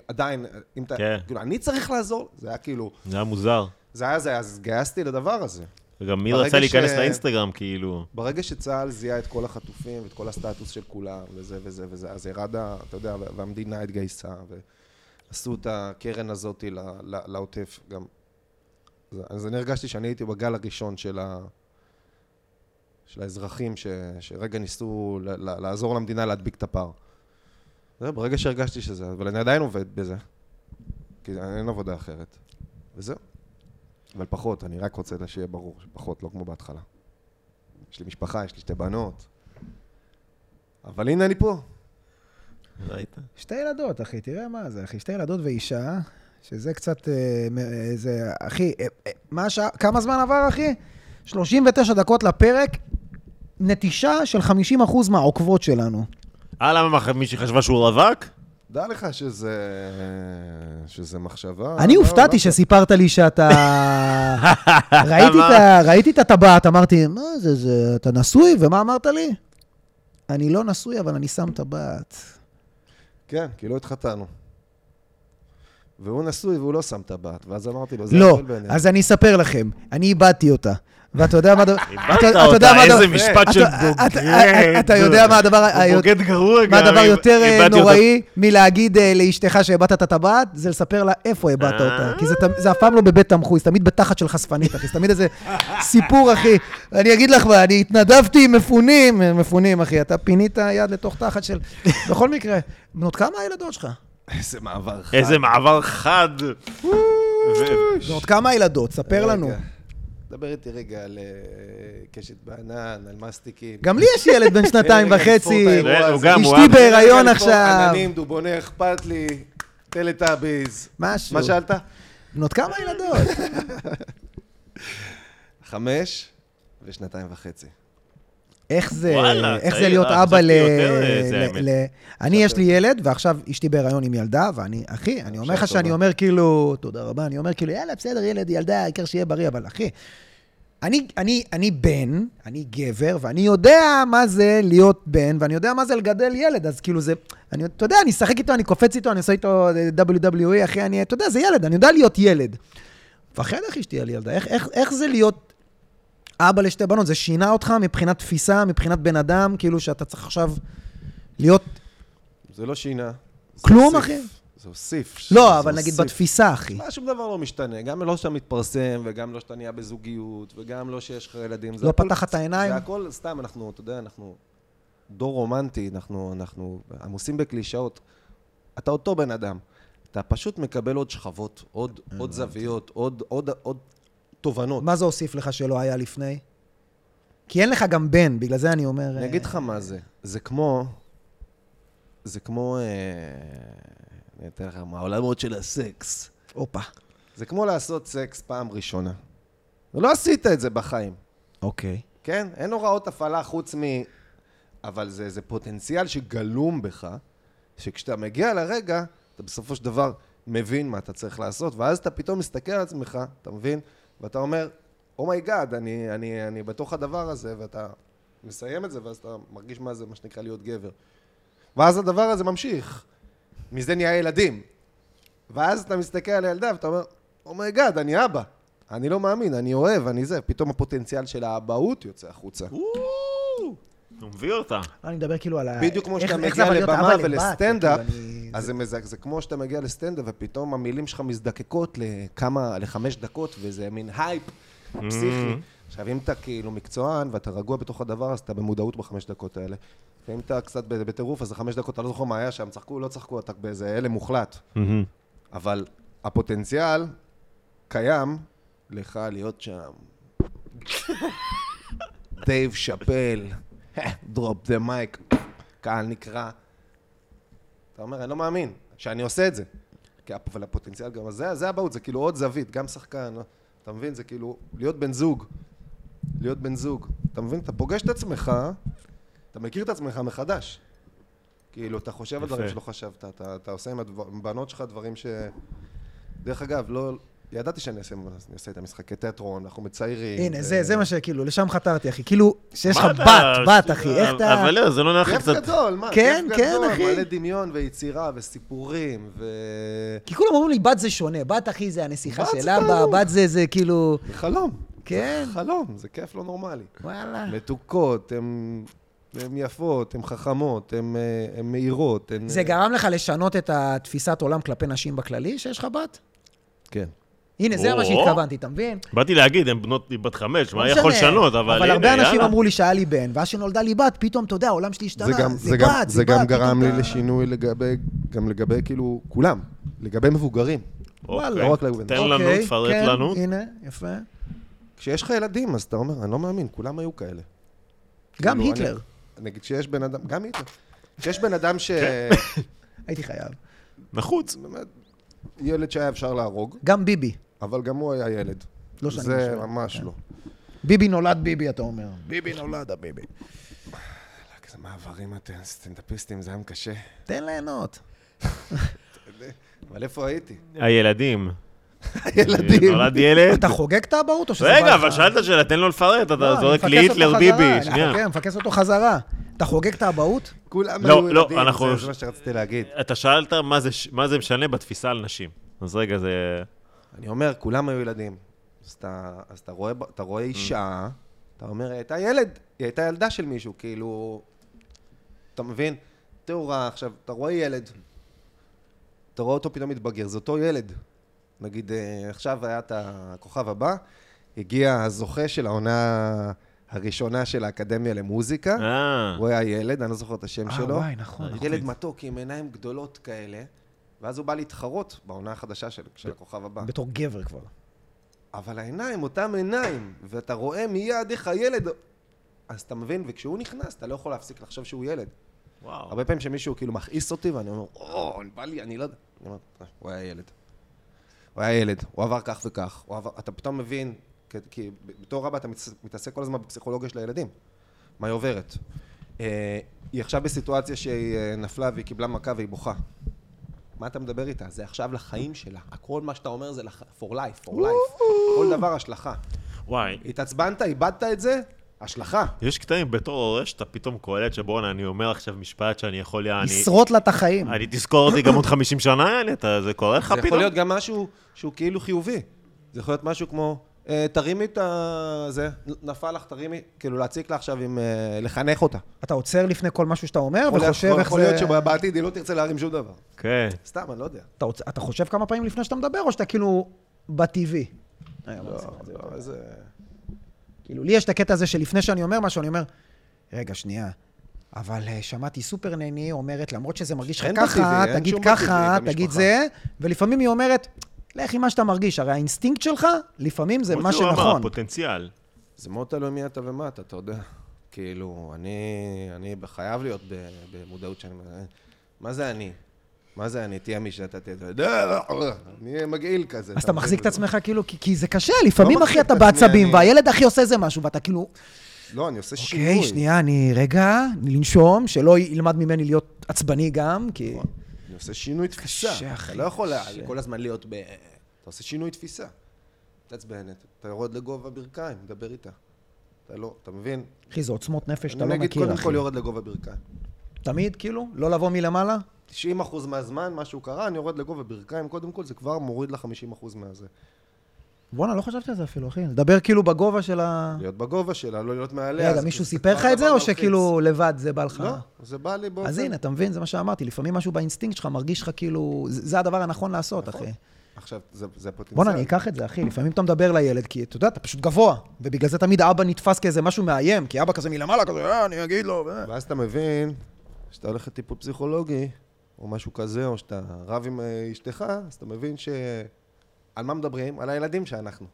C: עדיין, אם אתה,
A: כן.
C: כאילו, אני צריך לעזור? זה היה כאילו,
A: זה היה מוזר.
C: זה היה זה, אז התגייסתי לדבר הזה.
A: וגם מי
C: ברגע
A: רצה להיכנס
C: ש-
A: לאינסטגרם, כאילו...
C: ברגע שצה"ל זיהה את כל החטופים ואת כל הסטטוס של כולם, וזה וזה וזה, אז ירד, ה- אתה יודע, וה- והמדינה התגייסה, ועשו את הקרן הזאת ל- ל- לעוטף גם. אז- אז אני הרגשתי שאני הייתי בגל הראשון של, ה... של האזרחים ש... שרגע ניסו ל- ל- לעזור למדינה להדביק את הפער. זהו, ברגע שהרגשתי שזה, אבל אני עדיין עובד בזה, כי אין עבודה אחרת. וזהו. אבל פחות, אני רק רוצה שיהיה ברור שפחות, לא כמו בהתחלה. יש לי משפחה, יש לי שתי בנות. אבל הנה אני פה.
A: ראית?
B: שתי ילדות, אחי, תראה מה זה, אחי, שתי ילדות ואישה, שזה קצת, אה, מ- אה, זה, אחי, אה, אה, מה השעה, כמה זמן עבר, אחי? 39 דקות לפרק, נטישה של 50% מהעוקבות שלנו.
A: אה, למה מה, מישהי חשבה שהוא רווק?
C: דע לך שזה... שזה מחשבה...
B: אני
C: לא,
B: הופתעתי
C: לא-
B: שסיפרת לי שאתה ה- ראיתי את ה- ראיתי את הטבעת, אמרתי, מה זה, זה, אתה נשוי? ומה אמרת לי? אני לא נשוי, אבל אני שם טבעת.
C: כן, כי לא התחתנו. והוא נשוי והוא לא שם טבעת, ואז אמרתי לו, זה
B: לא,
C: הבדל בינינו.
B: אז אני אספר לכם, אני איבדתי אותה. ואתה יודע מה... הדבר- אתה-
A: הבנת
B: אתה יודע
A: אותה,
B: מה הדבר-
A: איזה משפט של
B: אתה- אתה-
A: בוגד.
B: אתה יודע מה הדבר ה-
A: הוא בוגד גרוע גם.
B: מה הדבר
A: איב-
B: יותר אה,
A: איבדתי אותה.
B: נוראי מלהגיד אה, לאשתך שהבעת את הטבעת, זה לספר לה איפה הבעת
A: אה.
B: אותה. כי זה תמ- זה אף פעם לא בבית תמחוי, זה תמיד בתחת של חשפנית, אחי. זה תמיד איזה סיפור, אחי. אני אגיד לך מה, אני התנדבתי עם מפונים, אה, מפונים, אחי. אתה פינית יד לתוך תחת של... בכל מקרה, בנות כמה הילדות שלך?
C: איזה מעבר חד.
A: איזה מעבר חד. ו-
B: בנות כמה הילדות? ספר
C: רגע.
B: לנו.
C: דבר איתי רגע על אה, קשת בענן, על מסטיקים.
B: גם לי יש ילד בן שנתיים
C: רגע,
B: וחצי.
C: לתפור את האירוע
A: זה, הוא
C: הזה.
A: גם, הוא
B: אשתי
A: אהב.
B: בהיריון
C: רגע, לתפור
B: עכשיו.
C: עננים, דובונה, אכפת לי, טלטאביז.
B: משהו.
C: מה שאלת?
B: בנות כמה ילדות?
C: חמש ושנתיים וחצי.
B: איך זה,
A: וואלה,
B: איך זה
A: צעיר,
B: להיות
A: אה,
B: אבא ל...
A: חשבתי יותר, אה, זה
B: ל-
A: האמת.
B: ל... אני, יש לי ילד, ועכשיו אשתי בהיריון עם ילדה, ואני, אחי, אני אומר לך
C: טובה.
B: שאני אומר כאילו, תודה רבה, אני אומר כאילו, יאללה, בסדר, ילד, ילדה, העיקר שיהיה בריא, אבל אחי, אני, אני, אני בן, אני גבר, ואני יודע מה זה להיות בן, ואני יודע מה זה לגדל ילד, אז כאילו זה, אני, אתה יודע, אני אשחק איתו, אני קופץ איתו, אני עושה איתו אה, WWE, אחי, אני, אתה יודע, זה ילד, אני יודע להיות ילד. מפחד, אחי, שתהיה לי ילדה. איך, איך, איך זה להיות אבא לשתי בנות? זה שינה אותך מבחינת תפיסה, מבחינת בן אדם, כאילו שאתה צריך עכשיו להיות...
C: זה לא שינה. זה
B: כלום,
C: הוסיף.
B: אחי?
C: זה הוסיף.
B: לא,
C: זה
B: אבל נגיד
C: הוסיף.
B: בתפיסה, אחי.
C: מה, שום דבר לא משתנה. גם לא שאתה מתפרסם, וגם לא שאתה נהיה בזוגיות, וגם לא שיש לך ילדים. זה
B: לא
C: הכל-
B: פתח את העיניים?
C: זה הכל סתם, אנחנו, אתה יודע, אנחנו דור רומנטי, אנחנו, אנחנו עמוסים בקלישאות. אתה אותו בן אדם. אתה פשוט מקבל עוד שכבות, עוד, עוד זוויות, עוד, עוד, עוד תובנות.
B: מה זה הוסיף לך שלא היה לפני? כי אין לך גם בן, בגלל זה אני אומר...
C: אני
B: אה,
C: אגיד לך מה זה. זה כמו... זה כמו... אה, אני אתן לך מהעולמות של הסקס.
B: הופה.
C: זה כמו לעשות סקס פעם ראשונה. לא עשית את זה בחיים.
B: אוקיי.
C: כן? אין הוראות הפעלה חוץ מ... אבל זה, זה פוטנציאל שגלום בך, שכשאתה מגיע לרגע, אתה בסופו של דבר מבין מה אתה צריך לעשות, ואז אתה פתאום מסתכל על עצמך, אתה מבין? ואתה אומר, אומייגאד, oh my God, אני, אני, אני בתוך הדבר הזה, ואתה מסיים את זה, ואז אתה מרגיש מה זה, מה שנקרא, להיות גבר. ואז הדבר הזה ממשיך. מזה נהיה ילדים. ואז אתה מסתכל על הילדה ואתה אומר, אומייגאד, אני אבא. אני לא מאמין, אני אוהב, אני זה. פתאום הפוטנציאל של האבהות יוצא החוצה.
B: אה,
A: הוא מביא אותה.
B: אני מדבר כאילו על ה...
C: בדיוק כמו
B: איך-
C: שאתה
B: איך זה
C: מגיע
B: אבל להיות אבא
C: לבמה
B: לבת,
C: ולסטנדאפ,
B: כאילו, אני-
C: אז זה מזק- זה כמו שאתה מגיע לסטנדאפ, ופתאום המילים שלך מזדקקות לכמה, לחמש דקות, וזה מין הייפ
B: Mm-hmm.
C: פסיכי. עכשיו, אם אתה כאילו מקצוען ואתה רגוע בתוך הדבר, אז אתה במודעות בחמש דקות האלה. ואם אתה קצת ב- בטירוף, אז החמש דקות, אתה לא זוכר מה היה שם, צחקו, לא צחקו, אתה באיזה הלם מוחלט. אבל הפוטנציאל קיים לך להיות שם. דייב שאפל, דרופ דה מייק, קהל נקרא. אתה אומר, אני לא מאמין שאני עושה את זה. כי הפ- אבל הפוטנציאל גם, זה, זה הבאות, זה כאילו עוד זווית, גם שחקן, לא? אתה מבין? זה כאילו להיות בן זוג. להיות בן זוג. אתה מבין? אתה פוגש את עצמך, אתה מכיר את עצמך מחדש. כאילו, אתה חושב על דברים
A: יפה.
C: שלא חשבת, אתה, אתה עושה עם הדבר- עם הבנות שלך דברים ש... דרך אגב, לא... ידעתי שאני אעשה, אני אעשה את המשחקי תיאטרון, אנחנו מציירים.
B: הנה,
C: ו-
B: זה זה מה שכאילו, לשם חתרתי, אחי. כאילו, שיש לך
A: מה אתה-
B: בת, בת, אחי, איך אתה...
A: אבל לא, זה לא נראה לך
C: כיף
A: קצת...
C: גדול, מה?
B: כן,
C: כיף
B: כן,
C: גדול,
B: אחי.
C: מלא דמיון ויצירה וסיפורים ו...
B: כי כולם אומרים לי, בת זה שונה, בת אחי זה הנסיכה
C: בת
B: של
C: זה
B: אבא,
C: ברור.
B: בת זה, זה כאילו...
C: זה חלום.
B: כן.
C: זה חלום, זה כיף לא נורמלי.
B: וואלה.
C: מתוקות, הן הן יפות, הן חכמות, הן, אה, הן מהירות, הן...
B: זה גרם לך לשנות את התפיסת עולם כלפי נשים בכללי, שיש לך בת?
C: כן.
B: הנה, זה מה
A: או.
B: שהתכוונתי, אתה מבין?
A: באתי להגיד, הם בנות, היא בת חמש, מה
B: לא
A: יכול
B: משנה.
A: לשנות, אבל הנה,
B: אבל הרבה אנשים
A: יאללה.
B: אמרו לי שהיה לי בן, ואז שנולדה לי בת, פתאום, אתה יודע, העולם שלי השתנה.
C: זה גם,
B: זה
C: זה
B: בת,
C: גם, זה
B: בת,
C: גם
B: פתאום
C: גרם לי
B: אתה-
C: לשינוי לגבי, גם לגבי כאילו כולם, לגבי מבוגרים.
A: אוקיי.
C: לא רק לבן.
A: תן לנו,
B: אוקיי,
A: תפרט
B: כן,
A: לנו.
B: הנה, יפה.
C: כשיש לך ילדים, אז אתה אומר, אני לא מאמין, כולם היו כאלה.
B: גם
C: כאילו, אני-
B: היטלר,
C: נגיד שיש בן אדם, גם היטלר. שיש בן אדם ש...
B: הייתי חייב.
A: כן. נחוץ.
C: באמת, ילד שהיה אפשר להרוג,
B: גם ביבי.
C: אבל גם הוא היה ילד.
B: לא שאני
C: זה
B: משווה,
C: ממש לא.
B: ביבי נולד ביבי, אתה אומר. ביבי נולד הביבי.
C: איזה מעברים אתם, סטנדאפיסטים, זה היה קשה.
B: תן ליהנות.
C: אבל איפה הייתי?
A: הילדים.
C: הילדים.
A: נולד ילד.
B: אתה חוגג את האבהות או שזה בא
A: רגע,
B: לך?
A: אבל שאלת שאלה, תן לו לפרט,
B: לא,
A: אתה
B: אני
A: זורק לי
B: מפקס אותו
A: היטלר
B: חזרה,
A: ביבי,
B: אני
A: שנייה.
B: חכה, מפקס אותו חזרה. אתה חוגג את האבהות?
C: כולם
A: לא,
C: היו
A: לא,
C: ילדים,
A: אנחנו-
C: זה- זה מה שרציתי להגיד.
A: אתה שאלת מה זה ש- מה זה משנה בתפיסה על נשים. אז רגע, זה...
C: אני אומר, כולם היו ילדים. אז אתה, אז אתה, רואה, ב- אתה
B: Mm.
C: רואה אישה, אתה אומר, היא הייתה ילד, היא הייתה ילדה של מישהו, כאילו... אתה מבין? טהורה, עכשיו, אתה רואה ילד, אתה רואה אותו פתאום מתבגר, זה אותו ילד. נגיד, אה, עכשיו היה את הכוכב הבא, הגיע הזוכה של העונה הראשונה של האקדמיה למוזיקה,
A: אה,
C: הוא היה ילד, אני לא זוכר את השם
B: אה,
C: שלו.
B: וואי, נכון, נכון.
C: ילד מתוק עם עיניים גדולות כאלה, ואז הוא בא להתחרות בעונה החדשה של, של הכוכב הבא.
B: בתור גבר כבר.
C: אבל העיניים, אותם עיניים, ואתה רואה מיד איך הילד... אז אתה מבין, וכשהוא נכנס, אתה לא יכול להפסיק לחשוב שהוא ילד.
A: וואו.
C: הרבה פעמים שמישהו כאילו מכעיס אותי, ואני אומר, או, בא לי, אני לא יודע. אני אומר, "אה, הוא היה ילד. הוא היה ילד, הוא עבר כך וכך. הוא עבר... אתה פתאום מבין, כי, כי בתור אבא אתה מתעס- מתעסק כל הזמן בפסיכולוגיה של הילדים. מה היא עוברת? אה, היא עכשיו בסיטואציה שהיא אה, נפלה והיא קיבלה מכה והיא בוכה. מה אתה מדבר איתה? זה עכשיו לחיים שלה. הכל מה שאתה אומר זה לח... for life, for life. כל דבר השלכה.
A: וואי.
C: התעצבנת, איבדת את זה, השלכה.
A: יש קטעים בתור הורה שאתה פתאום קולט שבואנה, אני אומר עכשיו משפט שאני יכול... יעני-
B: ישרוט לה את החיים.
A: אני תזכור אותי גם עוד 50 שנה, יעני, אתה- זה קורה לך
C: זה יכול
A: פתאום?
C: להיות גם משהו שהוא כאילו חיובי. זה יכול להיות משהו כמו, אה, תרימי את ה... זה, נפל לך, תרימי, כאילו להציק לה עכשיו עם... אה, לחנך אותה.
B: אתה עוצר לפני כל משהו שאתה אומר
C: יכול להיות-
B: וחושב איך
C: יכול להיות
B: זה...
C: שבעתיד היא לא תרצה להרים שום דבר.
A: כן.
C: סתם, אני לא יודע.
B: אתה עוצ- אתה חושב כמה פעמים לפני שאתה מדבר, או שאתה כאילו בטבעי? אה,
C: לא,
B: בוא נעשה את זה.
C: לא, איזה...
B: כאילו, לי יש את הקטע הזה שלפני שאני אומר משהו, אני אומר, רגע, שנייה, אבל אה, שמעתי סופר נני אומרת, למרות שזה מרגיש לך
C: אין
B: ככה,
C: בטבעי, אין
B: תגיד
C: שום
B: ככה,
C: בטבעי
B: תגיד
C: במשפחה."
B: זה, ולפעמים היא אומרת, לך עם מה שאתה מרגיש, הרי האינסטינקט שלך, לפעמים זה
A: כמו
B: מה
A: שהוא אמר,
B: שנכון.
A: פוטנציאל.
C: זה מאוד תלוי מי אתה ומה אתה, אתה יודע. כאילו, אני, אני חייב להיות ב- במודעות שאני... מה זה אני? מה זה אני? תהיה מי שאתה תהיה. אתה יודע, מי מגעיל כזה.
B: אז אתה
C: מבין?
B: מחזיק את עצמך כאילו, כי- כי זה קשה, לפעמים אחי
C: מחזיק
B: אתה
C: את עצמי,
B: בעצבים,
C: אני-
B: והילד אחי עושה איזה משהו, ואתה כאילו,
C: לא, אני עושה שינוי.
B: אוקיי, שנייה, אני, רגע, לנשום, שלא ילמד ממני להיות עצבני גם, כי...
C: נכון. אני עושה שינוי תפיסה.
B: קשה,
C: אתה
B: אחי,
C: לא יכול לה-
B: קשה.
C: כל הזמן להיות ב... אתה עושה שינוי תפיסה. מתעצבנת, אתה יורד לגובה ברכיים, מדבר איתה. אתה לא, אתה מבין?
B: אחי, זה עוצמות נפש שאתה
C: אני
B: לא
C: נגיד
B: מכיר,
C: קודם
B: אחי.
C: כל יורד לגובה ברכיים.
B: תמיד, כאילו, לא לבוא מלמעלה?
C: 90% מהזמן, משהו קרה, אני יורד לגובה ברכיים, קודם כל זה כבר מוריד ל-50% מהזה.
B: בואנה, לא חשבתי על זה אפילו, אחי. לדבר כאילו בגובה של ה...
C: להיות בגובה שלה, לא להיות מעליה.
B: רגע,
C: אז
B: מישהו
C: זה
B: סיפר
C: כבר
B: לך את זה,
C: דבר
B: או
C: מלחיץ.
B: שכאילו לבד זה בא לך?
C: לא, זה בא לי באופן...
B: אז הנה, אתה מבין, זה מה שאמרתי. לפעמים משהו באינסטינקט שלך מרגיש לך כאילו... זה זה הדבר הנכון לעשות,
C: נכון,
B: אחי.
C: עכשיו, זה זה הפוטנציאל.
B: בואנה, אני אקח את זה, אחי. לפעמים אתה מדבר לילד, כי אתה יודע, אתה פשוט גבוה. ובגלל זה תמיד אבא נתפס כאיזה משהו מאיים, כי אבא כזה מלמעלה כזה, אה, אני אגיד לו... אה."
C: ואז אתה מבין שאתה הולך לטיפול פסיכולוגי, או משהו כזה, או שאתה רב עם אה, אשתך, אז אתה מבין ש... על מה מדברים? על הילדים שאנחנו.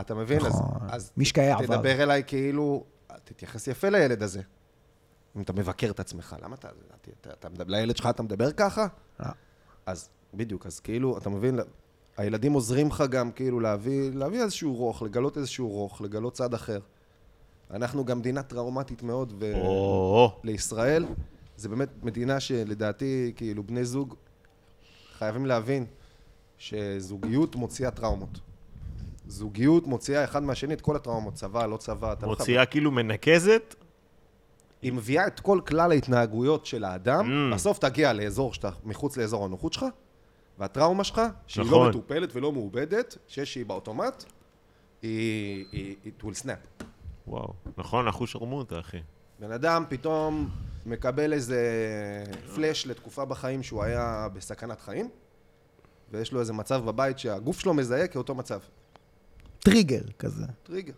C: אתה מבין? אז-
B: נכון.
C: אז
B: משקעי עבר.
C: תדבר אליי כאילו, תתייחס יפה לילד הזה. אם אתה מבקר את עצמך, למה אתה... אתה- אתה- אתה מדבר- לילד שלך אתה מדבר ככה?
B: לא.
C: אז בדיוק, אז כאילו, אתה מבין, הילדים עוזרים לך גם כאילו להביא, להביא איזשהו רוח, לגלות איזשהו רוח, לגלות צד אחר. אנחנו גם מדינה טראומטית מאוד,
B: אה,
C: ו...
A: או,
C: לישראל. זה באמת מדינה שלדעתי, כאילו, בני זוג חייבים להבין שזוגיות מוציאה טראומות. זוגיות מוציאה אחד מהשני את כל הטראומות, צבא, לא צבא, אתה לא חייב...
A: מוציאה כאילו מנקזת?
C: היא מביאה את כל כלל ההתנהגויות של האדם,
A: Mm.
C: בסוף תגיע לאזור שאתה מחוץ לאזור הנוחות שלך, והטראומה שלך, שהיא
A: נכון.
C: לא מטופלת ולא מעובדת, שיש שהיא באוטומט, היא... היא... it will snap.
A: וואו. נכון, אנחנו שרמוטה, אחי.
C: בן אדם פתאום מקבל איזה פלאש לתקופה בחיים שהוא היה בסכנת חיים, ויש לו איזה מצב בבית שהגוף שלו מזהה כאותו מצב.
B: טריגר כזה.
C: טריגר.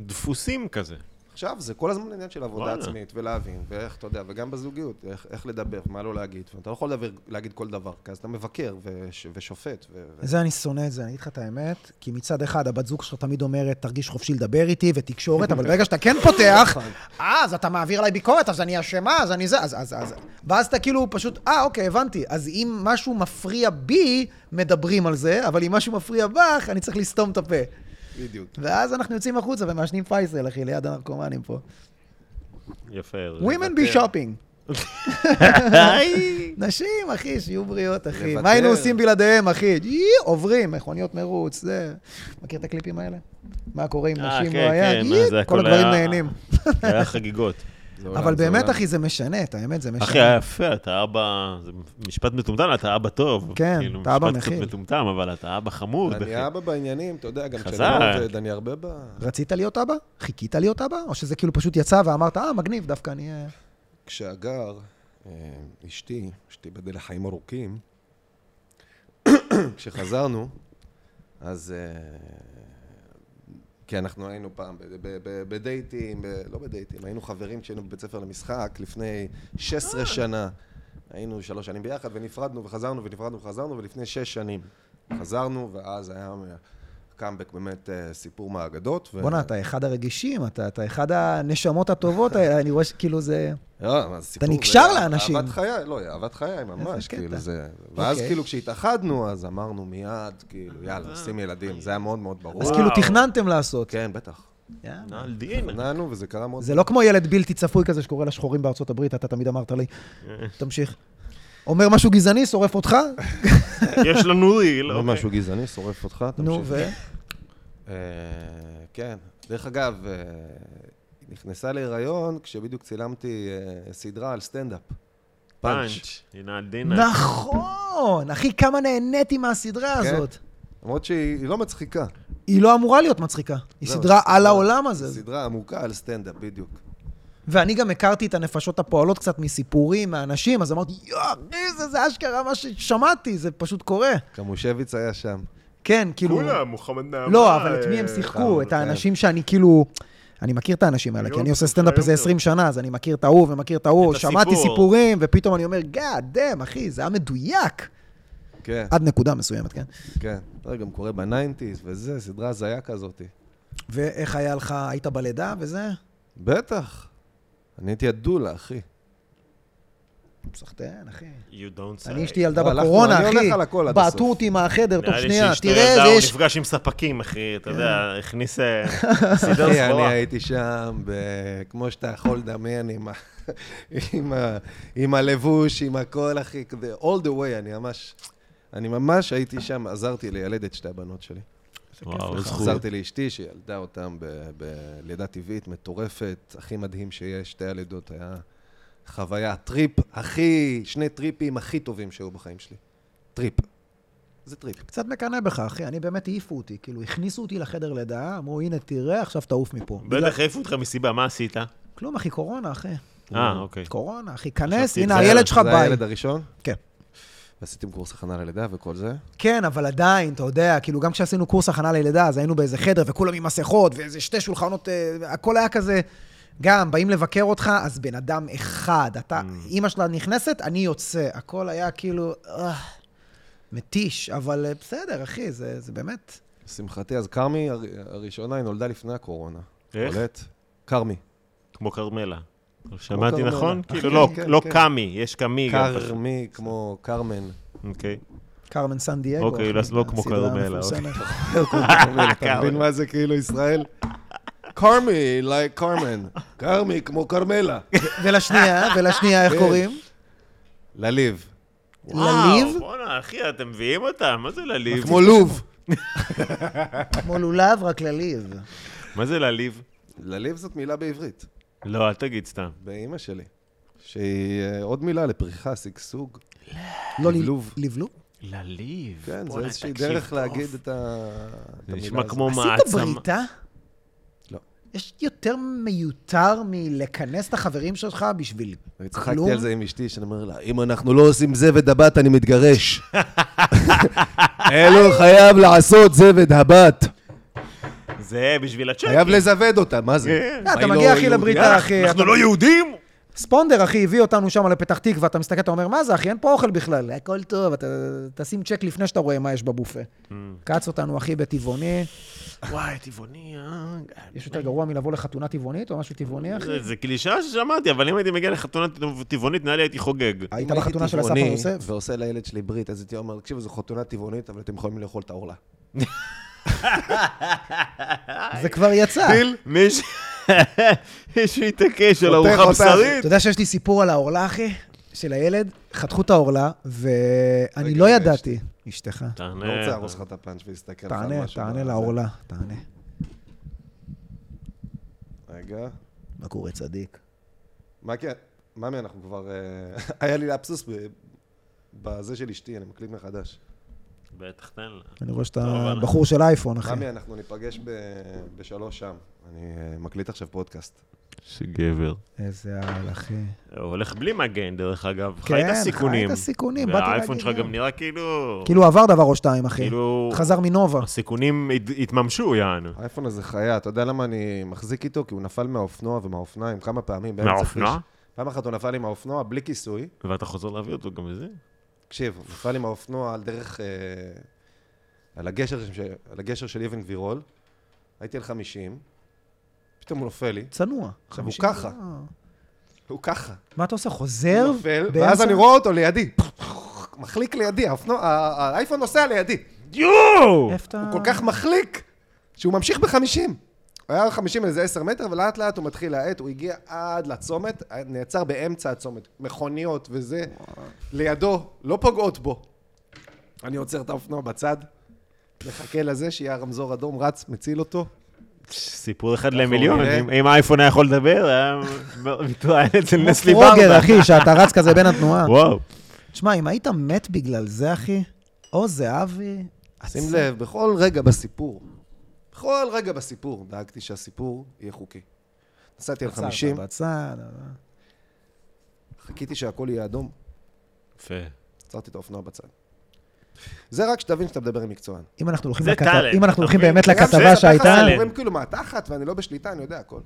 A: דפוסים כזה.
C: עכשיו, זה כל הזמן עניין של עבודה
A: וואלה.
C: עצמית, ולהבין, ואיך, אתה יודע, וגם בזוגיות, איך, איך לדבר, מה לא להגיד. ואתה לא יכול לדבר, להגיד כל דבר, כי אז אתה מבקר וש, ושופט. ו, ו...
B: זה אני שונא את זה, אני אגיד לך את האמת, כי מצד אחד הבת זוג שלך תמיד אומרת, תרגיש חופשי לדבר איתי ותקשורת, אבל ברגע שאתה כן פותח, אה, אז אתה מעביר עליי ביקורת, אז אני אשמה, אז אני זה, אז, אז, אז, ואז אתה כאילו פשוט, אה, אוקיי, הבנתי, אז אם משהו מפריע בי, מדברים על זה, אבל אם משהו מפריע בך, אני צריך לסתום את הפה.
C: בדיוק.
B: ואז אנחנו יוצאים החוצה ומעשנים פייסל, אחי, ליד הנרקומנים פה.
A: יפה. ארז.
B: Women be shopping.
A: היי.
B: נשים, אחי, שיהיו בריאות, אחי.
C: לוותר.
B: מה היינו עושים בלעדיהם, אחי? יי, עוברים, מכוניות מרוץ, זה. מכיר את הקליפים האלה? מה קורה אם
A: אה,
B: נשים
A: כן,
B: לא היה?
A: כן,
B: יי,
A: זה הכל
B: כל הדברים
A: היה- אה,
B: נהנים.
A: היה חגיגות.
C: זה עולם,
B: אבל
C: זה
B: באמת,
C: עולם.
B: אחי, זה משנה, את האמת, זה משנה.
A: אחי, אה- היה יפה, אתה אבא... זה משפט מטומטם, אתה אבא טוב.
B: כן,
A: כאילו,
B: אתה אבא
A: משפט
B: מכיל.
A: קצת מטומטם, אבל אתה אבא חמוד. אחי.
C: אני אבא בעניינים, אתה יודע, גם כשאני
A: חזק.
C: לא עובד, אני הרבה ב...
B: רצית להיות אבא? חיכית להיות אבא? או שזה כאילו פשוט יצא ואמרת, אה, מגניב, דווקא אני... אה,
C: כשהגר, אה, אשתי, שתיבדל לחיים ארוכים, כשחזרנו, אז... אה, כי אנחנו היינו פעם ב- ב- ב- בדייטים, ב- לא בדייטים, היינו חברים כשהיינו בבית ספר למשחק לפני 16 שנה. היינו שלוש שנים ביחד, ונפרדנו וחזרנו ונפרדנו וחזרנו, ולפני שש שנים חזרנו, ואז היה קאמבק באמת אה, סיפור מהאגדות. ו-
B: בואנה, אתה אחד הרגישים, אתה אתה אחד הנשמות הטובות, אה, אני רואה שכאילו זה...
C: לא, אבל הסיפור...
B: אתה
C: זה
B: נקשר
C: אה-
B: לאנשים.
C: אהבת חיי, לא, אהבת חיי
B: איזה
C: ממש,
B: קטע.
C: כאילו זה... ואז
B: אוקיי.
C: כאילו כשהתאחדנו, אז אמרנו מיד, כאילו, יאללה, עושים ילדים, זה היה מאוד מאוד ברור.
B: אז כאילו
A: וואו.
B: תכננתם לעשות.
C: כן, בטח.
B: יאללה.
A: נעל דין.
C: נענו, וזה קרה מאוד...
B: זה לא כמו ילד בלתי צפוי כזה שקורא לשחורים בארצות הברית, אתה תמיד אמרת לי. תמשיך. אומר משהו גזעני, שורף אותך,
A: יש לנו ריל.
C: לא
A: אוקיי.
C: משהו גזעני, שורף אותך,
B: נו,
C: תמשיך.
B: ו...
C: אה, כן. דרך אגב, אה, היא נכנסה להיריון כשבדיוק צילמתי אה, סדרה על סטנדאפ. פאנץ'.
A: פאנץ'. היא נעל דין.
B: נכון! אחי, כמה נהניתי מהסדרה
C: כן.
B: הזאת.
C: למרות שהיא היא לא מצחיקה.
B: היא לא אמורה להיות מצחיקה. היא
C: זהו,
B: סדרה
C: סדרה-
B: על העולם הזה.
C: סדרה עמוקה על סטנדאפ, בדיוק.
B: ואני גם הכרתי את הנפשות הפועלות קצת מסיפורים, מאנשים, אז אמרתי, יואו, אחי, זה- זה אשכרה מה ששמעתי, זה פשוט קורה.
C: קמושביץ היה שם.
B: כן, כאילו...
A: כולם, מוחמד נעמה. אה,
B: לא, אבל את מי הם שיחקו?
C: כמה,
B: את
C: כן.
B: האנשים שאני כאילו... אני מכיר את האנשים האלה, כי
A: היום
B: אני עושה
A: טוב,
B: סטנדאפ
A: היום
B: איזה
A: לא טוב.
B: 20 שנה, אז אני מכיר את ההוא ומכיר את ההוא,
A: את
B: שמעתי
A: הסיפור.
B: סיפורים, ופתאום אני אומר, God damn, אחי, זה היה מדויק.
C: כן.
B: עד נקודה מסוימת, כן?
C: כן, זה גם קורה בניינטיז וזה, סדרה הזיה כזאת.
B: ואיך היה לך, היית בלידה וזה?
C: בטח. אני הייתי הדולה, אחי.
B: סחטיין, אחי.
A: You don't say.
B: אני אשתי ילדה
C: לא, הלכנו- אני
B: בקורונה,
C: הולך
B: אחי.
C: על הכל עד הסוף.
B: בעטו אותי מהחדר תוך
A: נראה לי
B: שנייה,
A: שאשתו
B: תראה
A: ילדה,
B: איזה יש...
A: הוא נפגש עם ספקים, אחי, אתה יודע, הכניס... אה, סידר
C: כן. אחי, אני
A: סחורה.
C: הייתי שם, ב... כמו שאתה יכול לדמיין, עם, ה... עם, ה... עם הלבוש, עם הכל, אחי, כזה, all the way, אני ממש... אני ממש הייתי שם, עזרתי לילד את שתי הבנות שלי.
A: וואו, זכות.
C: עזרתי לאשתי, שילדה אותם ב- בלידה טבעית מטורפת, הכי מדהים שיש, שתי הלידות, היה חוויה, טריפ הכי, שני טריפים הכי טובים שהיו בחיים שלי. טריפ. זה טריפ.
B: קצת מקנא בך, אחי, אני באמת העיפו אותי. כאילו, הכניסו אותי לחדר לידה, אמרו, הנה, תראה, עכשיו תעוף מפה.
A: בטח העיפו אותך מסיבה, מה עשית?
B: כלום, אחי, קורונה, אחי.
A: אה, אוקיי.
B: קורונה, אחי, כנס,
A: חשבתי,
B: הנה,
A: זה
B: הילד
A: היה-
B: שלך
C: זה
B: ביי.
C: הילד הראשון?
B: כן.
C: ועשיתם קורס הכנה ללידה וכל זה?
B: כן, אבל עדיין, אתה יודע, כאילו, גם כשעשינו קורס הכנה ללידה, אז היינו באיזה חדר, וכולם עם מסכות, ואיזה שתי שולחנות, אה, הכל היה כזה. גם, באים לבקר אותך, אז בן אדם אחד. אתה,
A: Mm.
B: אימא שלה נכנסת, אני יוצא. הכל היה כאילו, אה, מתיש, אבל אה, בסדר, אחי, זה זה באמת...
C: לשמחתי, אז כרמי הר- הראשונה, היא נולדה לפני הקורונה.
A: איך?
C: קולט? כרמי.
A: כמו כרמלה. שמעתי
C: כרמלה.
A: נכון?
C: אחי,
A: כאילו, לא-
C: כן,
A: לא
C: כן.
A: קאמי, יש קאמי גם.
C: כרמי, כמו כרמן.
A: אוקיי.
B: קרמן סן דייגו.
A: אוקיי,
B: אחי,
A: לא- לא כמו
B: הסדרה
A: כרמלה, אוקיי.
B: המפורסמת.
C: אתה מבין מה זה כאילו ישראל? כרמי, like כרמן. כרמי, כמו כרמלה.
B: ולשנייה, ולשנייה, איך
C: כן.
B: קוראים?
C: לליב.
B: לליב?
A: וואו, בואנה, אחי, אתם מביאים אותה, מה זה לליב?
C: כמו לוב.
B: כמו לולב, רק לליב.
A: מה זה לליב?
C: לליב זאת מילה בעברית,
A: לא, אל תגיד סתם.
C: באימא שלי. שהיא אה, עוד מילה לפריחה, שגשוג.
B: לא
C: לבלוב.
B: לבלוב?
A: לליב.
C: כן, זה
A: בואנה,
C: איזושהי
A: תקשיב,
C: דרך
A: טוב.
C: להגיד את ה- את
A: זה
C: המילה
A: נשמע
C: הזאת.
A: כמו מעצמה.
B: עשית בריתה?
C: לא.
B: יש יותר מיותר מלכנס את החברים שלך בשביל כלום?
C: אני צחקתי על זה עם אשתי, שאני אומר לה, אם אנחנו לא עושים זבד הבת, אני מתגרש. אלו חייב לעשות זבד הבת.
A: כן, זה בשביל הצ'קים.
C: חייב לזווד אותה, מה זה?
A: כן.
B: אתה
C: מה, היא
B: מגיע,
C: לא
B: אחי,
C: יהודייה?
B: לבריתה, אחי.
A: אנחנו
B: אתה-
A: לא יהודים?
B: ספונדר, אחי, הביא אותנו שם לפתח תקווה, אתה מסתכל, אתה אומר, מה זה, אחי, אין פה אוכל בכלל, הכל טוב, אתה תשים צ'ק לפני שאתה רואה מה יש בבופה.
C: Mm.
B: קץ אותנו, אחי, בטבעוני.
A: וואי, טבעוני, אה?
B: יש יותר גרוע מלבוא לחתונה טבעונית או משהו טבעוני, אחי?
A: זה- זה קלישאה ששמעתי, אבל אם הייתי מגיע לחתונה טבעונית, נראה לי הייתי חוגג.
B: היית
C: אם הייתי
B: בחתונה של
C: טבעוני
B: אסף יוסף?
C: ועושה לילד שלי ברית, אז הייתי אומר, תקשיבו, זו חתונה טבעונית, אבל אתם יכולים לאכול את העורלה. אה,
B: זה כבר יצא.
A: מיש- שהוא התעקש על
C: חותך
A: ארוחה
C: אותך.
A: בשרית.
B: אתה יודע שיש לי סיפור על העורלה, אחי? של הילד? חתכו את העורלה, ואני
C: רגע,
B: לא
C: רגע,
B: ידעתי. אשתך.
A: תענה.
C: לא רוצה להרוס לך את הפאנץ' ולהסתכל לך על
B: תענה,
C: משהו
B: תענה
C: בזה.
B: לעורלה, תענה.
C: רגע.
B: מה קורה, צדיק?
C: מה כן? ממי, אנחנו כבר... אה, היה לי לאפסוס ב- בזה של אשתי, אני מקליט מחדש.
A: בטח, תן לה.
B: אני רואה
A: טוב,
B: שאתה
A: אבל-
B: בחור של אייפון, אחי.
C: ממי, אנחנו ניפגש ב- בשלוש שם. אני אה, מקליט עכשיו פודקאסט.
A: שגבר.
B: איזה על, אחי.
A: אה, הוא הולך בלי מגן, דרך אגב.
B: כן,
A: חי את הסיכונים.
B: חי את הסיכונים, באתי
A: והאייפון
B: להגיד
A: שלך
B: גם.
A: גם נראה כאילו...
B: כאילו עבר דבר או שתיים, אחי.
A: כאילו...
B: חזר מנובה.
A: הסיכונים הת- התממשו, יענו.
C: האייפון הזה חיה, אתה יודע למה אני מחזיק איתו? כי הוא נפל מהאופנוע ומהאופניים כמה פעמים. באמצע
A: מהאופנוע?
C: כביש. פעם אחת הוא נפל עם האופנוע בלי כיסוי.
A: ואתה חוזר להביא אותו גם לזה?
C: תקשיב, הוא נפל עם האופנוע על דרך... אה, על הגשר, ש- על הגשר של אבן גבירול. הייתי על 50, פתאום הוא נופל לי.
B: צנוע.
C: עכשיו, הוא
B: 50.
C: ככה.
B: אה.
C: הוא ככה.
B: מה אתה עושה, חוזר?
C: הוא נופל, ואז
B: באמצע?
C: אני רואה אותו לידי. מחליק לידי, האופנוע- ה- האייפון נוסע לידי.
A: יואו!
B: איפה אתה...
C: הוא כל כך מחליק, שהוא ממשיך בחמישים. הוא היה חמישים איזה עשר מטר, ולאט לאט הוא מתחיל להאט, הוא הגיע עד לצומת, נעצר באמצע הצומת. מכוניות וזה, לידו, לא פוגעות בו. אני עוצר את האופנוע בצד, מחכה לזה שיהיה הרמזור אדום, רץ, מציל אותו.
A: סיפור אחד למיליון.
C: נראה.
A: אם- אם האייפון היה יכול לדבר, היה מתראיין אצל
B: כמו
A: נסלי
B: פרוגר,
A: ברדה.
B: אחי, שאתה רץ כזה בין התנועה.
A: וואו.
B: תשמע, אם היית מת בגלל זה, אחי, או זהבי...
C: שים
B: עצ-
C: לב, בכל רגע בסיפור, בכל רגע בסיפור, דאגתי שהסיפור יהיה חוקי. נסעתי על
B: עצרת
C: 50,
B: בצד, אה,
C: חיכיתי שהכל יהיה אדום,
A: יפה.
C: עצרתי את האופנוע בצד. זה רק שתבין שאתה מדבר עם מקצוען.
B: אם אנחנו הולכים
A: זה
B: לכתב-
A: טאלנט,
B: אם אנחנו
A: אתה
B: הולכים
A: מבין?
B: באמת
A: זה גם
B: לכתבה
A: זה,
B: שהייתה,
A: אתה
C: אומרים כאילו מהתחת, ואני לא בשליטה, אני יודע הכל.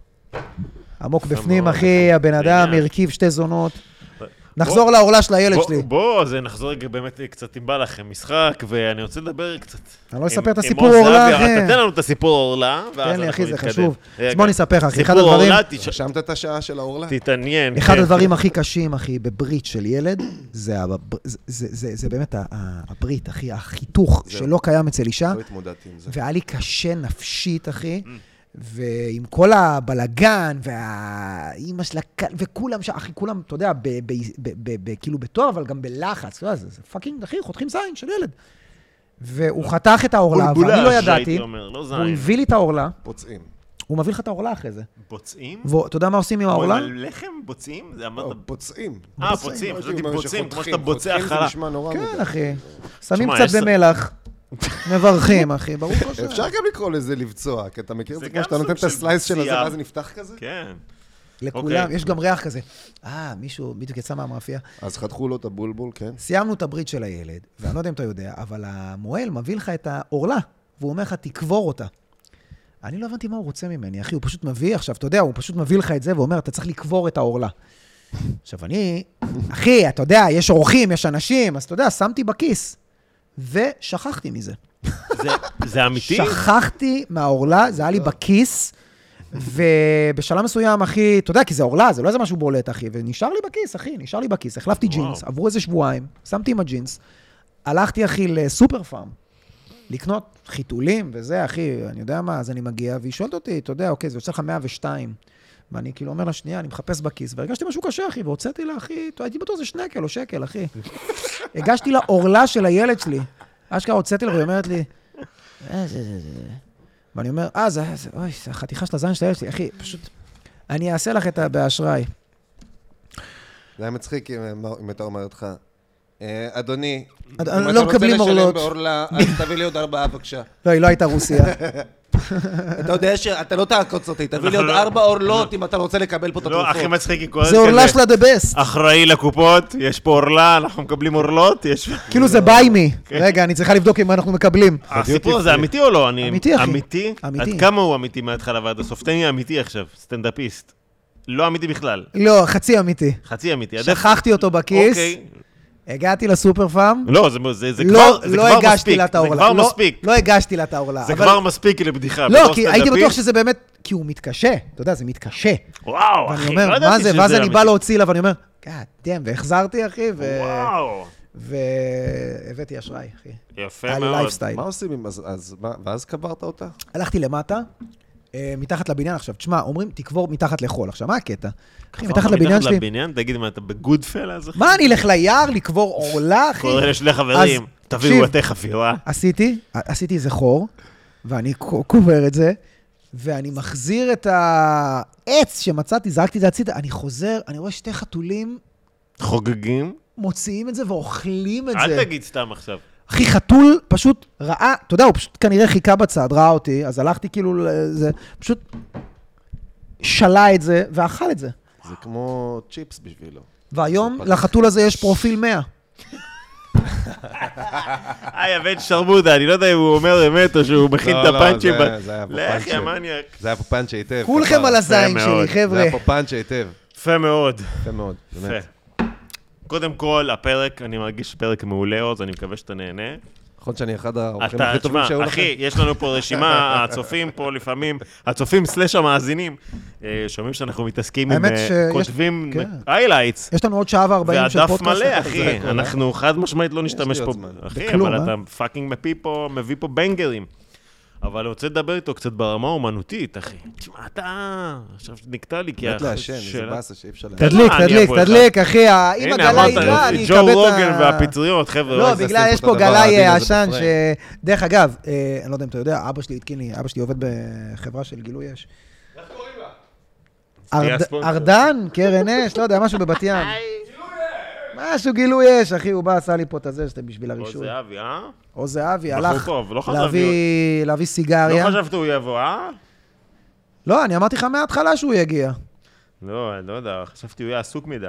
B: עמוק
A: יפה
B: בפנים,
A: מאוד.
B: אחי, הבן אדם
A: לעניין.
B: הרכיב שתי זונות.
A: בוא-
B: נחזור לעורלה של הילד
A: בוא-
B: שלי.
A: בוא, אז נחזור רגע באמת אה, קצת אם בא לכם משחק, ואני רוצה לדבר קצת.
B: אני לא
A: עם-
B: אספר את
A: עם
B: הסיפור
A: עוז
B: אורלה,
A: זהבי.
B: אחי.
A: אתה תן לנו את הסיפור אורלה, ואז
B: תן לי, אחי,
A: אנחנו
B: זה
A: נתקדם.
B: חשוב. אז
A: רגע.
B: בוא אני אספר לך, אחי, אחד
A: סיפור
B: הדברים...
A: אורלה, תש-
C: רשמת את השעה של האורלה?
A: תתעניין.
B: אחד
A: כן.
B: הדברים הכי קשים, אחי, בברית של ילד, זה הב- זה- זה- זה- זה באמת ה- ה- הברית, אחי, החיתוך
C: זהו.
B: שלא קיים אצל אישה.
C: לא התמודדתי עם זה.
B: והיה לי קשה נפשית, אחי.
A: Mm.
B: ועם כל הבלגן, והאימא שלה, כ- וכולם שם, אחי, כולם, אתה יודע, ב, ב, ב, ב, ב, כאילו בטוב, אבל גם בלחץ, אתה יודע, זה, זה פאקינג, אחי, חותכים זין של ילד. והוא חתך את העורלה,
A: בולבולה,
B: ואני לא
A: שהייתי
B: ידעתי,
A: אומר, לא
B: הוא
A: זין. Mm.
B: הביא לי את העורלה,
C: פוצעים.
B: הוא מביא לך את העורלה אחרי זה.
A: בוצעים?
B: ואתה יודע מה עושים עם העורלה?
A: אבל לחם בוצעים? זה
C: לא,
A: אמרת...
C: פוצעים.
A: אה,
B: בוצעים.
A: פוצעים,
C: לא
A: חשבתי
C: הייתי אומר
A: בוצעים, כמו
C: שחותכים.
A: שאתה בוצע
C: חותכים זה
A: חלה.
C: נשמע נורא
B: כן,
C: מדי.
B: אחי. שמים
A: תשמע,
B: קצת
A: יש ס-
B: במלח, מברכים, אחי, ברוך השם.
C: אפשר גם לקרוא לזה לבצוע, כי אתה מכיר את
A: זה
C: זה כמו
A: גם
C: שאתה נותן
A: סוג
C: את
A: של
C: הסלייס של הזה,
A: פציעה.
C: ואז זה נפתח כזה?
A: כן.
B: לכולם,
A: אוקיי.
B: יש גם ריח כזה. אה, מישהו בדיוק יצא מהמאפייה.
C: אז חתכו לו את הבולבול, כן.
B: סיימנו את הברית של הילד, ואני לא יודע אם אתה יודע, אבל המוהל מביא לך את העורלה, והוא אומר לך, תקבור אותה. אני לא הבנתי מה הוא רוצה ממני, אחי, הוא פשוט מביא עכשיו, אתה יודע, הוא פשוט מביא לך את זה ואומר, אתה צריך לקבור את העורלה. עכשיו, אני, אחי, אתה יודע, יש אורחים, יש אנשים, אז אתה יודע, שמתי בכיס, ושכחתי מזה.
A: זה- זה אמיתי? אה.
B: שכחתי מהעורלה, זה היה לי בכיס, ובשלב מסוים, אחי, אתה יודע, כי זה עורלה, זה לא איזה משהו בולט, אחי, ונשאר לי בכיס, אחי, נשאר לי בכיס. החלפתי
A: וואו.
B: ג'ינס, עברו איזה שבועיים, שמתי עם הג'ינס, הלכתי, אחי, לסופר פארם, לקנות חיתולים וזה, אחי, אני יודע מה, אז אני מגיע, והיא שואלת אותי, אתה יודע, אוקיי, זה יוצא לך 102. ואני כאילו אומר לה, שנייה, אני מחפש בכיס, והרגשתי משהו קשה, אחי, והוצאתי לה, אחי, אתה- הייתי בטוח זה שנקל או שקל, אחי. הגשתי לה עורלה של הילד שלי. אשכרה הוצאתי לה, והיא אומרת לי, "אה, זה, זה, זה." ואני אומר, אה, זה, זה, אוי, זה החתיכה של הזין של הילד שלי, אחי, פשוט, אני אעשה לך את ה... באשראי.
C: זה היה מצחיק אם הם- אם הייתה אומרת לך. "אה, אדוני, אם
B: אד-
C: אתה
B: לא
C: רוצה
B: מקבלים
C: לשלם
B: אורלות."
C: באורלה, אז תביא לי עוד ארבעה בבקשה.
B: לא, היא לא הייתה רוסיה.
C: אתה יודע שאתה לא תעקוץ אותי, תביא לי עוד
A: אנחנו לא-
C: ארבע אורלות אם אתה רוצה לקבל פה את
A: לא, הכי
C: התרופות.
A: מצחיק, היא קוראת
B: זה עורלה
A: כזה,
B: שלה דה בסט.
A: אחראי לקופות, יש פה עורלה, אנחנו מקבלים עורלות, יש...
B: כאילו זה ביי מי.
A: אוקיי.
B: רגע, אני צריכה לבדוק אם אנחנו מקבלים.
A: הסיפור הזה אמיתי או לא? אני-
B: אמיתי, אחי.
A: אמיתי?
B: אמיתי.
A: עד כמה הוא אמיתי מההתחלה ועד הסוף? תן לי אמיתי עכשיו, סטנדאפיסט. לא אמיתי בכלל,
B: לא, חצי אמיתי.
A: חצי אמיתי. הדרך-
B: שכחתי אותו בכיס,
A: אוקיי.
B: הגעתי לסופר פארם,
A: לא, זה- זה זה
B: לא
A: כבר זה
B: לא
A: כבר
B: הגשתי
A: מספיק,
B: לה את העורלה.
A: זה כבר
B: לא-
A: מספיק.
B: לא הגשתי לה את העורלה.
A: זה
B: אבל-
A: כבר מספיק לבדיחה.
B: לא,
A: בתור
B: כי הייתי
A: סטנדאפיסט-
B: בטוח שזה באמת, כי הוא מתקשה. אתה יודע, זה מתקשה.
A: וואו,
B: ואני
A: אחי, לא
B: אומר,
A: ידעתי
B: מה זה?
A: שזה
B: ואז אני
A: אמיתי.
B: בא להוציא לה, ואני אומר, גאד דאם, והחזרתי, אחי, ו-
A: וואו,
B: והבאתי אשראי, אחי.
A: יפה
B: היה לי
A: מאוד.
B: לייפסטייל.
C: מה עושים עם אז, אז מה- ואז קברת אותה?
B: הלכתי למטה, אה, מתחת לבניין עכשיו. תשמע, אומרים, תקבור מתחת לחול. עכשיו, מה הקטע? אחי,
A: מתחת
B: מתחת לבניין שלי...
A: לבניין, תגיד, מה, אתה בגוד פלאז? אחי?
B: מה, אני אלך ליער לקבור עורלה, אחי?
A: קורא לשני חברים,
B: אז,
A: תביאו
B: תקשיב.
A: בתי חפירה.
B: עשיתי, עשיתי איזה חור, ואני ק- קובר את זה, ואני מחזיר את העץ שמצאתי, זרקתי את זה הצידה, אני חוזר, אני רואה שתי חתולים
A: חוגגים?
B: מוציאים את זה ואוכלים את זה.
A: אל תגיד סתם עכשיו.
B: אחי, חתול פשוט ראה, אתה יודע, הוא פשוט כנראה חיכה בצד, ראה אותי, אז הלכתי כאילו לזה, פשוט שלה את זה ואכל את זה.
C: זה כמו צ'יפס בשבילו.
B: והיום לחתול הזה יש פרופיל 100.
A: היי, הבן שרמוטה, אני לא יודע אם הוא אומר אמת או שהוא מכין את
C: לא, לא,
A: הפאנצ'ים.
C: זה-
A: ב-
C: זה היה
A: לא,
C: בפאנצ'ים.
A: אחי, המניאק.
C: זה היה פה פאנץ' היטב.
B: כולכם
C: כפרה.
B: על הזין
A: מאוד.
B: שלי,
C: זה
B: חבר'ה.
C: היה פה פאנץ' היטב.
A: יפה מאוד.
C: יפה מאוד, באמת.
A: יפה. קודם כל, הפרק, אני מרגיש פרק מעולה עוד, אני מקווה שאתה נהנה.
C: נכון שאני אחד האורחים
A: אתה,
C: הכי טובים שהיו
A: תשמע,
C: לכם.
A: אחי, יש לנו פה רשימה, הצופים פה לפעמים, הצופים סלאש המאזינים, אה, שומעים שאנחנו מתעסקים עם
B: האמת
A: אה,
B: שיש-
A: כותבים
B: כן.
A: highlights.
B: יש לנו עוד שעה וארבעים של
A: והדף
B: פודקאסט.
A: מלא,
C: זה
A: אחי.
C: הכל,
A: אנחנו חד משמעית לא נשתמש
C: לי
A: פה.
C: עוד זמן.
A: אחי,
B: בכלום,
A: אבל
B: אה?
A: אתה פאקינג מביא פה, מביא פה בנגרים. אבל אני רוצה לדבר איתו קצת ברמה האומנותית, אחי. תשמע, אתה... עכשיו נקטע לי, כי...
C: באמת
A: הח-
C: לעשן, איזה
A: שאלה-
C: באסה שאי אפשר לעשן.
B: תדליק,
A: אני
B: תדליק,
A: אבוא אחד.
B: תדליק, אחי, ה- אם
A: הנה,
B: הגלאי
A: אמרת,
B: יגלה, אני אכבד את ה...
A: ג'ו רוגן והפטריות, חבר'ה.
B: לא,
A: אוי, זה-
C: בגלל-
B: בגלל
C: לשים
B: יש
C: פה
B: פה
C: את הדבר
B: גלאי אה,
C: העדין הזה
B: עשן ש...
C: בפריים.
B: דרך אגב, אה, אני לא יודע אם אתה יודע, אבא שלי התקין לי, אבא שלי עובד בחברה של גילוי אש.
A: תהיה
B: ארד-
A: הספונסר.
B: ארדן, קרן אש, לא יודע, משהו בבת ים. משהו גילוי אש, אחי, הוא בא, עשה לי פה את הזה, שאתם בשביל
A: אוי,
B: הרישוי.
A: זה אבי, אה?
B: או זהבי,
A: בחור
B: הלך
A: טוב, לא חשבתי-
B: להביא- להביא סיגריה.
A: לא חשבת הוא יבוא, אה?
B: לא, אני אמרתי לך מההתחלה שהוא יגיע.
A: לא, אני לא יודע, חשבתי הוא יהיה עסוק מדי.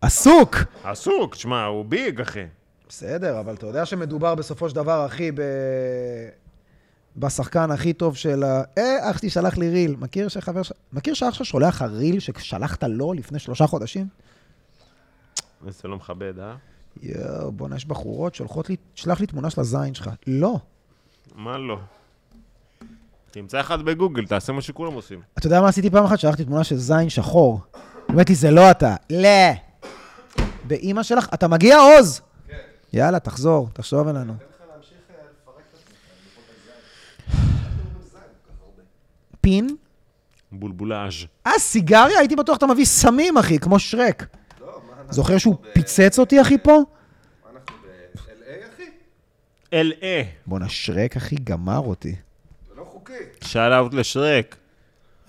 B: עסוק!
A: עסוק, תשמע, הוא ביג, אחי.
B: בסדר, אבל אתה יודע שמדובר בסופו של דבר, אחי, ב... בשחקן הכי טוב של ה... אה, אח שלי שלח לי ריל. מכיר שחבר ש... מכיר שאח שלך שולח לך ריל ששלחת לו לפני שלושה חודשים?
A: זה לא מכבד, אה?
B: יואו, בואנה, יש בחורות שולחות לי, שלח לי תמונה של הזין שלך. לא.
A: מה לא? תמצא אחד בגוגל, תעשה מה שכולם עושים.
B: אתה יודע מה עשיתי פעם אחת? שלחתי תמונה של זין שחור. היא אומרת לי, זה לא אתה. לא. ואימא שלך, אתה מגיע, עוז? כן. יאללה, תחזור, תחשוב אלינו. פין?
A: בולבולאז'.
B: אה, סיגריה? הייתי בטוח אתה מביא סמים, אחי, כמו שרק. זוכר שהוא פיצץ אותי, אחי, פה?
C: אנחנו ב-LA, אחי?
A: אל-אה.
B: בואנה, שרק, אחי, גמר אותי.
C: זה לא חוקי.
A: שאל אאוט לשרק.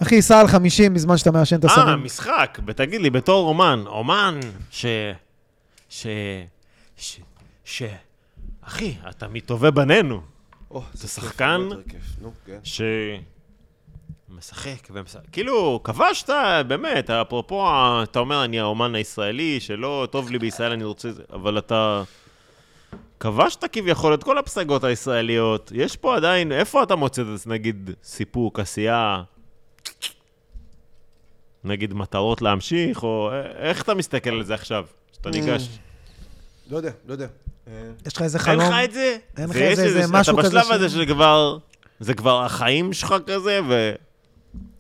B: אחי, סע על 50 בזמן שאתה מעשן את
A: אה,
B: הסמים.
A: משחק. ותגיד לי, בתור אומן, אומן ש... ש... ש... ש... אחי, אתה מטובי בנינו.
C: זה
A: שחקן?
C: כיף, מאוד כיף. נו, כן.
A: ש... משחק ומשחק. כאילו, כבשת, באמת, אפרופו, ה- אתה אומר, אני האומן הישראלי, שלא טוב לי בישראל, אני רוצה... זה", אבל אתה... כבשת כביכול את כל הפסגות הישראליות. יש פה עדיין, איפה אתה מוצא את זה, נגיד, סיפוק, עשייה, נגיד, מטרות להמשיך, או א- איך אתה מסתכל על זה עכשיו, כשאתה ניגש?
C: לא יודע, לא יודע. אה,
B: יש לך איזה
A: אין
B: חלום?
A: לך את זה?
B: אין לך
A: זה יש
B: איזה-
A: את זה,
B: איזה משהו
A: אתה
B: כזה
A: בשלב הזה
B: ש-
A: שכבר, זה כבר החיים שלך כזה,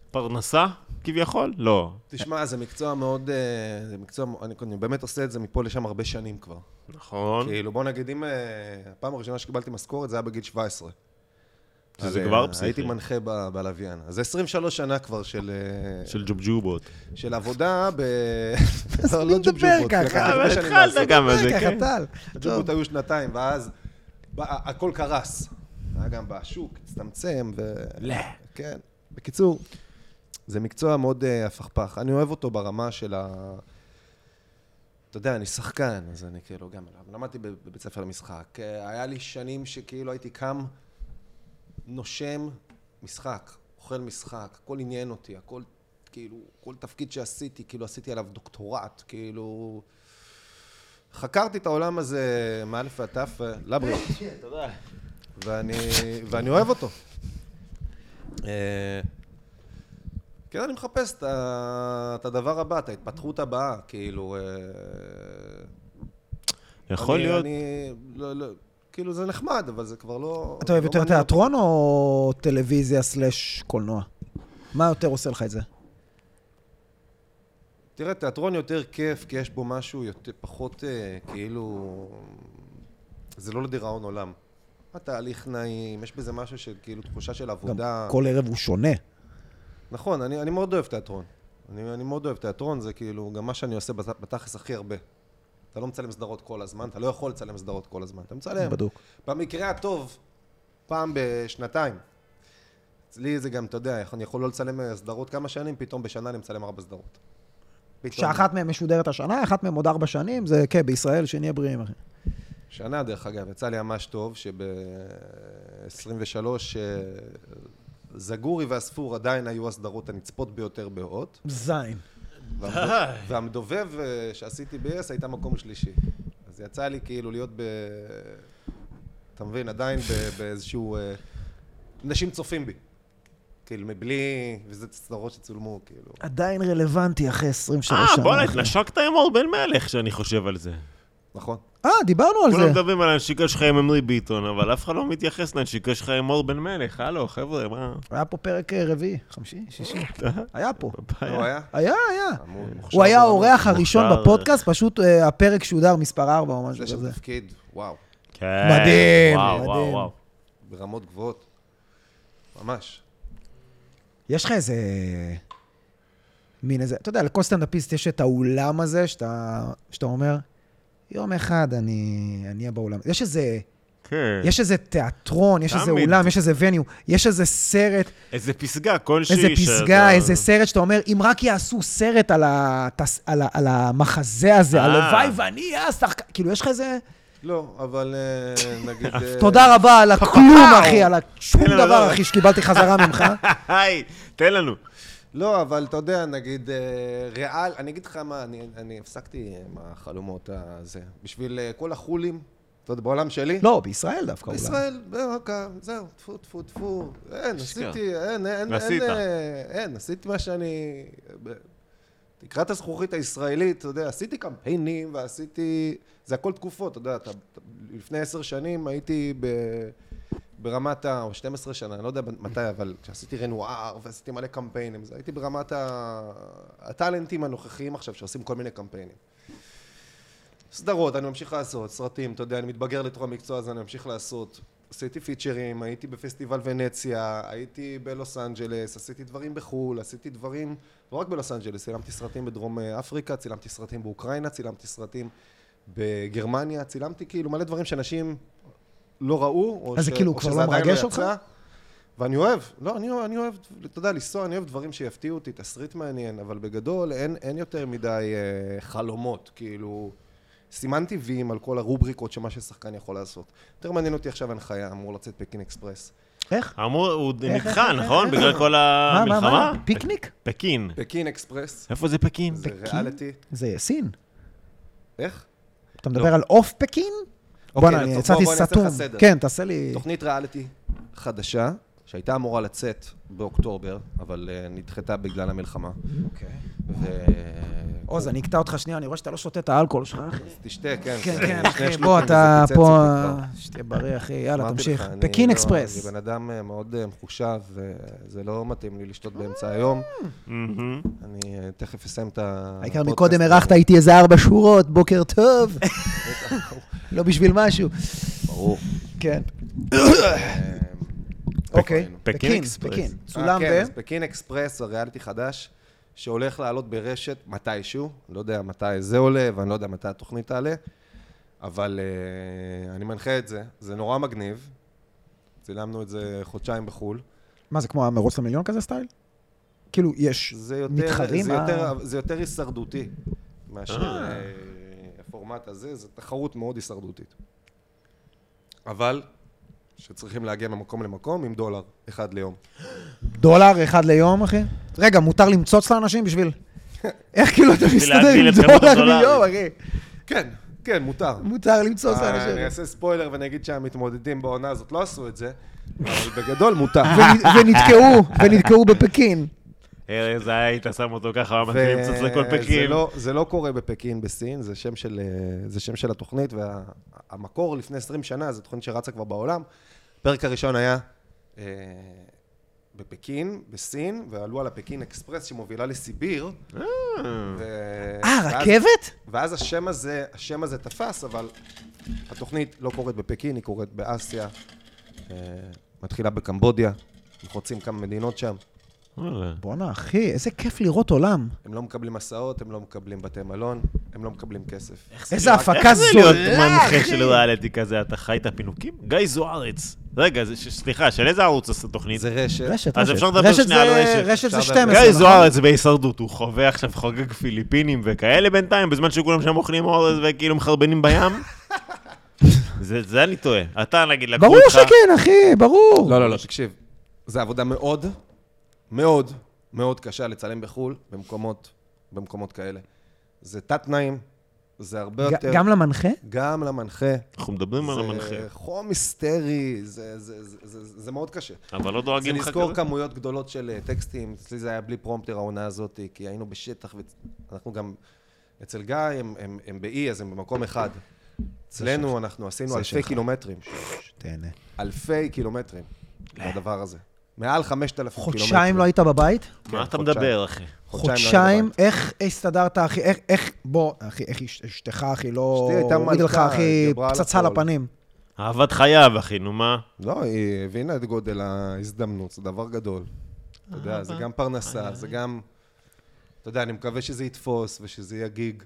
A: ופרנסה כביכול? לא.
C: תשמע, זה מקצוע מאוד... אה, זה מקצוע... אני אני באמת עושה את זה מפה לשם הרבה שנים כבר.
A: נכון.
C: כאילו, בוא נגיד, אם... אה, הפעם הראשונה שקיבלתי משכורת זה היה בגיל 17.
A: שזה
C: אז, אה,
A: כבר פסיכי.
C: הייתי מנחה ב- בלוויין. אז זה 23 שנה כבר של... אה,
A: של ג'ובג'ובות.
C: של עבודה ב... לא,
B: מי
C: לא
B: מדבר
C: ג'ובג'ובות,
B: ככה?
C: לקח לי הרבה
A: אבל
C: שנים לעשות.
A: התחלת גם על זה,
B: אה,
A: כן.
B: ככה, טל.
C: הג'ובות היו שנתיים, ואז ב- הכל קרס. היה גם בשוק, הצטמצם, ו...
A: לא.
C: כן. בקיצור, זה מקצוע מאוד אה, הפכפך. אני אוהב אותו ברמה של ה... אתה יודע, אני שחקן, אז אני כאילו גם... למדתי בב- בבית ספר למשחק. אה, היה לי שנים שכאילו הייתי קם, נושם משחק, אוכל משחק, הכל עניין אותי, הכל, כאילו, כל תפקיד שעשיתי, כאילו עשיתי עליו דוקטורט, כאילו... חקרתי את העולם הזה מא' ועד ת' אה, לבריות. ואני, ואני אוהב אותו. אה, כן, אני מחפש את, ה- את הדבר הבא, את ההתפתחות הבאה, כאילו... אה,
A: יכול
C: אני,
A: להיות.
C: אני, לא, לא, כאילו, זה נחמד, אבל זה כבר לא...
B: אתה אוהב
C: לא
B: יותר
C: מעניין אותי.
B: תיאטרון או טלוויזיה סלאש קולנוע? מה יותר עושה לך את זה?
C: תראה, תיאטרון יותר כיף, כי יש בו משהו יותר, פחות אה, כאילו... זה לא לדיראון עולם. התהליך נעים, יש בזה משהו של כאילו תחושה של
B: גם
C: עבודה.
B: כל ערב הוא שונה.
C: נכון, אני, אני מאוד אוהב תיאטרון. אני, אני מאוד אוהב תיאטרון, זה כאילו גם מה שאני עושה בת- בתכלס הכי הרבה. אתה לא מצלם סדרות כל הזמן, אתה לא יכול לצלם סדרות כל הזמן, אתה מצלם.
B: בדוק.
C: במקרה הטוב, פעם בשנתיים. אצלי זה גם, אתה יודע, אני יכול לא לצלם אה, סדרות כמה שנים, פתאום בשנה אני מצלם ארבע סדרות. פתאום.
B: שאחת מהן משודרת השנה, אחת מהן עוד ארבע שנים, זה כן, בישראל, שנהיה בריאים, אחי.
C: שנה, דרך אגב, יצא לי ממש טוב, שב-23 זגורי והספור עדיין היו הסדרות הנצפות ביותר בהוט,
A: די.
B: זין.
C: והמדו- והמדובב אה, שעשיתי ב-yes הייתה מקום שלישי. אז יצא לי כאילו להיות ב... אתה מבין, עדיין ב- באיזשהו... אה, אנשים צופים בי. כאילו, מבלי... וזה סדרות שצולמו, כאילו.
B: עדיין רלוונטי אחרי 23 שנה.
A: אה, בוא'נה,
B: אחי.
A: התנשקת עם אור בן מלך, שאני חושב על זה.
C: נכון.
B: אה, דיברנו על
A: כולם
B: זה.
A: מדברים על הנשיקה שלך עם אמרי ביטון, אבל אף אחד לא מתייחס לנשיקה שלך עם אור בן מלך. הלו, חבר'ה, מה? אה,
B: היה פה פרק אה, רביעי, חמישי, שישי. היה פה.
C: לא היה?
B: היה, היה.
C: אמור, מוכשר
B: הוא היה
C: ברמה.
B: האורח הראשון
A: מוכשר.
B: בפודקאסט, פשוט אה, הפרק שודר מספר 4 או משהו
C: זה שם
B: כזה.
C: תפקיד, וואו,
A: כן.
B: מדהים,
A: וואו, וואו,
B: מדהים.
A: וואו.
C: ברמות גבוהות. ממש.
B: יש לך איזה... מין איזה... אתה יודע, לכל סטנדאפיסט יש את האולם הזה, שאתה, שאתה אומר, יום אחד אני אני אהיה באולם. יש איזה...
A: כן.
B: יש איזה תיאטרון, יש איזה
A: תמיד.
B: אולם, יש איזה וניו, יש איזה סרט,
A: כן. איזה פסגה כלשהי.
B: איזה פסגה,
A: שאתה-
B: איזה סרט שאתה אומר, אם רק יעשו סרט על התס- על ה- על המחזה הזה,
A: אה.
B: הלוואי ואני אהיה השחקן, כאילו, יש לך איזה...
C: לא, אבל אה, נגיד... אה,
B: תודה רבה על הכלום, אחי, על השום
A: תן לנו
B: דבר,
A: דבר.
B: אחי, שקיבלתי חזרה ממך.
A: היי, תן לנו.
C: לא, אבל אתה יודע, נגיד אה, ריאל, אני אגיד לך מה, אני- אני הפסקתי עם החלומות הזה. בשביל אה, כל החולים, אתה יודע, בעולם שלי.
B: לא, בישראל דווקא אולי.
C: ישראל, ורקה, זהו, טפו, טפו, טפו. אין,
A: שטויות.
C: עשיתי, אין, אין,
A: ועשית.
C: אין, אה, אין, עשיתי מה שאני... ב- תקרת הזכוכית הישראלית, אתה יודע, עשיתי קמפיינים ועשיתי... זה הכל תקופות, אתה יודע, אתה, אתה, לפני עשר שנים הייתי ב, ברמת ה... או 12 שנה, אני לא יודע מתי, אבל כשעשיתי רנואר ועשיתי מלא קמפיינים, זה הייתי ברמת ה... הטאלנטים הנוכחיים עכשיו, שעושים כל מיני קמפיינים. סדרות, אני ממשיך לעשות, סרטים, אתה יודע, אני מתבגר לתוך המקצוע הזה, אני ממשיך לעשות. עשיתי פיצ'רים, הייתי בפסטיבל ונציה, הייתי בלוס אנג'לס, עשיתי דברים בחו"ל, עשיתי דברים, לא רק בלוס אנג'לס, צילמתי סרטים בדרום אה, אפריקה, צילמתי סרטים באוקראינה, צילמתי סרטים בגרמניה, צילמתי כאילו מלא דברים שאנשים לא ראו, או,
B: אז זה כאילו
C: או
B: כבר
C: שזה
B: לא
C: עדיין
B: מרגש
C: יצא.
B: אותך?
C: ואני אוהב, לא, אני, אוהב- אני אוהב, אתה יודע, לנסוע, אני אוהב דברים שיפתיעו אותי, תסריט מעניין, אבל בגדול אין, אין יותר מדי אה, חלומות, כאילו, סימנתי ויים על כל הרובריקות שמה ששחקן יכול לעשות. יותר מעניין אותי עכשיו הנחיה, אמור לצאת פקין אקספרס.
B: איך?
A: אמור, הוא
B: איך,
A: נדחה,
B: איך,
A: נכון?
B: איך,
A: בגלל כל
B: מה, מה,
A: המלחמה?
B: מה? פיקניק?
A: פקין.
C: פקין אקספרס,
A: איפה זה פקין?
C: זה
B: פקין?
C: ריאליטי,
B: זה סין.
C: איך?
B: אתה מדבר על עוף פקין? בוא'נה, אני
C: בוא,
B: יצאתי
C: לא. אוקיי, בוא, אני אעשה לך
B: סתום.
C: סדר.
B: כן, תעשה לי...
C: תוכנית ריאליטי חדשה, שהייתה אמורה לצאת באוקטובר, אבל אה, נדחתה בגלל המלחמה.
B: אוקיי.
C: ו... אה,
B: עוז, אני אקטע אותך שנייה, אני רואה שאתה לא שותה את האלכוהול שלך, אחי.
C: תשתה, כן.
B: כן,
C: זה-
B: כן,
C: שני
B: אחי,
C: שלוקים,
B: בוא,
C: זה
B: אתה
C: פיצץ
B: פה...
C: אותי כבר.
B: שתהיה בריא, אחי, יאללה,
C: אמרתי
B: תמשיך.
C: לך, אני
B: פקין
C: לא-
B: אקספרס.
C: אני בן אדם אה, מאוד אה, מחושב, וזה לא מתאים לי לשתות באמצע היום.
A: מהמם.
C: אני אה, תכף אסיים את ה...
B: אה. העיקר
C: הפודקאסט אה,
B: מקודם
C: הזה.
B: ארחת איתי איזה ארבע שורות, בוקר טוב. לא בשביל משהו.
C: ברור.
B: כן.
C: אה,
B: אוקיי.
C: היינו?
A: פקין
B: פקין,
A: אקספרס.
B: פקין.
C: אה,
B: צולם
C: כן,
B: ב...
C: אז פקין אקספרס, זה ריאליטי חדש, שהולך לעלות ברשת מתישהו. לא יודע מתי זה עולה, ואני לא יודע מתי התוכנית תעלה, אבל אה, אני מנחה את זה. זה נורא מגניב. צילמנו את זה חודשיים בחו"ל.
B: מה, זה כמו המרוץ למיליון כזה סטייל? כאילו, יש
C: זה יותר,
B: מתחרים?
C: זה,
B: אה?
C: יותר, זה יותר הישרדותי מאשר
A: אה.
C: אה, הפורמט הזה, זו תחרות מאוד הישרדותית. אבל, שצריכים להגיע ממקום למקום עם דולר אחד ליום.
B: דולר אחד ליום, אחי? רגע, מותר למצוץ לאנשים בשביל... איך כאילו אתה מסתדר
A: להגדיל
B: עם
A: את כמות
B: דולר
A: הדולרים.
B: ליום, אחי?
C: כן, כן, מותר.
B: מותר למצוץ
C: אה, אני
B: לאנשים.
C: אעשה ספוילר ואני אגיד שהמתמודדים בעונה הזאת לא עשו את זה, אבל בגדול מותר.
B: ונ- ונתקעו, ונתקעו בפקין.
A: ארז, אה, היית שם אותו ככה, הוא היה מתחיל למצוץ
C: ו-
A: לכל
C: זה
A: פקין.
C: לא- זה לא קורה בפקין בסין, זה שם של, אה, זה שם של התוכנית, והמקור לפני 20 שנה, זו תוכנית שרצה כבר בעולם. הפרק הראשון היה אה, בפקין, בסין, ועלו על הפקין אקספרס שמובילה לסיביר.
A: אה.
C: ו-
B: אה,
C: ואז-
B: רכבת?
C: ואז השם הזה, השם הזה תפס, אבל התוכנית לא קורית בפקין, היא קורית באסיה. אה, מתחילה בקמבודיה, אנחנו רוצים כמה מדינות שם.
A: וואלה.
B: בואנה, אחי, איזה כיף לראות עולם.
C: הם לא מקבלים הסעות, הם לא מקבלים בתי מלון, הם לא מקבלים כסף.
B: איזה הפקה
A: איך זה להיות
B: זולה,
A: מנחה
B: אחי.
A: של ריאליטי כזה? אתה חי את הפינוקים? גיא זוארץ. רגע, זה ש- סליחה, של איזה ערוץ עשית תוכנית?
C: זה רשת.
B: רשת,
A: אז
B: רשת.
A: אפשר לדבר
B: רשת
A: שנייה על
B: זה-
A: רשת.
B: רשת זה
C: אפשר
B: 12.
A: גיא
B: נכון?
A: זוארץ בהישרדות, הוא חווה עכשיו חוגג פיליפינים וכאלה בינתיים, בזמן שכולם שם אוכלים אורז וכאילו מחרבנים בים? זה זה אני טועה. אתה נגיד לקחו
B: ברור
A: אותך...
B: שכן, אחי, ברור.
C: לא, לא, לא, תקשיב. זו עבודה מאוד, מאוד, מאוד קשה לצלם בחו"ל, במקומות, במקומות כאלה. זה תת-תנאים, זה הרבה
B: ג-
C: לא יותר...
B: גם למנחה?
C: גם למנחה.
A: אנחנו מדברים על המנחה,
C: זה חום היסטרי, זה, זה, זה, זה, זה, זה מאוד קשה.
A: אבל לא
C: זה
A: דואגים לך
C: לזכור
A: כזה.
C: כמויות גדולות של אה, טקסטים, אצלי זה היה בלי פרומפטר העונה הזאת, כי היינו בשטח, ואנחנו גם, אצל גיא הם, הם, הם באי, אז הם במקום אחד. אצלנו אנחנו עשינו
B: זה
C: אלפי
B: שלך.
C: קילומטרים,
B: תהנה.
C: אלפי קילומטרים, לדבר הזה. מעל 5,000 קילומטרים.
B: אה. חודשיים לא היית בבית?
A: מה אתה
C: כן, חודשיים.
A: מדבר, אחי?
C: לא היינו
B: חודשיים,
C: בבית.
B: איך הסתדרת, אחי? איך, איך, בוא, אחי, איך אש- אשתך, אחי, לא...
C: אשתי הייתה
B: הורידה לך,
C: מלכה, היא
B: אחי,
C: דיברה על
B: פצצה
C: הכל.
B: לפנים.
A: אהבת חייו, אחי, נו מה?
C: לא, היא הבינה את גודל ההזדמנות, זה דבר גדול. אתה יודע, זה גם פרנסה, זה גם... אתה יודע, אני מקווה שזה יתפוס ושזה יהיה גיג.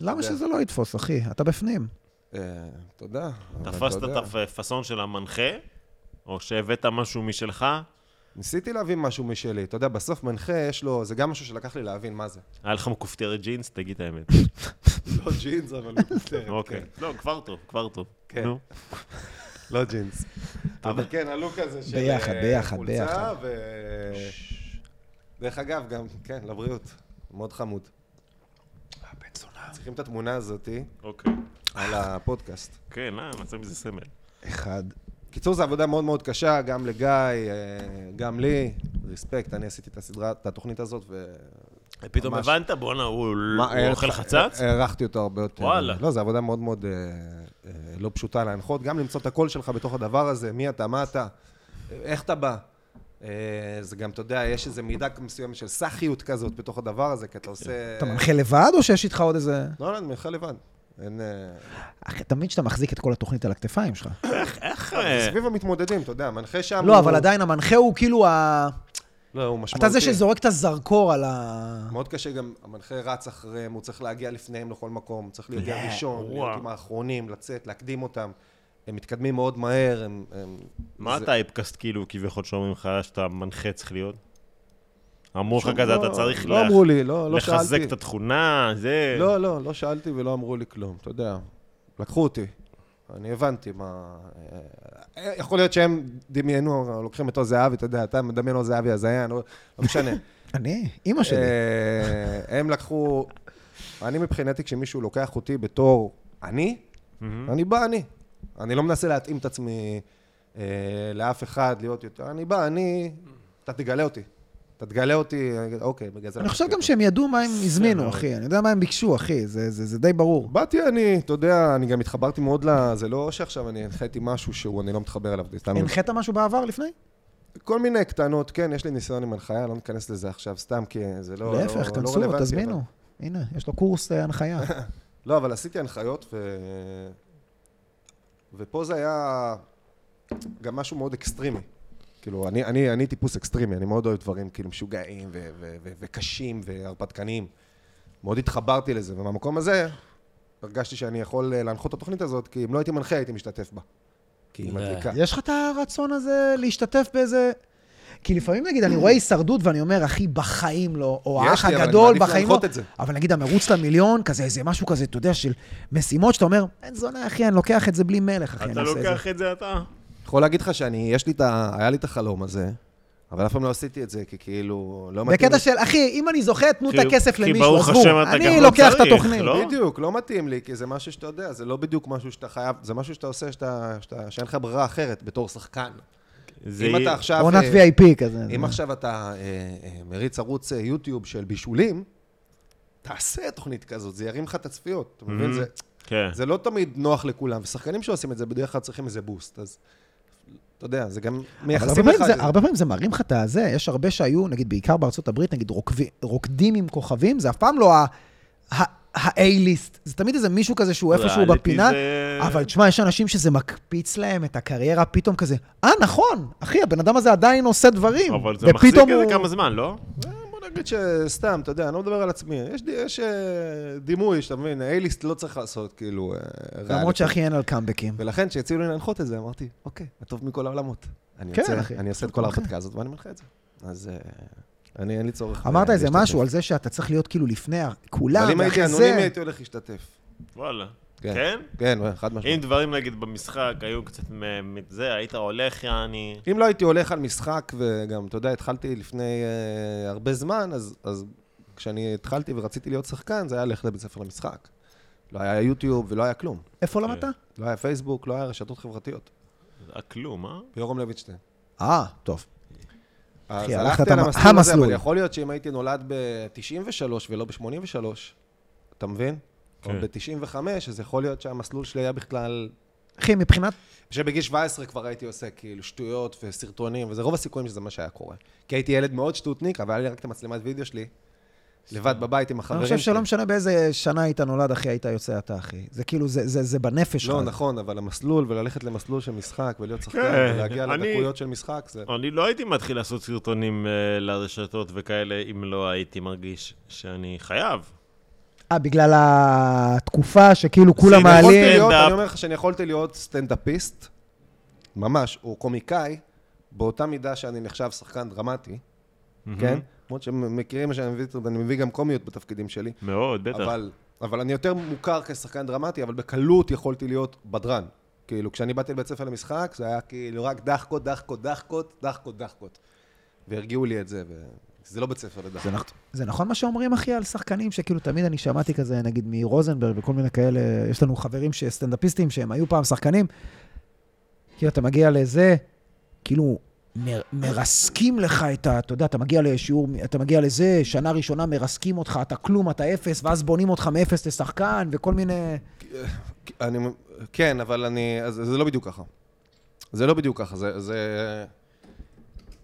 B: למה
C: יודע.
B: שזה לא יתפוס, אחי? אתה בפנים.
C: אה, אתה יודע. אבל
A: תפסת
C: אתה
A: את
C: יודע.
A: הפאסון של המנחה, או שהבאת משהו משלך?
C: ניסיתי להבין משהו משלי. אתה יודע, בסוף מנחה יש לו... זה גם משהו שלקח לי להבין מה זה.
A: היה לך מכופתרת ג'ינס? תגיד את האמת.
C: לא ג'ינס, אבל מפוצרת.
A: אוקיי. לא, כבר טוב, כבר טוב.
C: כן.
A: נו.
C: לא ג'ינס. אבל כן, הלוק הזה של...
B: ביחד,
C: אה,
B: ביחד, ביחד.
C: חולצה ו... דרך אגב, גם, כן, לבריאות. מאוד חמוד. צריכים את התמונה הזאתי
A: אוקיי.
C: על הפודקאסט.
A: כן, אה, נעשה מזה סמל.
B: אחד.
C: קיצור, זו עבודה מאוד מאוד קשה, גם לגיא, אה, גם לי. ריספקט, אני עשיתי את הסדרה, את התוכנית הזאת, ו...
A: פתאום
C: ממש.
A: הבנת? בואנה, הוא
C: מה,
A: הוא אוכל
C: אה,
A: חצץ?
C: אה, הערכתי אותו הרבה יותר.
A: וואלה.
C: לא, זו עבודה מאוד מאוד אה, אה, לא פשוטה להנחות, גם למצוא את הקול שלך בתוך הדבר הזה, מי אתה, מה אתה, אה, איך אתה בא. אה, זה גם, אתה יודע, יש איזו מידה מסוימת של סאחיות כזאת בתוך הדבר הזה,
A: כן.
C: כי אתה עושה...
B: אתה מנחה לבד, או שיש איתך עוד איזה...
C: לא, לא, אני מנחה לבד. אין... אה,
B: אחי, תמיד שאתה מחזיק את כל התוכנית על הכתפיים שלך.
A: איך...
C: זה
A: אה,
C: סביב המתמודדים, אתה יודע, מנחה שם...
B: לא,
C: הוא-
B: אבל עדיין המנחה הוא כאילו ה...
C: לא, הוא משמעותי.
B: אתה זה שזורק את הזרקור על ה...
C: מאוד קשה גם, המנחה רץ אחריהם, הוא צריך להגיע לפניהם לכל מקום, הוא צריך
B: לא,
C: להגיע ראשון,
A: אה, וואו.
C: להיות עם האחרונים, לצאת, להקדים אותם. הם מתקדמים מאוד מהר, הם... הם-
A: מה
C: זה-
A: הטייפקאסט כאילו כביכול שאומרים לך שאתה מנחה צריך להיות? אמרו לך כזה,
C: לא-
A: אתה צריך
C: לא
A: לח-
C: אמרו לי, לא, לא שאלתי.
A: לחזק את התכונה, זה...
C: לא, לא, לא שאלתי ולא אמרו לי כלום, אתה יודע. לקחו אותי. אני הבנתי מה... אה, יכול להיות שהם דמיינו, לוקחים אותו זהבי, אתה יודע, אתה מדמיין לו זהבי הזיין, לא לא משנה.
B: אני? אימא שלי.
C: אה, הם לקחו... אני מבחינתי, כשמישהו לוקח אותי בתור אני, אני בא אני. אני לא מנסה להתאים את עצמי אה, לאף אחד, להיות יותר... אני בא, אני... אתה תגלה אותי. אתה תגלה אותי, אני אגיד, אוקיי, בגלל זה...
B: אני חושב
C: לקחתי
B: גם
C: אותו."
B: שהם ידעו מה הם הזמינו,
A: מאוד.
B: אחי. אני יודע מה הם ביקשו, אחי. זה- זה זה די ברור.
C: באתי אני, אתה יודע, אני גם התחברתי מאוד ל... זה לא שעכשיו אני הנחיתי משהו שהוא, אני לא מתחבר אליו. זה סתם-
B: הנחית משהו בעבר לפני?
C: כל מיני קטנות, כן, יש לי ניסיון עם הנחיה, לא ניכנס לזה עכשיו, סתם כי זה לא לא-
B: להפך,
C: לא
B: תנסו,
C: רלוונטי, אבל-
B: תזמינו. הנה, יש לו קורס אה, הנחיה.
C: לא, אבל עשיתי הנחיות, ו... ופה זה היה גם משהו מאוד אקסטרימי. כאילו, אני, אני, אני טיפוס אקסטרימי, אני מאוד אוהב דברים כאילו משוגעים ו- ו- ו- וקשים והרפתקניים. מאוד התחברתי לזה, ומהמקום הזה הרגשתי שאני יכול אה, להנחות את התוכנית הזאת, כי אם לא הייתי מנחה הייתי משתתף בה. כי היא
D: לא.
C: מדליקה.
B: יש לך את הרצון הזה להשתתף באיזה... כי לפעמים, נגיד, אני רואה הישרדות ואני אומר, אחי, בחיים לא, או האח
C: יש לי, אבל אני
B: הגדול,
C: מעדיף
B: בחיים לא.
C: להנחות את זה.
B: אבל נגיד, המרוץ למיליון, כזה, איזה משהו כזה, אתה יודע, של משימות, שאתה אומר, אין זונה, אחי, אני לוקח את זה בלי מלך, אחי,
C: כן,
B: אני
A: אתה
B: עושה את זה.
A: לוקח את זה אתה?
C: יכול להגיד לך שאני, יש לי את ה... היה לי את החלום הזה, אבל אף פעם לא עשיתי את זה, כי כאילו, לא מתאים
B: בקטע
C: לי.
B: של, אחי, אם אני זוכה, תנו את
A: כי-
B: הכסף
A: כי
B: למישהו,
A: ברוך
B: עזבו,
A: השם אתה גם
B: אני
A: לא
B: לוקח את
A: צריך,
B: התוכנית.
A: לא?
C: בדיוק, לא מתאים לי, כי זה משהו שאתה יודע, זה לא בדיוק משהו שאתה חייב, זה משהו שאתה עושה שאתה, שאתה, שאין לך ברירה אחרת בתור שחקן.
A: זה-
C: אם אתה עכשיו...
B: עונת
C: אה,
B: VIP כזה.
C: אם עכשיו אתה אה, אה, מריץ ערוץ אה, יוטיוב של בישולים, תעשה תוכנית כזאת, זה ירים לך את הצפיות, אתה מבין? זה-
A: כן.
C: זה לא תמיד נוח לכולם, ושחקנים שעושים את זה בדרך כלל צריכים איזה בוסט, אז אתה יודע, זה גם
B: אבל
C: מייחסים
B: הרבה
C: לך...
B: פעמים,
C: את
B: זה,
C: זה.
B: הרבה פעמים זה מרים לך את הזה, יש הרבה שהיו, נגיד בעיקר בארצות הברית, נגיד רוקבי, רוקדים עם כוכבים, זה אף פעם לא ה, ה, ה-A-ליסט. זה תמיד איזה מישהו כזה שהוא איפשהו
A: ריאליטי
B: בפינה,
A: זה-
B: אבל תשמע, יש אנשים שזה מקפיץ להם את הקריירה פתאום כזה, אה, נכון, אחי, הבן אדם הזה עדיין עושה דברים.
A: אבל זה מחזיק
B: ופתאום
A: איזה
B: הוא-
A: כמה זמן, לא?
C: בוא נגיד שסתם, אתה יודע, אני לא מדבר על עצמי. יש, די- יש אה, דימוי, שאתה מבין, אייליסט לא צריך לעשות, כאילו, אה,
B: למרות
C: ריאליטי.
B: שאחי אין על קאמבקים.
C: ולכן, כשהציעו לי להנחות את זה, אמרתי, אוקיי, הטוב מכל העולמות. אני
B: כן,
C: יוצא,
B: אחי.
C: אני אעשה את כל ההרפתקה הזאת ואני מנחה את זה. אז אה, אני, אין לי צורך.
B: אמרת
C: אה,
B: איזה
C: להשתתף.
B: משהו על זה שאתה צריך להיות כאילו לפני ה-
C: אבל
B: כולם,
C: אם הייתי
B: ואחרי
C: אנונימי,
B: זה...
C: הייתי הולך להשתתף.
A: וואלה.
C: כן.
A: כן?
C: כן, חד
A: אם
C: משמעית.
A: דברים, נגיד, במשחק היו קצת מ- מזה, היית הולך, יעני...
C: אם לא הייתי הולך על משחק, וגם, אתה יודע, התחלתי לפני אה, הרבה זמן, אז- אז כשאני התחלתי ורציתי להיות שחקן, זה היה ללכת לבית ספר למשחק. לא היה יוטיוב ולא היה כלום.
B: איפה למדת?
A: אה.
C: לא היה פייסבוק, לא היה רשתות חברתיות.
A: זה היה כלום, אה?
C: יורם לויטשטיין.
B: אה, טוב.
C: אז
B: אחי, הלכת
C: הלכתי
B: את
C: על
B: המ-
C: המסלול הזה, אבל
B: המסלול.
C: יכול להיות שאם הייתי נולד ב-93 ולא ב-83, אתה מבין? או
A: כן.
C: ב-95, אז יכול להיות שהמסלול שלי היה בכלל...
B: אחי, מבחינת...
C: שבגיל 17 כבר הייתי עושה כאילו שטויות וסרטונים, וזה רוב הסיכויים שזה מה שהיה קורה. כי הייתי ילד מאוד שטוטניק, אבל היה לי רק את המצלמת וידאו שלי, לבד בבית עם
B: אני
C: החברים
B: חושב
C: שלי.
B: שלא משנה באיזה שנה היית נולד, אחי, היית יוצא אתה, אחי. זה כאילו, זה- זה זה בנפש שלך.
C: לא, נכון, אבל המסלול, וללכת למסלול של משחק, ולהיות שחקן,
A: כן,
C: ולהגיע
A: אני-
C: לדקויות של משחק, זה...
A: אני לא הייתי מתחיל לעשות סרטונים אה, לרשתות וכאלה, אם לא הייתי מרגיש שאני חייב.
B: אה, בגלל התקופה שכאילו כולם
A: סינמה,
C: יכולתי
B: מעלים...
A: סטנדאפ.
C: להיות, אני אומר לך שאני יכולתי להיות סטנדאפיסט, ממש, או קומיקאי, באותה מידה שאני נחשב שחקן דרמטי, כן? למרות שמכירים מה שאני מביא, אני מביא גם קומיות בתפקידים שלי,
A: מאוד, בטח.
C: אבל, אבל אני יותר מוכר כשחקן דרמטי, אבל בקלות יכולתי להיות בדרן. כאילו, כשאני באתי לבית ספר למשחק, זה היה כאילו רק דחקות, דחקות, דחקות, דחקות, דחקות. והרגיעו לי את זה, וזה לא בית ספר לדחקות.
B: זה, נכ... זה נכון מה שאומרים, אחי, על שחקנים, שכאילו תמיד אני שמעתי כזה, נגיד מרוזנברג וכל מיני כאלה, יש לנו חברים שסטנדאפיסטים שהם היו פעם שחקנים, כאילו אתה מגיע לזה, כאילו מר, מרסקים לך את ה... אתה יודע, אתה מגיע לשיעור, אתה מגיע לזה, שנה ראשונה מרסקים אותך, אתה כלום, אתה אפס, ואז בונים אותך מאפס לשחקן, וכל מיני...
C: אני, כן, אבל אני... אז זה לא בדיוק ככה. זה לא בדיוק ככה, זה... זה...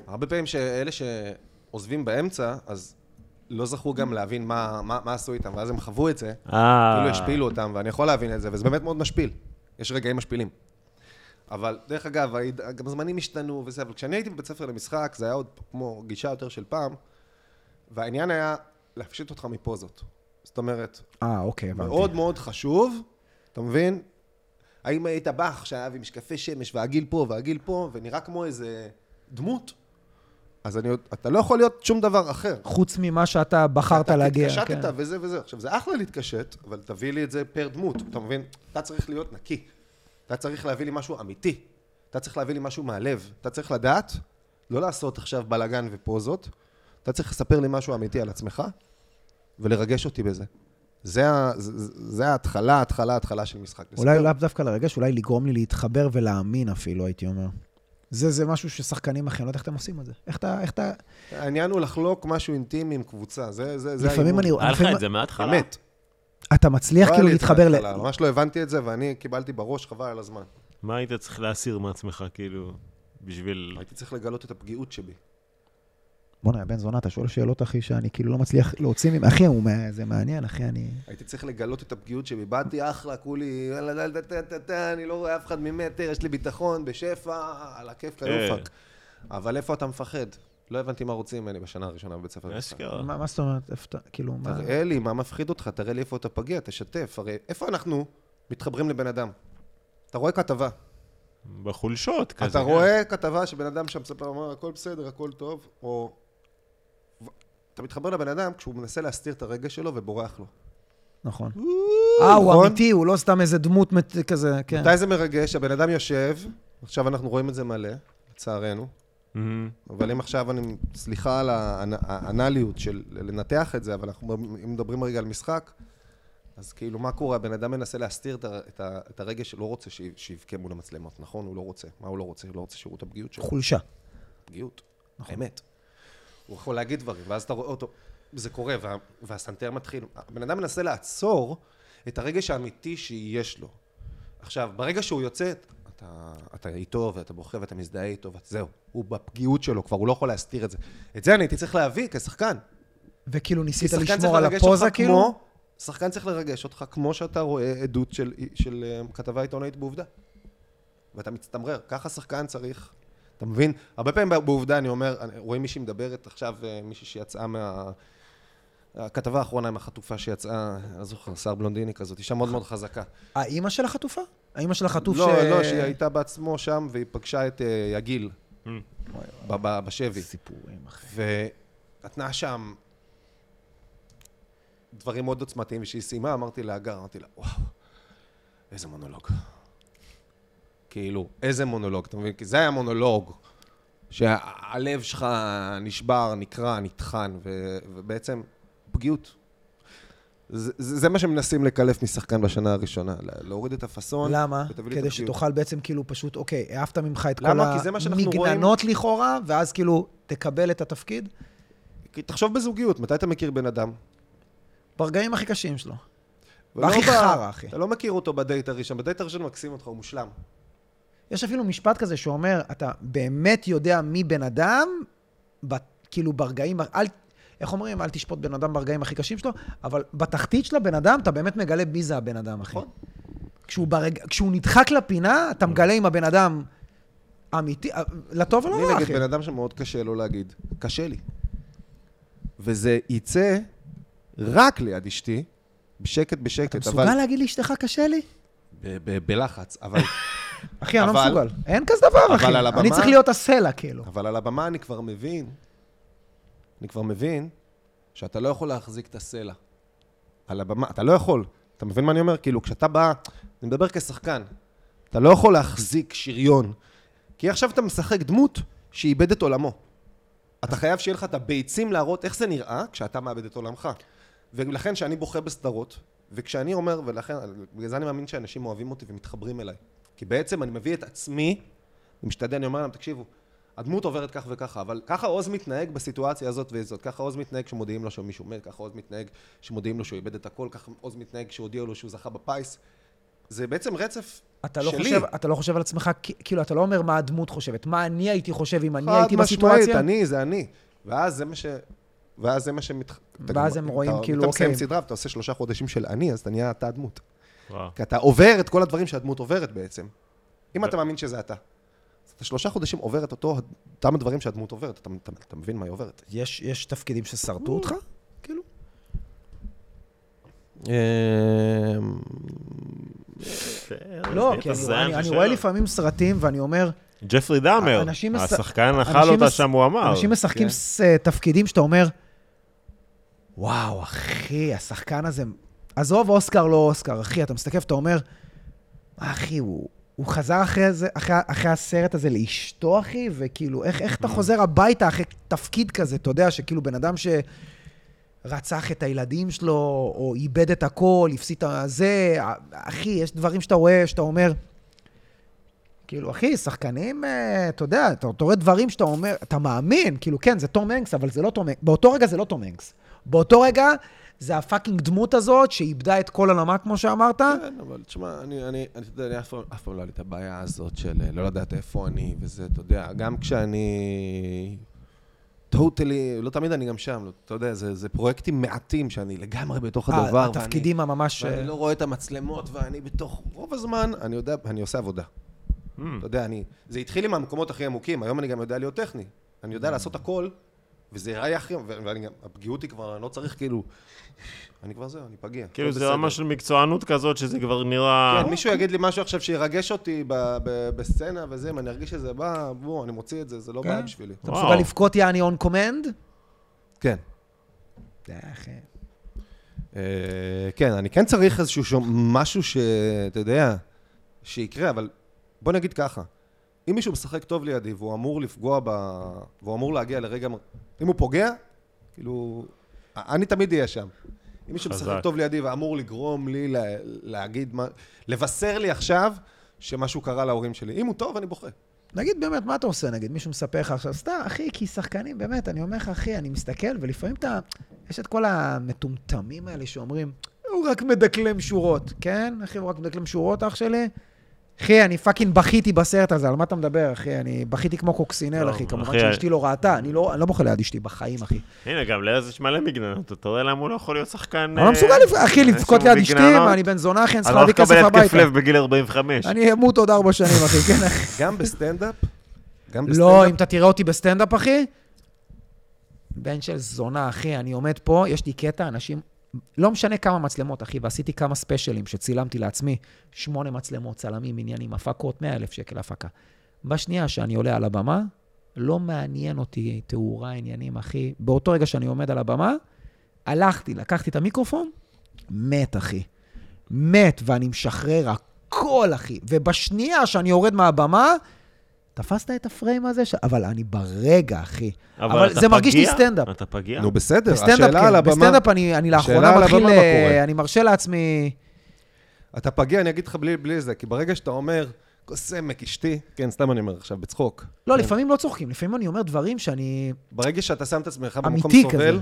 C: הרבה פעמים שאלה שעוזבים באמצע, אז לא זכו גם להבין מה, מה, מה עשו איתם, ואז הם חוו את זה,
A: אה.
C: כאילו השפילו אותם, ואני יכול להבין את זה, וזה באמת מאוד משפיל. יש רגעים משפילים. אבל, דרך אגב, היד- גם הזמנים השתנו וזה, אבל כשאני הייתי בבית ספר למשחק, זה היה עוד כמו גישה יותר של פעם, והעניין היה להפשיט אותך מפוזות. זאת אומרת,
B: אה, אוקיי, הבנתי.
C: מאוד מאוד חשוב, אתה מבין? האם היית באח שהיה עם משקפי שמש והגיל פה והגיל פה, ונראה כמו איזה דמות, אז אני, עוד- אתה לא יכול להיות שום דבר אחר.
B: חוץ ממה שאתה בחרת להגיע.
C: אתה
B: כן.
C: התקשטת וזה וזה. עכשיו, זה אחלה להתקשט, אבל תביא לי את זה פר דמות, אתה מבין? אתה צריך להיות נקי. אתה צריך להביא לי משהו אמיתי. אתה צריך להביא לי משהו מהלב. אתה צריך לדעת, לא לעשות עכשיו בלאגן ופוזות. אתה צריך לספר לי משהו אמיתי על עצמך, ולרגש אותי בזה. זה, ה- זה, זה ההתחלה, ההתחלה, ההתחלה של משחק.
B: אולי
C: לספר-
B: לאו דווקא לרגש, אולי לגרום לי להתחבר ולהאמין אפילו, הייתי אומר. זה, זה משהו ששחקנים אחרים, לא יודע איך אתם עושים את זה. איך אתה, איך אתה...
C: העניין הוא לחלוק משהו אינטימי עם קבוצה. זה, זה, זה
B: לפעמים אני...
C: האימון.
A: היה לך
B: לפעמים-
A: את זה מההתחלה?
C: אמת.
B: אתה מצליח
C: לא היה
B: כאילו
C: לי את זה
B: להתחבר ל...
C: בהתחלה, ממש לא הבנתי את זה, ואני קיבלתי בראש, חבל על הזמן.
A: מה היית צריך להסיר מעצמך, כאילו, בשביל...
C: הייתי צריך לגלות את הפגיעות שבי.
B: בוא'נה, יא בן זונה, אתה שואל שאלות, אחי, שאני כאילו לא מצליח להוציא ממך. אחי, הוא מה- זה מעניין, אחי, אני...
C: הייתי צריך לגלות את הפגיעות שבי. באתי אחלה, כולי, יאללה, דה, דה, דה, דה, דה, אני לא רואה אף אחד ממטר, יש לי ביטחון, בשפע, על הכיף
A: אה.
C: כיופק. אבל איפה אתה מפחד? לא הבנתי מה רוצים ממני בשנה הראשונה בבית ספר.
A: אשכרה.
B: מה מה זאת אומרת? איפה אתה... כאילו,
A: כן.
B: מה...
C: תראה לי, מה מפחיד אותך? תראה לי איפה אתה פגיע, תשתף. הרי איפה אנחנו מתחברים לבן אדם? אתה רואה כתבה.
A: בחולשות, כזה.
C: אתה
A: כן.
C: רואה כתבה שבן אדם שם מספר, אומר, הכל בסדר, הכל טוב, או... ו- אתה מתחבר לבן אדם כשהוא מנסה להסתיר את הרגע שלו ובורח לו.
B: נכון. אה, הוא
C: נכון.
B: אמיתי, הוא לא סתם איזה דמות מת- כזה, כן.
C: מתי זה מרגש? הבן אדם יושב, עכשיו אנחנו רואים את זה מלא, לצערנו,
A: מהמם.
C: אבל אם עכשיו אני, סליחה על האנ- האנליות של לנתח את זה, אבל אנחנו, אם מדברים רגע על משחק, אז כאילו, מה קורה? הבן אדם מנסה להסתיר את, ה- את, ה- את הרגע שלא רוצה ש- שיבכה מול המצלמות, נכון? הוא לא רוצה. מה הוא לא רוצה? הוא לא רוצה שיראו את הפגיעות שלו.
B: חולשה.
C: פגיעות. אמת. הוא יכול להגיד דברים, ואז אתה רואה אותו, זה קורה, וה, והסנטר מתחיל. הבן אדם מנסה לעצור את הרגש האמיתי שיש לו. עכשיו, ברגע שהוא יוצא, אתה, אתה איתו, ואתה בוכה, ואתה מזדהה איתו, וזהו. הוא בפגיעות שלו כבר, הוא לא יכול להסתיר את זה. את זה אני הייתי צריך להביא כשחקן.
B: וכאילו ניסית
C: כי שחקן צריך
B: לשמור על
C: לרגש
B: הפוזה,
C: אותך
B: כאילו?
C: כמו שחקן צריך לרגש אותך כמו שאתה רואה עדות של, של אה, כתבה עיתונאית בעובדה. ואתה מצטמרר, ככה שחקן צריך, אתה מבין? הרבה פעמים בע- בעובדה אני אומר, אני- רואים מישהי מדברת עכשיו, אה, מישהי שיצאה מה... הכתבה האחרונה עם החטופה שיצאה, אני לא זוכר, שיער בלונדיני כזאת, אישה מאוד מאוד חזקה.
B: האימא של החטופה? האימא של החטוף
C: לא,
B: ש...
C: לא, שהיא הייתה בעצמו שם והיא פגשה את אה, יגיל ב- ב- בשבי.
B: סיפורים, אחי.
C: ונתנה שם דברים מאוד עוצמתיים, וכשהיא סיימה אמרתי לה, הגר, אמרתי לה, וואו, איזה מונולוג. כאילו, איזה מונולוג, אתה מבין? כי זה היה מונולוג, שהלב שלך נשבר, נקרע, נטחן, ו- ובעצם פגיעות. זה, זה זה מה שמנסים לקלף משחקן בשנה הראשונה, לה- להוריד את הפאסון.
B: למה?
C: נכון. ותביא לי את
B: כדי
C: הפגיעות.
B: שתוכל בעצם כאילו פשוט, אוקיי, העפת ממך את כל
C: למה? כי זה מה שאנחנו רואים.
B: המגננות לכאורה, ואז כאילו תקבל את התפקיד
C: כי תחשוב בזוגיות, מתי אתה מכיר בן אדם?
B: ברגעים הכי קשים שלו.
C: ולא
B: והכי
C: ב-
B: חרא, אחי.
C: אתה לא מכיר אותו בדייט הראשון, בדייט הראשון מקסים אותך, הוא מושלם.
B: יש אפילו משפט כזה שאומר, אתה באמת יודע מי בן אדם, ב, כאילו ברגעים, אל, איך אומרים, אל תשפוט בן אדם ברגעים הכי קשים שלו, אבל בתחתית של הבן אדם, אתה באמת מגלה מי זה הבן אדם, אחי.
C: נכון.
B: כשהוא, ברג, כשהוא נדחק לפינה, אתה מגלה אם הבן אדם אמיתי, אה, לטוב או
C: אני
B: לא,
C: נגד
B: אחי.
C: בן אדם שמאוד קשה לו להגיד, קשה לי. וזה יצא רק ליד אשתי, בשקט בשקט,
B: אתה
C: כן, אבל...
B: מסוגל להגיד לאשתך קשה לי?
C: ב- ב- בלחץ, אבל,
B: אחי, אני לא
C: אבל-
B: מסוגל. אין כזה דבר,
C: אבל
B: אחי.
C: על
B: אני
C: הבמה-
B: צריך להיות הסלע, כאילו.
C: אבל על הבמה אני כבר מבין, אני כבר מבין שאתה לא יכול להחזיק את הסלע. על הבמה, אתה לא יכול. אתה מבין מה אני אומר? כאילו, כשאתה בא, אני מדבר כשחקן, אתה לא יכול להחזיק שריון. כי עכשיו אתה משחק דמות שאיבד את עולמו. אתה חייב שיהיה לך את הביצים להראות איך זה נראה כשאתה מאבד את עולמך. ולכן כשאני בוכה בסדרות, וכשאני אומר, ולכן, בגלל זה אני מאמין שאנשים אוהבים אותי ומתחברים אליי. כי בעצם אני מביא את עצמי, אני משתדל, אני אומר להם, תקשיבו, הדמות עוברת כך וככה, אבל ככה עוז מתנהג בסיטואציה הזאת וזאת, ככה עוז מתנהג כשמודיעים לו שמישהו מת, ככה עוז מתנהג כשמודיעים לו שהוא איבד את הכל, ככה עוז מתנהג כשהודיעו לו שהוא זכה בפיס. זה בעצם רצף
B: אתה לא,
C: שלי.
B: חושב, אתה לא חושב על עצמך, כ- כאילו, אתה לא אומר מה הדמות חושבת, מה אני הייתי חושב אם אני
C: חד
B: הייתי
C: משמעית,
B: בסיטואציה.
C: אני, זה אני. ואז זה מה ש... ואז זה מה שמתח... אתה
B: ואז
C: גם-
B: הם רואים
C: אתה-
B: כאילו,
C: אתה מסיים
B: אוקיי.
C: סדרה ואתה עושה שלושה חודשים של אני, אז אתה נהיה אתה הדמות.
A: וואו.
C: כי אתה עובר את כל הדברים שהדמות עוברת בעצם. אם אתה מאמין שזה אתה. אז אתה שלושה חודשים עובר את אותו, אותם הדברים שהדמות עוברת. אתה, אתה, אתה מבין מה היא עוברת.
B: יש, יש תפקידים ששרטו אותך? כאילו? לא, כי אני, אני, אני רואה לפעמים סרטים ואני אומר,
A: ג'פרי דאמר,
B: אנשים מס-
A: השחקן אכל
B: אנשים
A: כן, אותה
B: מס-
A: שם, הוא אמר.
B: אנשים משחקים
C: כן.
B: ס- אה, תפקידים שאתה אומר, וואו, אחי, השחקן הזה, עזוב אוסקר, לא אוסקר, אחי, אתה מסתכל ואתה אומר, אחי, הוא... הוא חזר אחרי, זה, אחרי, אחרי הסרט הזה לאשתו, אחי, וכאילו, איך, איך אתה חוזר הביתה אחרי תפקיד כזה, אתה יודע, שכאילו בן אדם שרצח את הילדים שלו, או איבד את הכל, הפסיד את הזה, אחי, יש דברים שאתה רואה, שאתה אומר, כאילו, אחי, שחקנים, אה, אתה יודע, אתה, אתה רואה דברים שאתה אומר, אתה מאמין, כאילו, כן, זה תום הנקס, אבל זה לא תום הנקס. באותו רגע זה לא תום הנקס. באותו רגע זה הפאקינג דמות הזאת שאיבדה את כל עולמה, כמו שאמרת.
C: כן, אבל תשמע, אני, אני, אני, אתה יודע, אני אף פעם, אף פעם לא היה לי את הבעיה הזאת של אה, לא לדעת איפה אני וזה, אתה יודע, גם כשאני... טוטלי, לא תמיד אני גם שם, לא, אתה יודע, זה, זה פרויקטים מעטים שאני לגמרי בתוך
B: אה,
C: הדבר.
B: התפקידים הממש...
C: ואני, ואני לא רואה את המצלמות, ואני בתוך רוב הזמן, אני יודע, אני עושה עבודה.
A: Hmm.
C: אתה יודע, אני... זה התחיל עם המקומות הכי עמוקים, היום אני גם יודע להיות טכני. אני
A: Hmm.
C: יודע לעשות הכל, וזה יראה הכי... ו- ואני גם... הפגיעות היא כבר, אני לא צריך כאילו... אני כבר זהו, אני פגיע.
A: כאילו,
C: הכל
A: זה
C: בסדר.
A: רמה של מקצוענות כזאת, שזה כבר נראה...
C: כן, מישהו יגיד לי משהו עכשיו שירגש אותי ב- ב- בסצנה וזה, אם אני ארגיש שזה בא, בוא, אני מוציא את זה, זה לא
B: כן.
C: בעיה בשבילי.
B: אתה
A: וואו.
B: מסוגל לבכות יעני און קומנד?
C: כן.
B: די, אחי.
C: אה, כן, אני כן צריך איזשהו שום, משהו שאתה יודע, שיקרה, אבל בוא נגיד ככה, אם מישהו משחק טוב לידי והוא אמור לפגוע ב... והוא אמור להגיע לרגע... מ- אם הוא פוגע, כאילו... אני תמיד אהיה שם. אם מישהו
A: חזק.
C: משחק טוב לידי ואמור לגרום לי לה, להגיד מה... לבשר לי עכשיו שמשהו קרה להורים שלי. אם הוא טוב, אני בוכה.
B: נגיד באמת, מה אתה עושה? נגיד, מישהו מספר לך עכשיו, סתם, אחי, כי שחקנים, באמת, אני אומר לך, אחי, אני מסתכל, ולפעמים אתה... יש את כל המטומטמים האלה שאומרים, הוא רק מדקלם שורות. כן, אחי, הוא רק מדקלם שורות, אח שלי? אחי, אני פאקינג בכיתי בסרט הזה, על מה אתה מדבר, אחי? אני בכיתי כמו קוקסינל,
A: לא,
B: אחי. כמובן
A: אחי, אה,
B: שאשתי לא ראתה, אני לא אני לא בוכה ליד אשתי בחיים, אחי.
A: הנה, גם לאז יש מלא מגננות, אתה רואה למה הוא לא יכול להיות שחקן...
B: אני לא
A: אה,
B: מסוגל, לפ- אחי,
A: יש
B: לבכות
A: לו
B: ליד אשתי,
A: מגננות.
B: מה, אני בן זונה, אחי, אני
A: אני
B: צריך
A: לא
B: להביא כסף
A: אקבל התקף
B: הביתה.
A: לב בגיל 45.
B: אני אמות עוד ארבע שנים, אחי, כן, אחי.
C: גם בסטנדאפ? גם
B: לא, אם אתה תראה אותי בסטנדאפ, אחי, בן של זונה, אחי, אני עומד פה, יש לי קטע, אנשים... לא משנה כמה מצלמות, אחי, ועשיתי כמה ספיישלים שצילמתי לעצמי, שמונה מצלמות, צלמים, עניינים, הפקות, 100 אלף שקל הפקה. בשנייה שאני עולה על הבמה, לא מעניין אותי תאורה, עניינים, אחי. באותו רגע שאני עומד על הבמה, הלכתי, לקחתי את המיקרופון, מת, אחי. מת, ואני משחרר הכל, אחי. ובשנייה שאני יורד מהבמה, תפסת את הפריים הזה? ש... אבל אני ברגע, אחי. אבל,
A: אתה
B: זה מרגיש לי
A: פגיע?
B: סטנדאפ.
A: אתה פגיע?
C: נו, בסדר,
B: בסטנדאפ,
C: השאלה על
B: כן.
C: הבמה...
B: בסטנדאפ אני, אני
C: השאלה
B: לאחרונה
C: על
B: מתחיל...
C: הבמה,
B: ל-
C: מה קורה? כן.
B: אני מרשה לעצמי...
C: אתה פגיע, אני אגיד לך בלי, בלי זה, כי ברגע שאתה אומר, קוסמק, אשתי, כן, סתם אני אומר עכשיו, בצחוק.
B: לא,
C: כן.
B: לפעמים לא צוחקים, לפעמים אני אומר דברים שאני...
C: ברגע שאתה שם את עצמך במקום
B: אמיתי
C: סובל,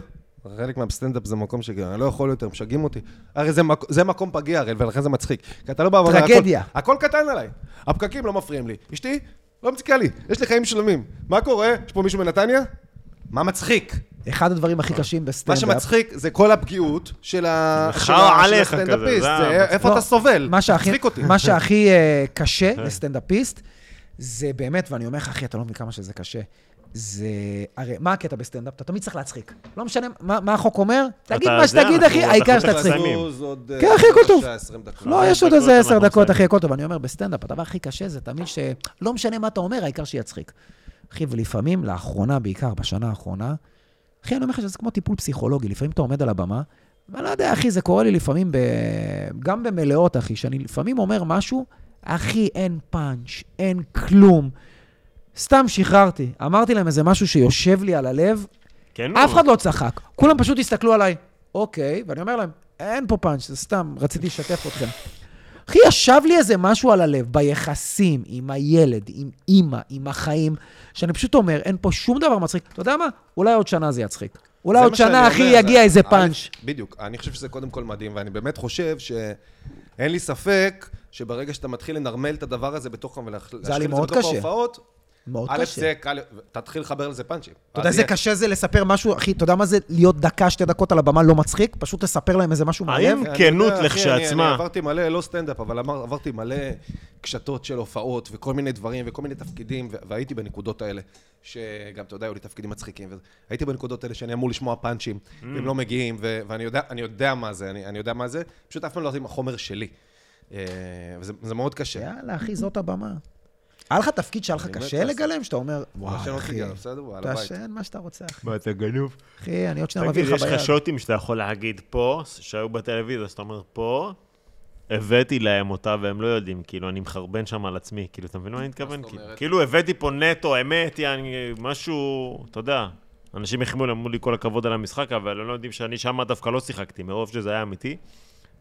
C: חלק מהסטנדאפ זה מקום שכאילו, אני לא יכול יותר, משגעים אותי. הרי זה, מק... זה מקום פגיע, הרי, ולכן זה מצחיק. כי אתה לא בא ואומר,
B: טרגדיה.
C: הכל, הכל קטן עליי. הפקקים לא מפריעים לי. אשתי, לא מציקה לי, יש לי חיים שלמים. מה קורה? יש פה מישהו מנתניה? מה מצחיק?
B: אחד הדברים הכי קשים
C: מה
B: בסטנדאפ...
C: שמצחיק זה כל הפגיעות של ה-
A: חרא
C: של ה- של
A: עליך כזה,
C: הסטנדאפיסט.
A: זה
C: זה
A: המצחיק.
C: איפה
B: לא,
C: אתה סובל?
B: מה שהכי,
C: מצחיק אותי.
B: מה שהכי אה, קשה לסטנדאפיסט, זה באמת, ואני אומר לך, אחי, אתה לא מבין כמה שזה קשה. זה... הרי מה הקטע בסטנדאפ? אתה תמיד צריך להצחיק. לא משנה מה, מה החוק אומר, תגיד
A: אתה-
B: מה
A: זה
B: שתגיד,
A: אנחנו-
B: אחי,
A: אנחנו
B: העיקר
A: צריך
B: שתצחיק.
A: לסיים.
C: לזוז עוד, אה,
B: כן, אחי, הכל טוב.
C: 15 דקות.
B: לא, יש עוד
A: דקות
B: איזה עשר
A: אנחנו
B: דקות,
A: מסיימים.
B: אחי, הכל טוב. אני אומר, בסטנדאפ, הדבר הכי קשה זה תמיד ש... לא משנה מה אתה אומר, העיקר שיצחיק. אחי, ולפעמים, לאחרונה, בעיקר בשנה האחרונה, אחי, אני אומר לך שזה כמו טיפול פסיכולוגי. לפעמים אתה עומד על הבמה, ואני לא יודע, אחי, זה קורה לי לפעמים ב... גם במלאות, אחי, שאני לפעמים אומר משהו, אחי, אין פאנץ', אין כלום. סתם שחררתי. אמרתי להם איזה משהו שיושב לי על הלב,
A: כן,
B: אף
A: נו.
B: אחד לא צחק. כולם פשוט הסתכלו עליי, אוקיי, ואני אומר להם, אין פה פאנץ', זה סתם, רציתי לשתף אתכם. אחי, ישב לי איזה משהו על הלב, ביחסים עם הילד, עם אימא, עם החיים, שאני פשוט אומר, אין פה שום דבר מצחיק. אתה יודע מה? אולי עוד שנה זה יצחיק. אולי
C: זה
B: עוד
C: מה שאני
B: שנה,
C: אומר,
B: אחי,
C: זה-
B: יגיע איזה
C: א',
B: פאנץ'.
C: בדיוק. אני חושב שזה קודם כל מדהים, ואני באמת חושב ש... אין לי ספק שברגע שאתה מתחיל לנרמל את הדבר הזה בתוך... ולהשחיל
B: היה לי
C: את זה
B: מאוד
C: בתוך
B: קשה.
C: ההופעות,
B: מאוד
C: א',
B: קשה.
C: זה קל... תתחיל לחבר לזה פאנצ'ים.
B: אתה יודע
C: אז
B: איזה
C: יהיה-
B: קשה זה לספר משהו, אחי, אתה יודע מה זה להיות דקה, שתי דקות על הבמה לא מצחיק? פשוט לספר להם איזה משהו מהלב?
A: האם-
C: אני
A: כנות
C: יודע, אחי,
A: לכשעצמה.
C: אני, אני עברתי מלא, לא סטנדאפ, אבל אמר, עברתי מלא קשתות של הופעות וכל מיני דברים וכל מיני תפקידים, ו- והייתי בנקודות האלה, שגם, אתה יודע, היו לי תפקידים מצחיקים. ו- הייתי בנקודות האלה שאני אמור לשמוע פאנצ'ים,
A: Mm.
C: והם לא מגיעים, ו- ואני יודע, אני יודע מה זה, אני, אני יודע מה זה, פשוט אף פעם לא יודעים החומר שלי. אה, וזה זה מאוד קשה.
B: יאללה, אחי, זאת הבמה. כן. היה לך תפקיד שהיה לך
C: אני
B: קשה
C: מת לעשות.
B: לגלם, שאתה אומר, וואי,
C: לא
B: אחי,
C: סיגר, בסדר? וואלה, ביי.
B: תעשן מה שאתה רוצה, אחי.
A: מה, אתה גנוב?
B: אחי, אני עוד שניה מביא
A: תגיד,
B: לך
A: יש לך
B: ביד.
A: שוטים שאתה יכול להגיד פה, שהיו בטלוויזיה, אז אתה אומר פה, הבאתי להם אותה והם לא יודעים, כאילו, אני מחרבן שם על עצמי, כאילו, אתה מבין מה אני מתכוון? כאילו-
C: אומרת?
A: כאילו, הבאתי פה נטו, אמת, יעני, משהו, אתה יודע. אנשים החמיאו לי, אמרו לי כל הכבוד על המשחק, אבל הם לא יודעים שאני שם דווקא לא שיחקתי, מרוב שזה היה אמיתי.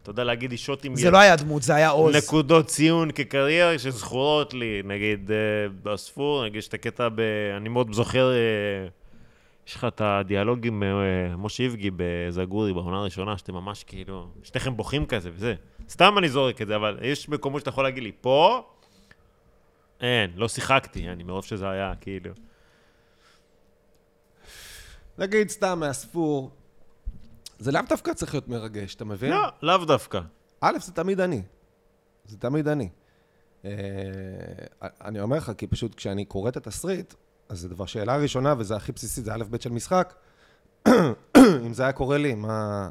A: אתה יודע להגיד לי שוטים...
B: זה לא היה דמות, זה היה עוז.
A: נקודות ציון כקריירה שזכורות לי, נגיד אה, אספור, נגיד יש את הקטע ב... אני מאוד זוכר, אה, יש לך את הדיאלוג עם אה, משה איבגי בזגורי בעונה הראשונה, שאתם ממש כאילו, שניכם בוכים כזה וזה. סתם אני זורק את זה, אבל יש מקומות שאתה יכול להגיד לי, פה, אין, לא שיחקתי, אני מרוב שזה היה, כאילו.
C: נגיד סתם מהספור, זה לאו דווקא צריך להיות מרגש, אתה מבין?
A: לא, לאו דווקא.
C: א', זה תמיד אני. זה תמיד אני. אה, אני אומר לך, כי פשוט כשאני קורא את התסריט, אז זה דבר, שאלה ראשונה, וזה הכי בסיסית, זה א' ב' של משחק. אם זה היה קורה לי, מה...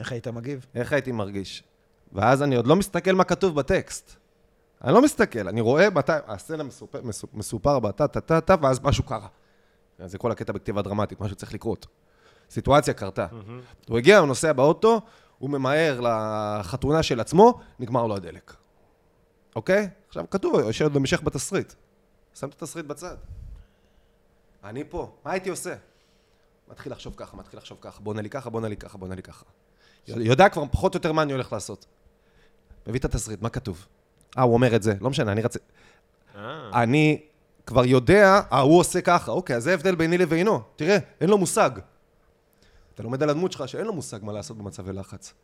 B: איך היית מגיב?
C: איך הייתי מרגיש? ואז אני עוד לא מסתכל מה כתוב בטקסט. אני לא מסתכל, אני רואה מתי, הסצנה מסופר, מסופ- מסופר בה, טה טה טה טה, ואז משהו קרה. זה כל הקטע בכתיבה דרמטית, משהו צריך לקרות. סיטואציה קרתה. הוא הגיע, הוא נוסע באוטו, הוא ממהר לחתונה של עצמו, נגמר לו הדלק. אוקיי? עכשיו כתוב, יש עוד המשך בתסריט. שם את התסריט בצד. אני פה, מה הייתי עושה? מתחיל לחשוב ככה, מתחיל לחשוב ככה, בוא נלי ככה, בוא נלי ככה, בוא נלי ככה. יודע כבר פחות או יותר מה אני הולך לעשות. מביא את התסריט, מה כתוב? אה, הוא אומר את זה, לא משנה, אני רצה...
A: אה,
C: אני כבר יודע, אה, הוא עושה ככה, אוקיי, אז זה ההבדל ביני לבינו. תראה, אין לו מושג. אתה לומד על הדמות שלך שאין לו מושג מה לעשות במצבי לחץ.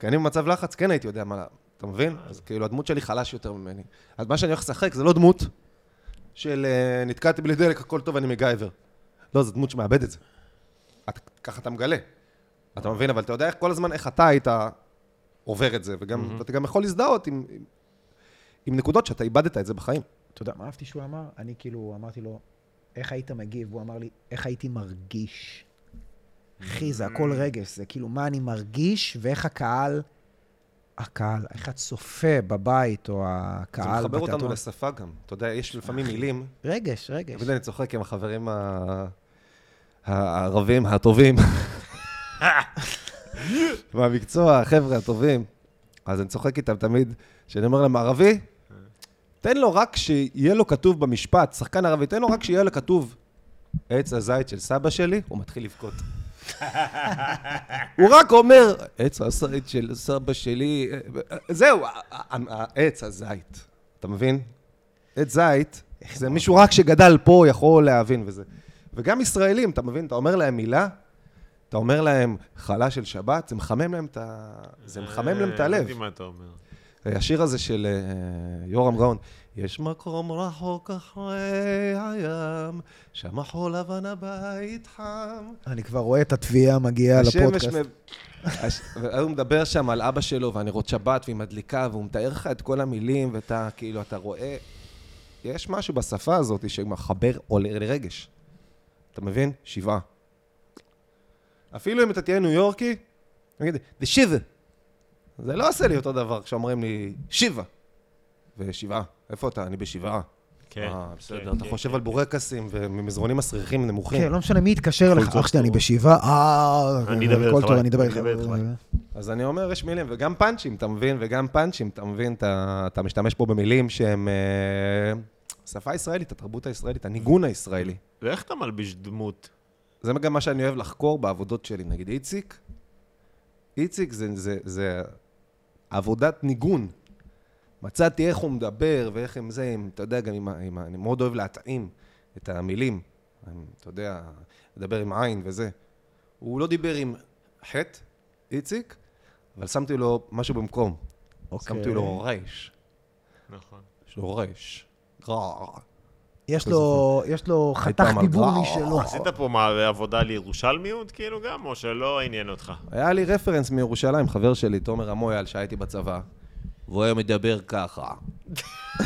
C: כי אני במצב לחץ, כן הייתי יודע מה... אתה מבין? אז כאילו, הדמות שלי חלש יותר ממני. אז מה שאני הולך לשחק זה לא דמות של אה, נתקעתי בלי דלק, הכל טוב, אני מגייבר. לא, זו דמות שמאבד את זה. את, ככה אתה מגלה. אתה מבין? אבל אתה יודע איך כל הזמן, איך אתה היית עובר את זה, וגם, ואתה גם יכול להזדהות עם, עם, עם נקודות שאתה איבדת את זה בחיים.
B: אתה יודע מה אהבתי שהוא אמר? אני כאילו אמרתי לו, איך היית מגיב? והוא אמר לי, איך הייתי מרגיש? אחי, זה
C: Mm.
B: הכל רגש, זה כאילו מה אני מרגיש ואיך הקהל, הקהל, איך הצופה בבית או
C: זה
B: הקהל
C: מחבר אותנו
B: בתיאטרון.
C: לשפה גם. אתה יודע, יש לפעמים מילים,
B: רגש, רגש.
C: תמיד אני צוחק עם החברים ה- הערבים הטובים. מהמקצוע, החבר'ה הטובים. אז אני צוחק איתם תמיד, כשאני אומר להם, ערבי, תן לו רק שיהיה לו כתוב במשפט, שחקן ערבי, תן לו רק שיהיה לו כתוב עץ הזית של סבא שלי, הוא מתחיל לבכות. הוא רק אומר, עץ הזית של סבא שלי, זהו, ה- ה- ה- עץ הזית. אתה מבין? עץ זית, זה מישהו רק שגדל פה יכול להבין וזה. וגם ישראלים, אתה מבין? אתה אומר להם מילה, אתה אומר להם חלה של שבת, זה מחמם להם את ה... זה מחמם להם את
A: אה,
C: הלב.
A: הבנתי מה אתה אומר.
C: השיר הזה של אה, יורם גאון, יש מקום רחוק אחרי הים, שם החול לבן הבית חם.
B: אני כבר רואה את התביעה מגיעה
C: השמש
B: לפודקאסט.
C: מב- הש- והוא מדבר שם על אבא שלו והנרות שבת והיא מדליקה, והוא מתאר לך את כל המילים, ואתה כאילו, אתה רואה... יש משהו בשפה הזאת שמחבר עולה לרגש. אתה מבין? שבעה. אפילו אם אתה תהיה ניו יורקי, נגיד, זה שיבה. זה לא עושה לי אותו דבר כשאומרים לי, שיבה. ושבעה. איפה אתה? אני בשבעה.
A: כן.
C: אה,
A: כן,
C: בסדר. אתה
A: כן,
C: חושב על בורקסים ומזרונים מסריחים נמוכים.
B: כן, לא משנה מי יתקשר
A: בכל
B: אליך,
A: זאת,
B: אח שלי, אני
A: הוא-
B: בשבעה, אה,
A: אני אדבר
B: הכל
A: איתך,
B: טוב,
A: ביי.
B: אני אדבר
A: אני
B: איתך.
A: אדבר איתך, ביי.
C: אז אני אומר, יש מילים, וגם פאנצ'ים, אתה מבין? וגם פאנצ'ים, אתה מבין? אתה, אתה משתמש פה במילים שהן... אה, שפה ישראלית, התרבות הישראלית, הניגון הישראלי.
A: ואיך אתה מלביש דמות?
C: זה גם מה שאני אוהב לחקור בעבודות שלי. נגיד איציק, איציק זה, זה, זה עבודת ניגון. מצאתי איך הוא מדבר ואיך עם זה, עם, אתה יודע, גם עם, ה- עם, ה- אני מאוד אוהב להתאים את המילים. עם, אתה יודע, לדבר עם עין וזה. הוא לא דיבר עם חטא, איציק, אבל שמתי לו משהו במקום.
B: אוקיי.
C: שמתי לו רייש.
A: נכון.
C: יש לו רייש. רע.
B: יש לו- יש לו חתך
C: לא פעם על
B: דיבור
C: גרעו.
B: משלו.
C: נכון.
A: עשית פה מה, עבודה לירושלמיות כאילו גם, או שלא עניין אותך?
C: היה לי רפרנס מירושלים, חבר שלי, תומר המויאל, שהייתי בצבא, והוא היה מדבר ככה.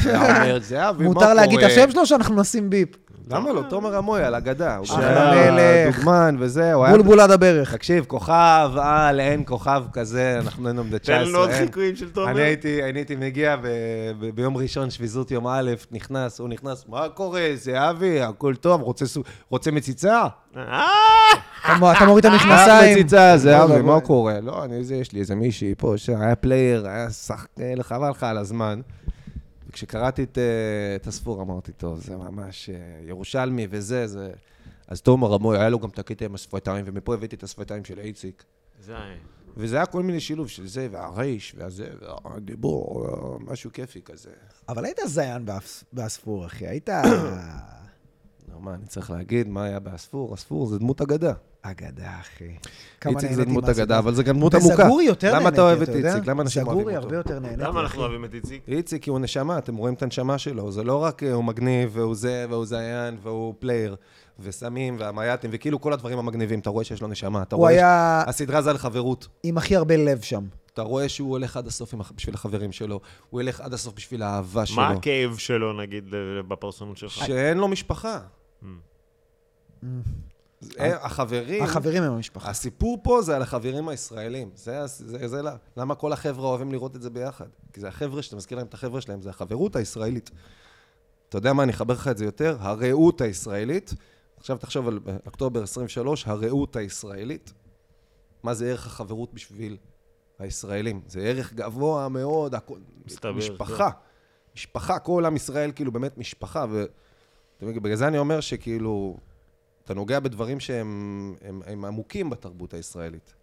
C: היה אומר, זהבי, מה קורה?
B: מותר להגיד את השם אה, שלו שאנחנו נשים ביפ.
C: למה לא? תומר המויאל, אגדה. הוא
B: אחלה
C: היה
B: מלך.
C: דוגמן וזה, הוא היה...
B: בולבול עד הברך.
C: תקשיב, כוכב, על, אין כוכב כזה, אנחנו היינו בני 19.
A: תן לו עוד
C: אין.
A: חיקויים של תומר.
C: אני הייתי, אני הייתי מגיע ב, ב, ביום ראשון, שביזות יום א', נכנס, הוא נכנס, מה קורה, זהבי, הכל טוב, רוצה, סו- רוצה מציצה?
A: אה!
B: אתה מ- אתה מוריד את
C: קח
B: המכנסיים.
C: מציצה,
B: לא,
C: זהבי,
B: לא,
C: מה
B: לא.
C: קורה? לא, אני, זה, יש לי איזה מישהי פה, ש- היה פלייר, היה שחקן, חבל לך על הזמן. וכשקראתי את, אה, את הספור, אמרתי, טוב, זה ממש אה, ירושלמי וזה, זה... אז תומר רמוי, היה לו גם את הקטע עם השפתיים, ומפה הבאתי את השפתיים של איציק.
A: זין.
C: וזה היה כל מיני שילוב של זה, והרייש, והזה, והדיבור, אה, משהו כיפי כזה.
B: אבל היית זיין באס- באספור, אחי. היית אה,
C: נו, מה, אני צריך להגיד מה היה באספור? אספור זה דמות אגדה.
B: אגדה, אחי. כמה
C: איציק זה
B: נהניתי
C: דמות
B: מהסדרה.
C: אגדה, אבל זה גם דמות עמוקה.
B: וזגורי יותר נהניתי,
C: למה אתה אוהב את
B: יודע?
C: איציק? למה אנשים אוהבים
B: זגורי
C: אותו?
B: הרבה יותר נהניתי.
A: למה אנחנו אוהבים את איציק?
C: איציק הוא נשמה, אתם רואים את הנשמה שלו, זה לא רק אה, הוא מגניב והוא זה והוא זיין והוא פלייר וסמים והמייטים וכאילו כל הדברים המגניבים, אתה רואה שיש לו נשמה, אתה
B: הוא
C: רואה...
B: היה
C: הסדרה זה על חברות,
B: עם הכי הרבה לב שם.
C: אתה רואה שהוא הולך עד הסוף עם... הח- בשביל החברים שלו, הוא ילך עד הסוף בשביל האהבה שלו,
A: מה הכאב שלו, נגיד, ל- בפרסונות שלך?
C: שאין לו משפחה. זה- אה, החברים...
B: החברים הם המשפחה.
C: הסיפור פה זה על החברים הישראלים. זה, הס- זה, זה לה- למה כל החבר'ה אוהבים לראות את זה ביחד. כי זה החבר'ה, שאתה מזכיר להם את החבר'ה שלהם, זה החברות הישראלית. אתה יודע מה, אני אחבר לך את זה יותר, הרעות הישראלית. עכשיו תחשוב על אה, אוקטובר 23, הרעות הישראלית. מה זה ערך החברות בשביל הישראלים? זה ערך גבוה מאוד, הכל...
A: מסתבר, כן.
C: משפחה. משפחה, כל עם ישראל כאילו באמת משפחה. ו... אתה מבין, בגלל זה אני אומר שכאילו, אתה נוגע בדברים שהם הם, הם עמוקים בתרבות הישראלית.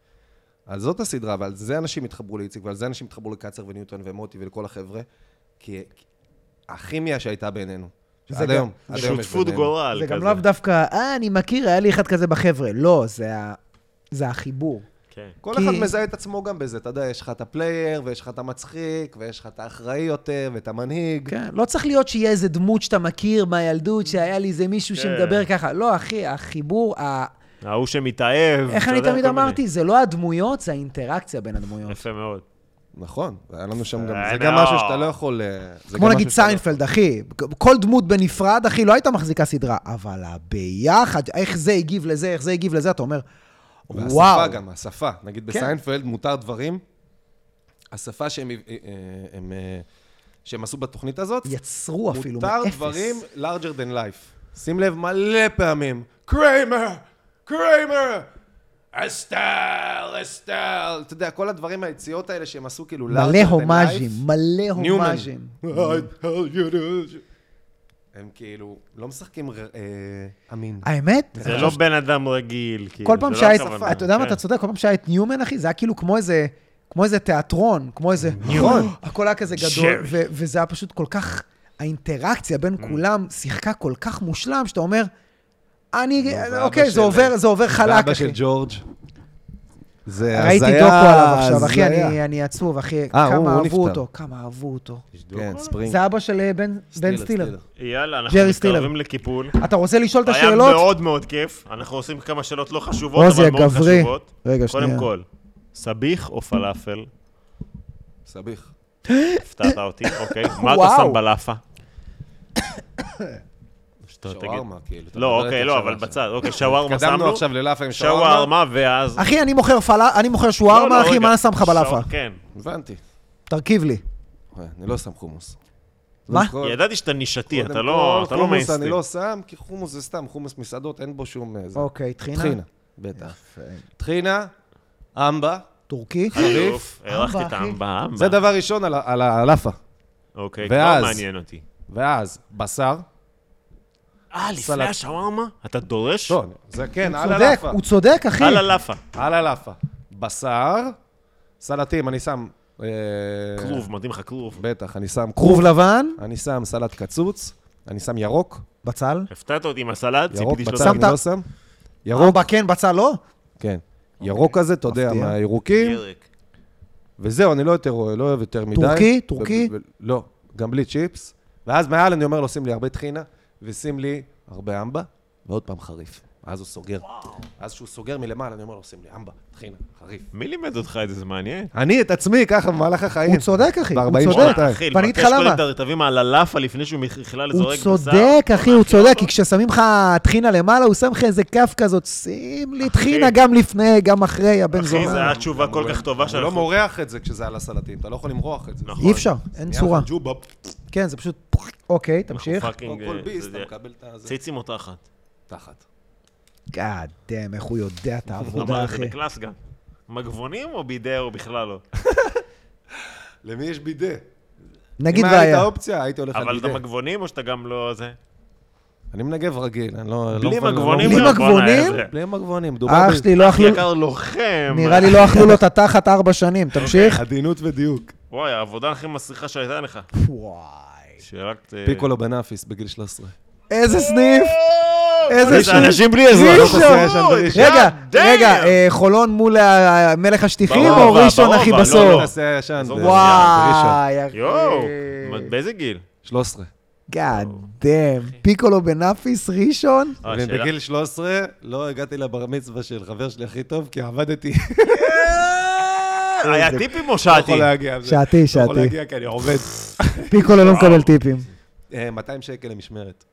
C: אז זאת הסדרה, ועל זה אנשים התחברו לאיציק, ועל זה אנשים התחברו לקצר וניוטון ומוטי ולכל החבר'ה, כי כי הכימיה שהייתה בינינו.
B: זה
C: עד
B: גם-
C: היום, עד היום יש
A: שותפות
C: בינינו.
A: גורל כזה.
B: לא, זה גם לאו דווקא, אה, אני מכיר, היה לי אחד כזה בחבר'ה. לא, זה ה- זה החיבור.
A: כן.
C: כל
B: כי-
C: אחד מזהה את עצמו גם בזה, אתה יודע, יש לך את הפלייר, ויש לך את המצחיק, ויש לך את האחראי יותר, ואת המנהיג.
B: כן, לא צריך להיות שיהיה איזה דמות שאתה מכיר מהילדות, שהיה לי איזה מישהו
A: כן.
B: שמדבר ככה. לא, אחי, החיבור, ה...
A: ההוא שמתאהב.
B: איך
A: אתה
B: אני
A: יודע,
B: תמיד
A: כל מיני.
B: אמרתי, זה לא הדמויות, זה האינטראקציה בין הדמויות.
A: יפה מאוד.
C: נכון, והיה לנו שם גם,
A: אה,
C: זה גם
A: לא.
C: משהו שאתה לא יכול... אה, זה
B: כמו
C: גם
B: נגיד
C: משהו שאתה לא-
B: סיינפלד, אחי, כל דמות בנפרד, אחי, לא הייתה מחזיקה סדרה, אבל הביחד, איך זה הגיב לזה, איך זה הגיב לזה, אתה אומר, וואו.
C: והשפה גם, השפה. נגיד
B: כן.
C: בסיינפלד מותר דברים, השפה שהם, אה, אה, הם, אה, שהם עשו בתוכנית הזאת,
B: יצרו אפילו מאפס.
C: מותר דברים larger than life. שים לב מלא פעמים. קריימר! קריימר! אסטל! אסטל! אתה יודע, כל הדברים, היציאות האלה שהם עשו כאילו larger than life.
B: מלא הומאז'ים, מלא
C: ניומן.
B: הומאז'ים.
C: I tell you this. הם כאילו לא משחקים ר- אה, אמין.
B: האמת?
A: זה לא בן אדם רגיל. כאילו,
B: כל
A: זה
B: פעם
A: לא
B: שהיה,
A: הכוונה,
B: אתה יודע מה,
A: כן.
B: אתה צודק, כל פעם שהיה את ניומן, אחי, זה היה כאילו כמו איזה, כמו איזה תיאטרון, כמו איזה...
C: ניומן.
B: הכל היה כזה גדול,
A: שרי.
B: ו- וזה היה פשוט כל כך, האינטראקציה בין
A: Mm.
B: כולם שיחקה כל כך מושלם, שאתה אומר,
A: לא,
B: אני,
C: ואבא
B: אוקיי,
C: של-
B: זה עובר, זה עובר חלק,
C: אבא של
B: אחי.
C: ג'ורג'.
A: אה,
C: זה
B: ראיתי
C: הזיה,
B: דוקו עליו עכשיו, אחי,
C: הזיה. כן,
B: אני- אני עצוב, אחי,
C: אה, הוא-
B: כמה
C: הוא
B: אהבו
C: נפטר.
B: אותו, כמה אהבו אותו.
C: כן, ספרינג.
B: זה אבא של אה, בן- בן סטילר.
A: יאללה, אנחנו
B: ג'רי סטילר.
A: מתקרבים לקיפול.
B: אתה רוצה לשאול את
A: היה
B: השאלות?
A: מאוד מאוד כיף. אנחנו עושים כמה שאלות לא חשובות,
B: עוזי
A: אבל מאוד
B: הגברי.
A: חשובות.
B: רגע,
A: קודם
B: שנייה.
A: כל, סביח או פלאפל?
C: סביח.
A: הפתעת אותי, אוקיי. מה אתה
B: וואו.
A: שם בלאפה? שאתה תגיד.
C: שווארמה, כאילו. אתה מדבר
A: לא, אוקיי,
C: איתי
A: לא,
C: עכשיו
A: אבל
C: על
A: בצד. אוקיי, שווארמה
C: התקדמנו
A: שמנו.
C: עכשיו ללאפה עם שווארמה.
A: שווארמה ואז...
B: אחי, אני מוכר פלה- אני מוכר
A: לא, לא,
B: שווארמה, אחי,
A: רגע.
B: מה שם לך בלאפה?
A: שוואר- כן.
C: הבנתי.
B: תרכיב לי.
C: אה, אני לא שם חומוס.
B: מה?
C: קודם כל-
A: ידעתי שאתה נישתי,
C: קודם
A: אתה לא
C: כל,
A: אתה לא
C: חומוס
A: מיינסטרים.
C: אני לא שם, כי חומוס זה סתם, חומוס מסעדות, אין בו שום... אה, זה.
B: אוקיי, טחינה.
C: טחינה, בטח. טחינה, אמבה,
B: טורקי.
C: אה,
A: חריף.
B: אמבה,
A: הארכתי את
B: אחי.
A: העם בעם.
C: זה דבר ראשון על ה- על הלאפה.
A: אוקיי, כבר
C: ואז-
A: מעניין אותי.
C: ואז, בשר.
A: אה, לפני
C: סלט.
A: השווארמה? אתה דורש?
C: לא, אה. זה כן, על
B: צודק,
C: הלאפה.
B: הוא צודק, אחי.
A: על הלאפה.
C: על הלאפה. בשר, סלטים, אני שם... אה,
A: כלוב, מתאים לך כלוב.
C: בטח, אני שם
B: כרוב
C: כרוב.
B: לבן,
C: אני שם סלט קצוץ, אני שם ירוק.
B: בצל.
C: כן.
A: הפתעת אותי עם הסלט,
C: ירוק
A: ציפיתי שלא
C: בצד
A: תגיד
C: אני
B: שמת-
C: לא שם. ירוק,
B: ארבע כן, בצל לא?
C: כן. ירוק כזה, אתה יודע,
B: מפתיע.
C: מהירוקים.
A: ירק.
C: וזהו, אני לא יותר רואה, לא אוהב יותר מדי.
B: טורקי? טורקי?
C: ו- ו- לא, גם בלי צ'יפס. ואז מעל אני אומר לו, שים לי הרבה טחינה, ושים לי הרבה אמבה, ועוד פעם חריף. ואז הוא סוגר. אז כשהוא סוגר מלמעלה, אני אומר לו, שים לי אמבה, טחינה, חריף.
A: מי לימד אותך את זה? זה מעניין.
C: אני את עצמי, ככה, במהלך החיים.
B: הוא צודק, אחי. הוא
C: ב-40 אה.
B: צודק.
C: שנתיים.
A: אחי,
B: ואני אגיד לך
A: לבקש קודם
B: למה.
A: את הרטבים על הלאפה לפני שהוא בכלל
B: הוא
A: זורק לא, בשר.
B: צודק, אחי, הוא
A: מאכיל
B: צודק,
A: אותו.
B: כי כששמים לך טחינה למעלה, הוא שם לך איזה כף כזאת, שים לי טחינה גם לפני, גם אחרי, הבן
A: אחי, זה
B: זונה.
A: היה תשובה כל כך טובה
C: שאנחנו... לא
A: שאנחנו...
C: מורח את זה כשזה על הסלטים, אתה לא יכול למרוח את זה.
A: נכון.
B: אי אפשר, אין צורה.
C: ג'ובאפ.
B: כן, זה פשוט... אוקיי, תמשיך.
A: אנחנו פאקינג,
C: כל
A: אה,
C: ביס,
A: זה-
C: אתה מקבל את הזה.
A: ציצים או תחת.
C: תחת.
B: גאד דאם, איך הוא יודע את העבודה,
A: אמר את לא זה
B: אחי.
A: בקלאס גם. מגבונים או בידי או בכלל לא?
C: למי יש בידה?
B: נגיד
C: אם היה לי את
B: והיה.
C: האופציה, הייתי הולך על
A: אבל אתה
C: בידה.
A: מגבונים או שאתה גם לא זה?
C: אני מנגב רגיל, אני לא... לא
A: בלי
C: מבין- לא
A: מגבונים? אה,
C: מבין.
B: בלי
A: גם, בואנה,
B: מגבונים?
A: איזה-
C: בלי מגבונים, דובר
B: אח שלי לא
A: אחי
B: אכלו...
A: יקר אוקיי. לוחם.
B: נראה לי לא אכלו לו את התחת ארבע שנים, תמשיך.
C: עדינות ודיוק.
A: וואי, העבודה הכי מסריחה שהייתה לך.
B: וואי.
A: שרק... אה,
C: פיקולו בנאפיס בגיל 13.
B: איזה סניף! איזה
A: אה, איזה
B: שני-
A: אנשים בלי
B: ראשון.
A: עזרה. לא
B: ראשון.
A: חסר ישן בלי ישן.
B: רגע,
A: God damn.
B: רגע, אה, חולון מול ה- מלך השטיחים
A: ברובע,
B: או ראשון
A: ברובע,
B: הכי
A: לא,
B: בסוף?
A: לא.
C: תעשה הישן.
A: עזוב,
C: ב- בראשון.
B: וואי, אחי.
A: יואו,
B: אה,
A: באיזה גיל?
C: 13.
A: אה,
B: גאד דאם. פיקולו בנאפיס ראשון?
A: אה, שאלה.
C: ובגיל 13 לא הגעתי לבר מצווה של חבר שלי הכי טוב, כי עבדתי.
B: אה,
A: היה טיפים או
C: לא
A: שעתי?
C: יכול להגיע. זה-
B: שעתי,
C: לא יכול
B: שעתי.
C: להגיע כי אני עובד.
B: פיקולו לא מקבל טיפים.
C: אה, 200 שקל למשמרת.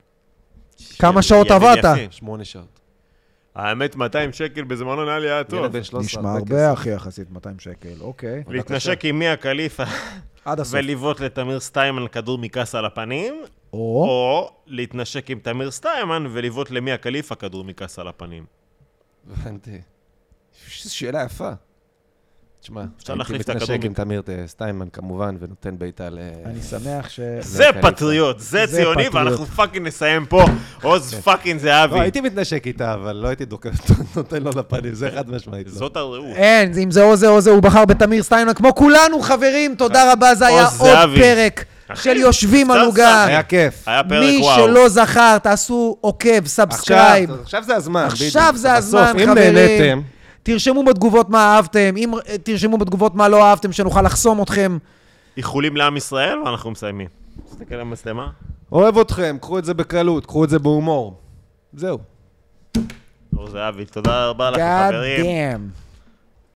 B: כמה
A: ידיד
B: שעות עבדת?
A: יחיד.
C: 8 כן, שעות.
A: האמת, 200 שקל בזמנו נראה לי היה טוב.
C: ילד בן 13.
B: נשמע
C: הרבה
B: הרבה, אחי, יחסית 200 שקל, אוקיי.
A: להתנשק עם מיה קליפה
B: עד הסוף.
A: ולבעוט לתמיר סטיימן כדור מכס על הפנים,
B: או,
A: או להתנשק עם תמיר סטיימן ולבעוט למיה קליפה כדור מכס על הפנים.
C: כסף. הבנתי. ש- שאלה יפה. תשמע, הייתי
A: להחליף את
C: מתנשק
A: הכדור.
C: עם תמיר אה, סטיימן כמובן, ונותן בעיטה ל...
B: אני שמח ש...
A: זה
C: קליפה.
A: פטריוט, זה
B: זה
A: ציוני,
B: פטריוט.
A: ואנחנו פאקינג נסיים פה. עוז פאקינג
C: לא,
A: זהבי.
C: הייתי מתנשק איתה, אבל לא הייתי דוקר, נותן לו לפנים, זה חד משמעית. לא.
A: זאת הרעות.
B: אין, אם זה או זה או זה, הוא בחר בתמיר סטיינמן, כמו כולנו, חברים, תודה רבה, זה היה עוד
A: אה, זהבי.
B: פרק
A: אחי,
B: של יושבים על
A: קצת
B: עוגה.
C: היה כיף.
A: היה פרק
B: מי
A: וואו.
B: שלא זכר, תעשו עוקב,
C: עכשיו,
B: סאבסקרייב.
C: עכשיו זה הזמן.
B: עכשיו
C: בדיוק.
B: זה הזמן,
C: בסוף, אם
B: חברים.
C: נהניתם,
B: תרשמו בתגובות מה אהבתם, אם אה, תרשמו בתגובות מה לא אהבתם, שנוכל לחסום אתכם.
A: איחולים לעם ישראל, ואנחנו מסיימים. תסתכל על המצלמה.
C: אוהב אתכם, קחו את זה בקלות, קחו את זה בהומור. זהו.
A: אור זהבי, תודה רבה לכם,
B: God
A: חברים.
B: damn.